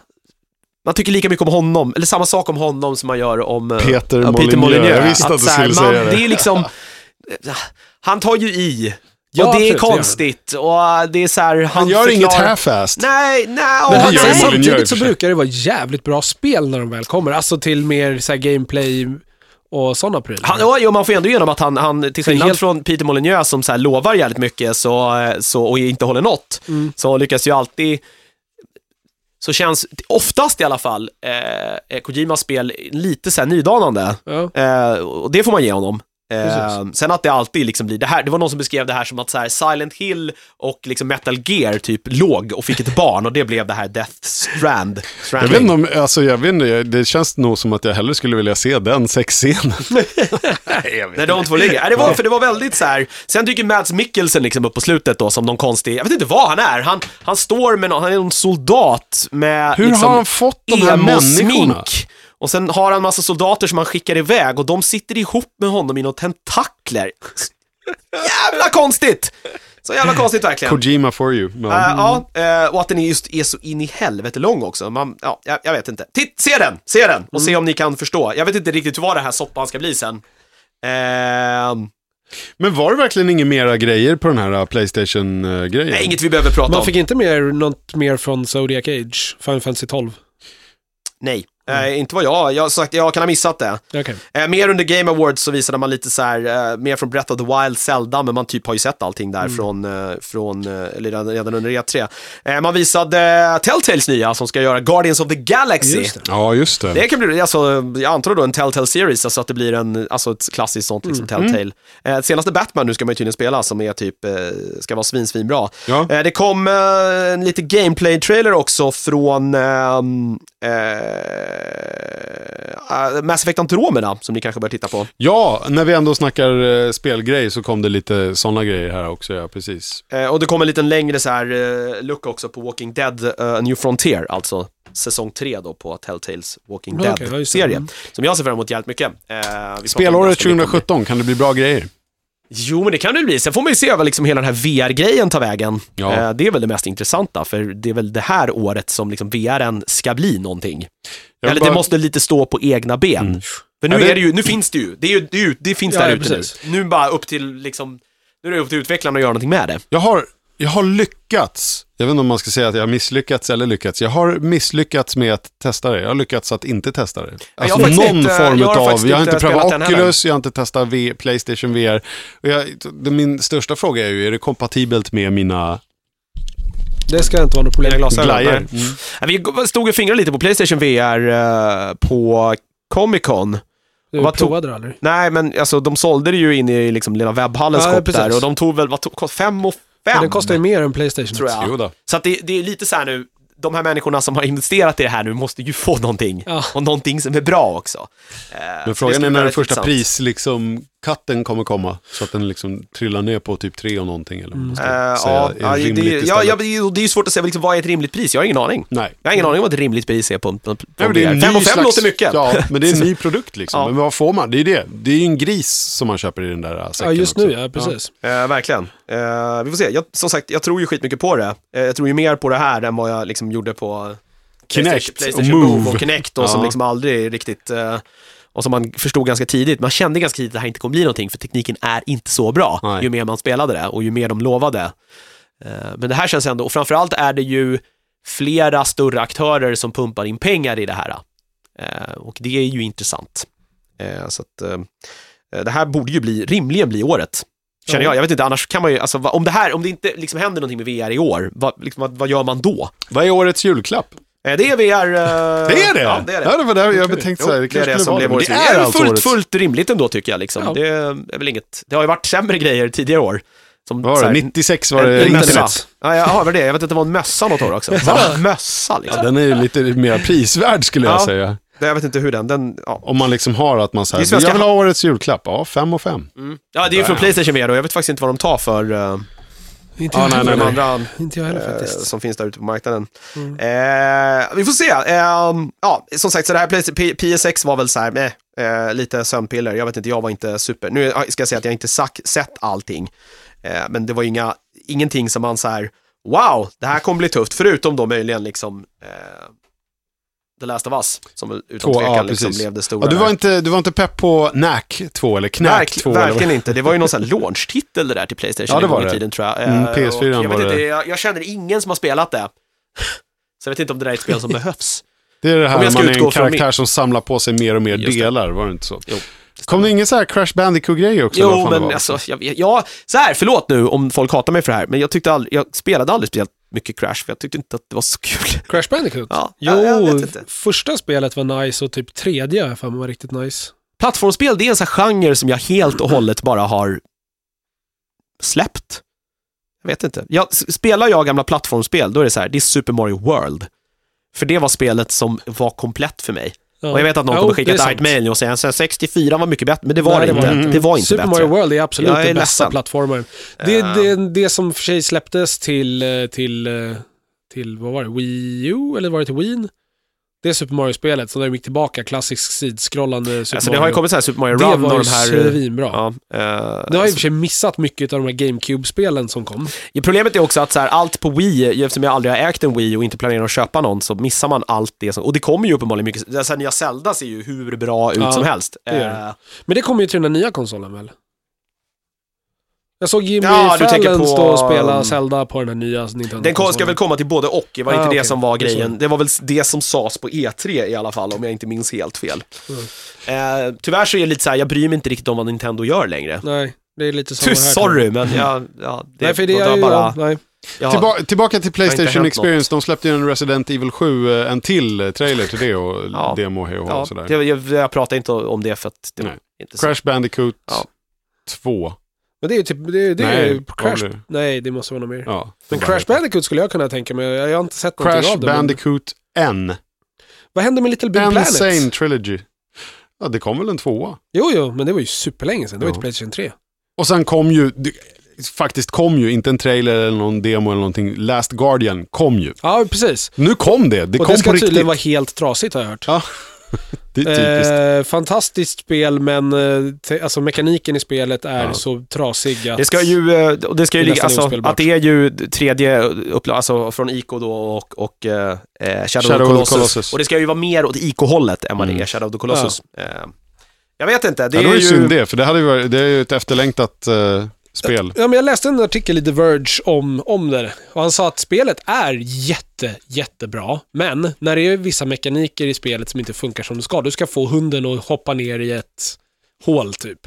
Man tycker lika mycket om honom, eller samma sak om honom som man gör om eh,
Peter
ja,
Molyneux. Jag visste att du
så här,
skulle säga det.
Det är liksom, han tar ju i.
Ja,
och det är
absolut, det gör han.
konstigt. Och eh, det är så här, han,
Han gör inget
förklarar-
half-assed.
Nej, nej.
Men
och-
han gör ju
nej.
Molyneux i och för
Samtidigt så
sig.
brukar det vara jävligt bra spel när de väl kommer. Alltså till mer så här gameplay och sådana prylar.
Han, ja, jo, man får ändå igenom att han, han till skillnad
helt-
från Peter Molyneux som så här lovar jävligt mycket så, så, och inte håller något,
Mm.
så lyckas ju alltid så känns, oftast i alla fall, eh, Kojimas spel lite så här nydanande.
Ja.
Eh, och det får man ge honom. Eh,
Precis.
sen att det alltid liksom blir, det, här, det var någon som beskrev det här som att så här Silent Hill och liksom Metal Gear typ låg och fick ett barn och det blev det här Death Strand.
Jag vet inte om, alltså jag vet inte, jag- det känns nog som att jag hellre skulle vilja se den sexscenen.
När de två ligger. Nej, det var, för det var väldigt så här. Sen dyker Mads Mikkelsen liksom upp på slutet då som någon konstig, jag vet inte vad han är. Han, han står med någon, han är någon soldat med
Hur
liksom,
har han fått de här människorna?
emo-smink. Och sen har han massa soldater som han skickar iväg och de sitter ihop med honom i något tentakler. Jävla konstigt! Så jävla konstigt verkligen.
Kojima for you. men-
Eh,
Mm.
Ja, eh, och att den är just är så in i helvete lång också. Man, ja, jag, jag vet inte. Titt, se den! Se den! Och
Mm.
se om ni kan förstå. Jag vet inte riktigt vad det här soppan ska bli sen. Ehm,
Men var det verkligen inga mera grejer på den här uh, Playstation-grejen?
nej, inget vi behöver prata
Man
om.
fick inte mer, något mer från Zodiac Age, Final Fantasy 12.
Nej, Eh,
Mm.
inte vad jag, jag, har sagt, jag kan ha missat det.
Okej.
Eh, mer under Game Awards så visade man lite så här, eh, mer från Breath of the Wild, Zelda, men man typ har ju sett allting
Mm.
där från, eh, från eh, eller redan, redan under E3. Eh, man visade eh, Telltales nya som ska göra Guardians of the Galaxy.
Just det.
Ja, just det.
Det kan bli, alltså, jag antar då en Telltale series, alltså att det blir en, alltså ett klassiskt sånt liksom
Mm.
Telltale. Eh, senaste Batman nu ska man ju tydligen spela som är typ, eh, ska vara svin, svin bra.
Ja.
Eh, det kom eh, en lite gameplay-trailer också från ehm, eh, Mass Effect Andromeda, som ni kanske bör titta på.
Ja, när vi ändå snackar uh, spelgrej så kom det lite sådana grejer här också, ja precis.
Eh, och det kom en liten längre så här eh, look också på Walking Dead eh, A New Frontier, alltså säsong 3 då på Telltales Walking
Ja, okej, ja, just det.
Dead-serie.
Mm.
Som jag ser fram emot jävligt mycket. Eh, vi pratade om det
Spelåret
ganska mycket om det.
2017, kan det bli bra grejer?
Jo, men det kan det bli. Sen får man ju se vad liksom hela den här VR-grejen tar vägen.
Ja.
Eh, det är väl det mest intressanta, för det är väl det här året som liksom VRn ska bli någonting.
Jag
Eller
bara-
det måste lite stå på egna ben. För nu,
Ja, det-
Är det ju, nu finns det ju, det, är ju, det, är ju, det finns
Ja,
där
ja,
ute nu.
precis.
Nu bara upp till, liksom, nu är det upp till utvecklarna att göra någonting med det.
Jag har, jag har lyckats, jag vet inte om man ska säga att jag har misslyckats eller lyckats. Jag har misslyckats med att testa det, jag har lyckats att inte testa det. Alltså
har faktiskt
någon
inte-
form
jag har
av,
faktiskt
jag har
inte
inte prövat
spelat den heller.
Oculus, jag har inte testat v, Playstation VR. Och jag, det, min största fråga är ju, är det kompatibelt med mina
Det ska inte vara något problem.
Mina glasögon.
glajjor?
nej. Ja, Vi g- stod och fingrade lite på Playstation VR eh, på Comic Con.
Du
Vad tog-
provade det aldrig.
Nej, men alltså, de sålde det ju in i liksom, lilla webbhallens
Ja,
shop där
precis.
och de tog väl, vad tog, fem och
Men
fem?
den kostar ju mer än Playstation.
tror jag.
Jo då.
Så att det, det är lite så här nu, de här människorna som har investerat i det här nu måste ju få någonting.
Ja.
Och någonting som är bra också. Eh,
Men
det
frågan
ska bli
är när den
väldigt
första
intressant.
pris, liksom, katten kommer komma. Så att den liksom trillar ner på typ tre och någonting eller vad man ska
Eh,
säga.
ja, ja,
är
det,
rimligt istället.
ja, ja, det är ju- det är ju svårt att säga liksom, vad är ett rimligt pris, jag har ingen aning.
Nej.
Jag har ingen aning om vad ett rimligt pris är på, på, på
Mm. Nej, men det är en
VR. Fem
ny
och fem
slags-
låter mycket.
Ja,
[laughs]
men det är en ny produkt liksom.
Ja.
Men vad får man? Det är ju det. Det är ju en gris som man köper i den där äh, säcken
Ja, just
också.
nu ja, precis.
Eh, verkligen. Eh, vi får se. Jag, som sagt, jag tror ju skitmycket på det. Eh, jag tror ju mer på det här än vad jag liksom gjorde på
Kinect
PlayStation
och
Move
Move.
och Kinect och som
Ja.
liksom aldrig riktigt... eh, och som man förstod ganska tidigt. Man kände ganska tidigt att det här inte kommer bli någonting för tekniken är inte så bra
Nej.
ju mer man spelade det och ju mer de lovade. Eh, men det här känns ändå, och framförallt är det ju flera större aktörer som pumpar in pengar i det här. Eh, och det är ju intressant. Eh, så att, eh, det här borde ju bli, rimligen bli året. Känner
Ja.
jag. Jag vet inte, annars kan man ju, alltså, va- om det här, om det inte liksom händer någonting med VR i år, vad, liksom, vad, vad gör man då?
Vad är årets julklapp?
Eh, det är VR... eh,
Det är det!
Ja, det är det.
Ja, det var där jag tänkte så här,
Jo,
det
det är
kanske
det som blev
skulle vara det.
årets
Det
video. Det är
är
väl
alltså
fullt,
årets.
fullt rimligt ändå tycker jag. Liksom.
Ja.
Det, är väl inget, det har ju varit sämre grejer tidigare år. Som,
Vad
så
var
här,
det? 96 var det
en
internet.
mössa. Ja, jag har det. Jag vet att det var en mössa något år också. Så här, mössa
Ja,
liksom.
den är ju lite mer prisvärd skulle jag
Ja.
säga.
Det- Jag vet inte hur den, den ja.
Om man liksom har att man
Det är
säger,
svenska-
jag vill ha årets julklapp. Ja, fem och fem.
Mm. ja, det är ju från Playstation VR och jag vet faktiskt inte vad de tar för, eh,
Inte,
Ja,
jag
nej,
för
heller.
de andra
inte jag heller
eh,
faktiskt. Mm.
som finns där ute på marknaden. Eh, vi får se. Ehm, ja, som sagt, så det här Play- P- PSX var väl så här, meh, eh, lite sömnpiller. Jag vet inte, jag var inte super. Nu ska jag säga att jag inte sack, sett allting. Eh, men det var ju inga, ingenting som man så här, wow, det här kommer bli tufft. Förutom då möjligen liksom eh, The Last of Us, som väl utan
Två,
tvekan
ja,
liksom
precis.
blev det stora.
Ja, du,
där.
var inte, du var inte pepp på NAC 2 eller KNACK
Verk,
2? eller vad-
verkligen inte. Det var ju någon sån här launchtitel det där till Playstation
Ja, det
en gång
var
i
det.
tiden tror jag.
Mm,
Eh, och
PS4
jag,
var
vet inte,
det.
jag, jag känner ingen som har spelat det. Så jag vet inte om det där är ett
[laughs]
spel som behövs.
Det är det här
Om jag
när
ska
man är en
utgå från
karaktär som samlar på sig mer och mer
Just det.
delar, var det inte så?
Jo,
Kom det ingen så här Crash Bandicoot-grej också? eller vad
Jo,
fan det
men
var?
alltså, jag, jag, ja, så här, förlåt nu om folk hatar mig för det här, men jag tyckte aldrig, jag spelade aldrig speciellt mycket Crash, för jag tyckte inte att det var så kul. [laughs]
Crash Bandicoot?
Ja,
jo,
jag- jag vet inte.
första spelet var nice och typ tredje har jag för mig var riktigt nice.
Plattformsspel, det är en sån här genre som jag helt och hållet bara har släppt. Jag vet inte. Jag, s- spelar jag gamla plattformsspel, då är det så här, det är Super Mario World. För det var spelet som var komplett för mig.
Ja.
Och jag vet att någon
Jo,
kommer
det
skicka
är
ett argt
sant.
mail och säga att 64 var mycket bättre, men det var
Nej,
det
det
inte.
var
Det,
det
var inte
Super
bättre.
Mario World är absolut
Jag är
den bästa
ledsen.
plattformaren. Det
Eh.
är det, det som för sig släpptes till, eh, till, eh, till, vad var det, Wii U eller var det till Wien? Det är Super Mario-spelet, så där de gick tillbaka, klassisk sidskrollande
Alltså,
Super
det
Mario.
har ju kommit så här Super Mario
det
Run
var
och
ju
de här... eh,
svinbra.
Ja, eh,
Det har ju i och för sig missat mycket av de här GameCube-spelen som kom.
Ja, Problemet är också att så här, allt på Wii, eftersom jag aldrig har ägt en Wii och inte planerar att köpa någon, så missar man allt det som, och det kommer ju uppenbarligen mycket, det här nya Zelda ser ju hur bra ut
Ja,
som helst. Eh,
det gör det. Men det kommer ju till den här nya konsolen väl? Jag såg Jimmy
Ja, du tänker
Fallon
på-
stå och
um,
spela Zelda på den här nya Nintendo-konsolen.
Den kom, ska väl komma till både och, det var
Ah,
inte det
okej.
som var
Det är så.
grejen. Det var väl det som sades på E3 i alla fall, om jag inte minns helt fel.
Mm.
Eh, tyvärr så är det lite så här, jag bryr mig inte riktigt om vad Nintendo gör längre.
Nej, det är lite samma
Tu,
här.
sorry, men jag, ja, det,
Nej, för det är
var
ju...
bara,
Bara... Nej.
jag,
Tillba- tillbaka till
Det har
Playstation
inte hänt
Experience. De släppte ju en Resident Evil 7, eh, en till eh, trailer till det och
Ja.
demo här och
ja,
sådär.
det, jag, jag pratar inte om det för att det var
Nej.
inte så.
Crash Bandicoot
Ja.
2.
Men det är ju typ... Det är, det är
Nej,
ju Crash...
vad blir det?
Nej, det måste vara något mer.
Ja,
Men Crash Bandicoot skulle jag kunna tänka mig. Jag har inte sett någonting
Crash
av det. men-
Bandicoot N.
Vad hände med Little Big
Insane
Planet?
Trilogy. Ja, det kom väl en tvåa.
Jo, jo, men det var ju superlänge sedan. Det var ju
Jo.
till Playstation 3.
Och sen kom ju, det, faktiskt kom ju, inte en trailer eller någon demo eller någonting, Last Guardian kom ju.
Ja, precis.
Nu kom det, det
och
kom
det ska
på riktigt.
tydligen vara helt trasigt har jag hört.
Ja, det är typiskt.
Eh, fantastiskt spel, men eh, te- alltså, mekaniken i spelet är
Ja.
så trasig att...
Det ska ju, eh, och det ska ju
Det
ligga,
är nästan
alltså,
ospelbart.
att det är ju tredje upplagan, alltså från IK då och, och eh, eh, Shadow, of
Shadow
the
of the
Colossus.
Colossus.
Och det ska ju vara mer åt IK-hållet än vad det är Shadow of the Colossus. Eh, jag vet inte, det
ja,
är
det var ju synd
ju...
det, för det, hade ju varit, det är ju ett efterlängtat eh, spel.
Ja, men jag läste en artikel i The Verge om, om det och han sa att spelet är jätte, jättebra, men när det är vissa mekaniker i spelet som inte funkar som det ska, du ska få hunden att hoppa ner i ett hål typ.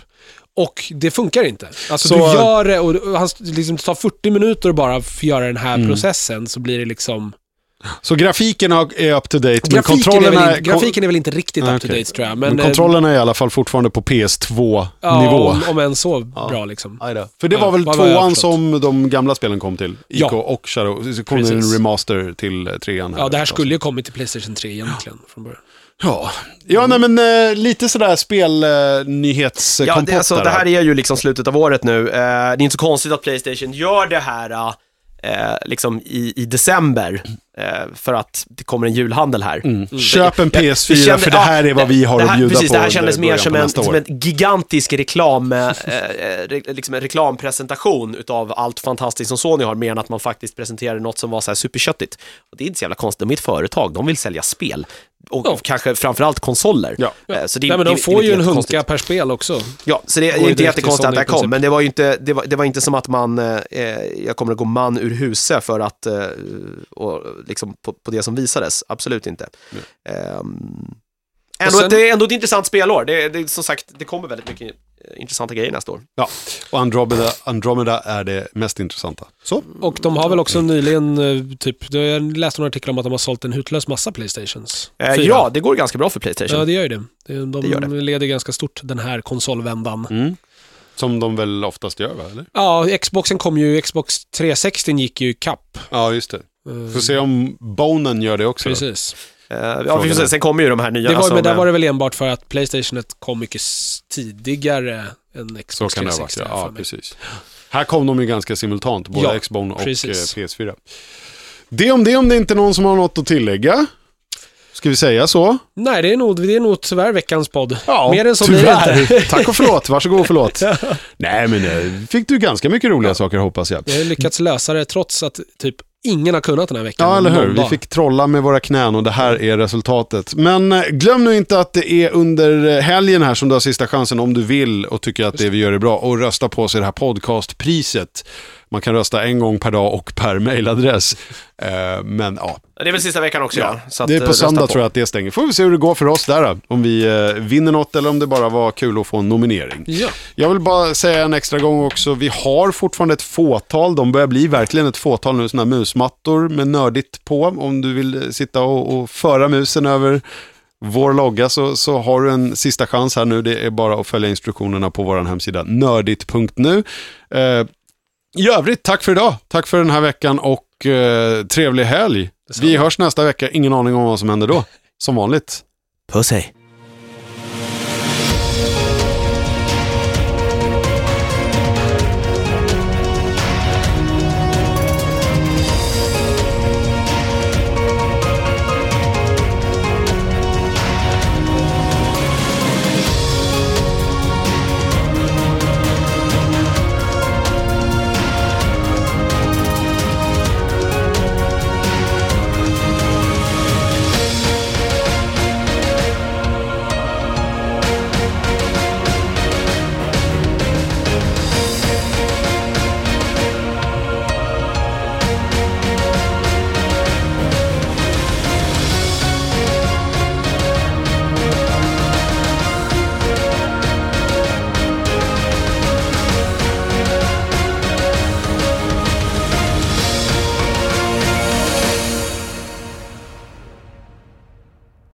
Och det funkar inte. Alltså
Så-
du gör det och och han s- liksom tar 40 minuter att bara f- göra den
Mm.
här processen så blir det liksom...
Så grafiken har- är up to date, men
Grafiken är,
kontrollerna...
väl in, grafiken är väl inte riktigt
Nej,
up to
okej.
date tror jag,
men,
men... eh,
kontrollerna är i alla fall fortfarande på PS2-nivå.
ja, om, om än så bra liksom.
För det
Ja,
var väl
vad- vad jag har
tvåan
förstått.
som de gamla spelen kom till. IK
Ja.
och Shadow. Så kom det en
Precis.
remaster till eh, trean.
Ja, det här skulle ju kommit till Playstation 3 egentligen från början.
Ja, ja nej, men eh, lite sådär eh,
Ja,
spelnyhetskompott
det, alltså, det här är ju liksom slutet av året nu. Eh, det är inte så konstigt att Playstation gör det här eh, liksom i, i december, eh, för att det kommer en julhandel här.
Köp en
Mm. Jag-
PS4
jag kände-
för det här är vad vi har
det här,
att bjuda
precis,
på
Det här
under
kändes mer
början
som
på
en,
nästa år.
som en gigantisk reklam, eh, eh, re, liksom en reklampresentation utav allt fantastiskt som Sony har, mer än att man faktiskt presenterade något som var så här superköttigt. Och det är inte så jävla konstigt, de är ett företag, de vill sälja spel. Och
Ja.
kanske framförallt konsoler.
Ja.
Eh, Så det, är-
Nej, men de
det är-
får
det är
ju en
inte
hunka
konstigt.
per spel också.
Ja, så det
Går
är
ju
inte
direkt till
jättekonstigt
Sony
att det här
i princip.
kom, men det var ju inte, det var, det var inte som att man, eh, jag kommer att gå man ur huset för att eh, och liksom, på, på det som visades. Absolut inte. Ehm,
Och
ändå,
sen-
ett, det är ändå ett intressant spelår. Det, det, som sagt, det kommer väldigt mycket eh, intressanta grejer nästa år.
Ja, och Andromeda, Andromeda är det mest intressanta. Så,
Och de har väl också nyligen, eh, typ, jag läste några artiklar om att de har sålt en hutlös massa Playstations.
Eh,
Fyra.
ja, det går ganska bra för Playstation.
ja, det gör ju det. De, de
Det gör det.
leder ganska stort den här konsolvändan.
som de väl oftast gör, va? Eller?
Ja, Xboxen kom ju, Xbox 360 gick ju i kapp. Eh,
Ja, just det. Får se om Bonen gör det också. då.
Precis.
Eh, ja, vi får se. Sen kommer ju de här nya.
Det var,
som,
men där
eh,
var det väl enbart för att Playstationet kom mycket s- tidigare än
Så
Xbox
kan det ha varit,
360.
ja.
har jag för
ja
mig.
precis. Här kom de ju ganska simultant, både
Ja,
Xbox och
precis.
eh, PS4. Det om det, om det inte är någon som har något att tillägga. Ska vi säga så?
Nej, det är, nog, det är nog tyvärr veckans podd.
Ja,
Mer än så blir det
tyvärr.
inte.
Tack och förlåt, varsågod och
[laughs]
förlåt. Nej, men eh, fick du ganska mycket roliga saker hoppas jag.
Jag har lyckats lösa det trots att typ ingen har kunnat den här veckan.
Ja, eller hur.
Någon
Vi
dag.
fick trolla med våra knän och det här är resultatet. Men eh, glöm nu inte att det är under eh, helgen här som du har sista chansen om du vill och tycker att det vi gör är bra och rösta på oss i det här podcastpriset. Man kan rösta en gång per dag och per mailadress. Eh, Men ja,
Det är väl sista veckan också, ja. Så att,
det är
eh,
på
rösta
söndag tror jag att det stänger. Får vi se hur det går för oss där då. Om vi eh, vinner något eller om det bara var kul att få en nominering.
Ja.
Jag vill bara säga en extra gång också, vi har fortfarande ett fåtal, de börjar bli verkligen ett fåtal nu, sådana här musmattor med nördigt på. Om du vill eh, sitta och, och föra musen över vår logga så, så har du en sista chans här nu. Det är bara att följa instruktionerna på vår hemsida nördigt.nu. Eh, I övrigt, tack för idag. Tack för den här veckan och eh, trevlig helg. Vi hörs nästa vecka. Ingen aning om vad som händer då. Som vanligt.
Puss hej.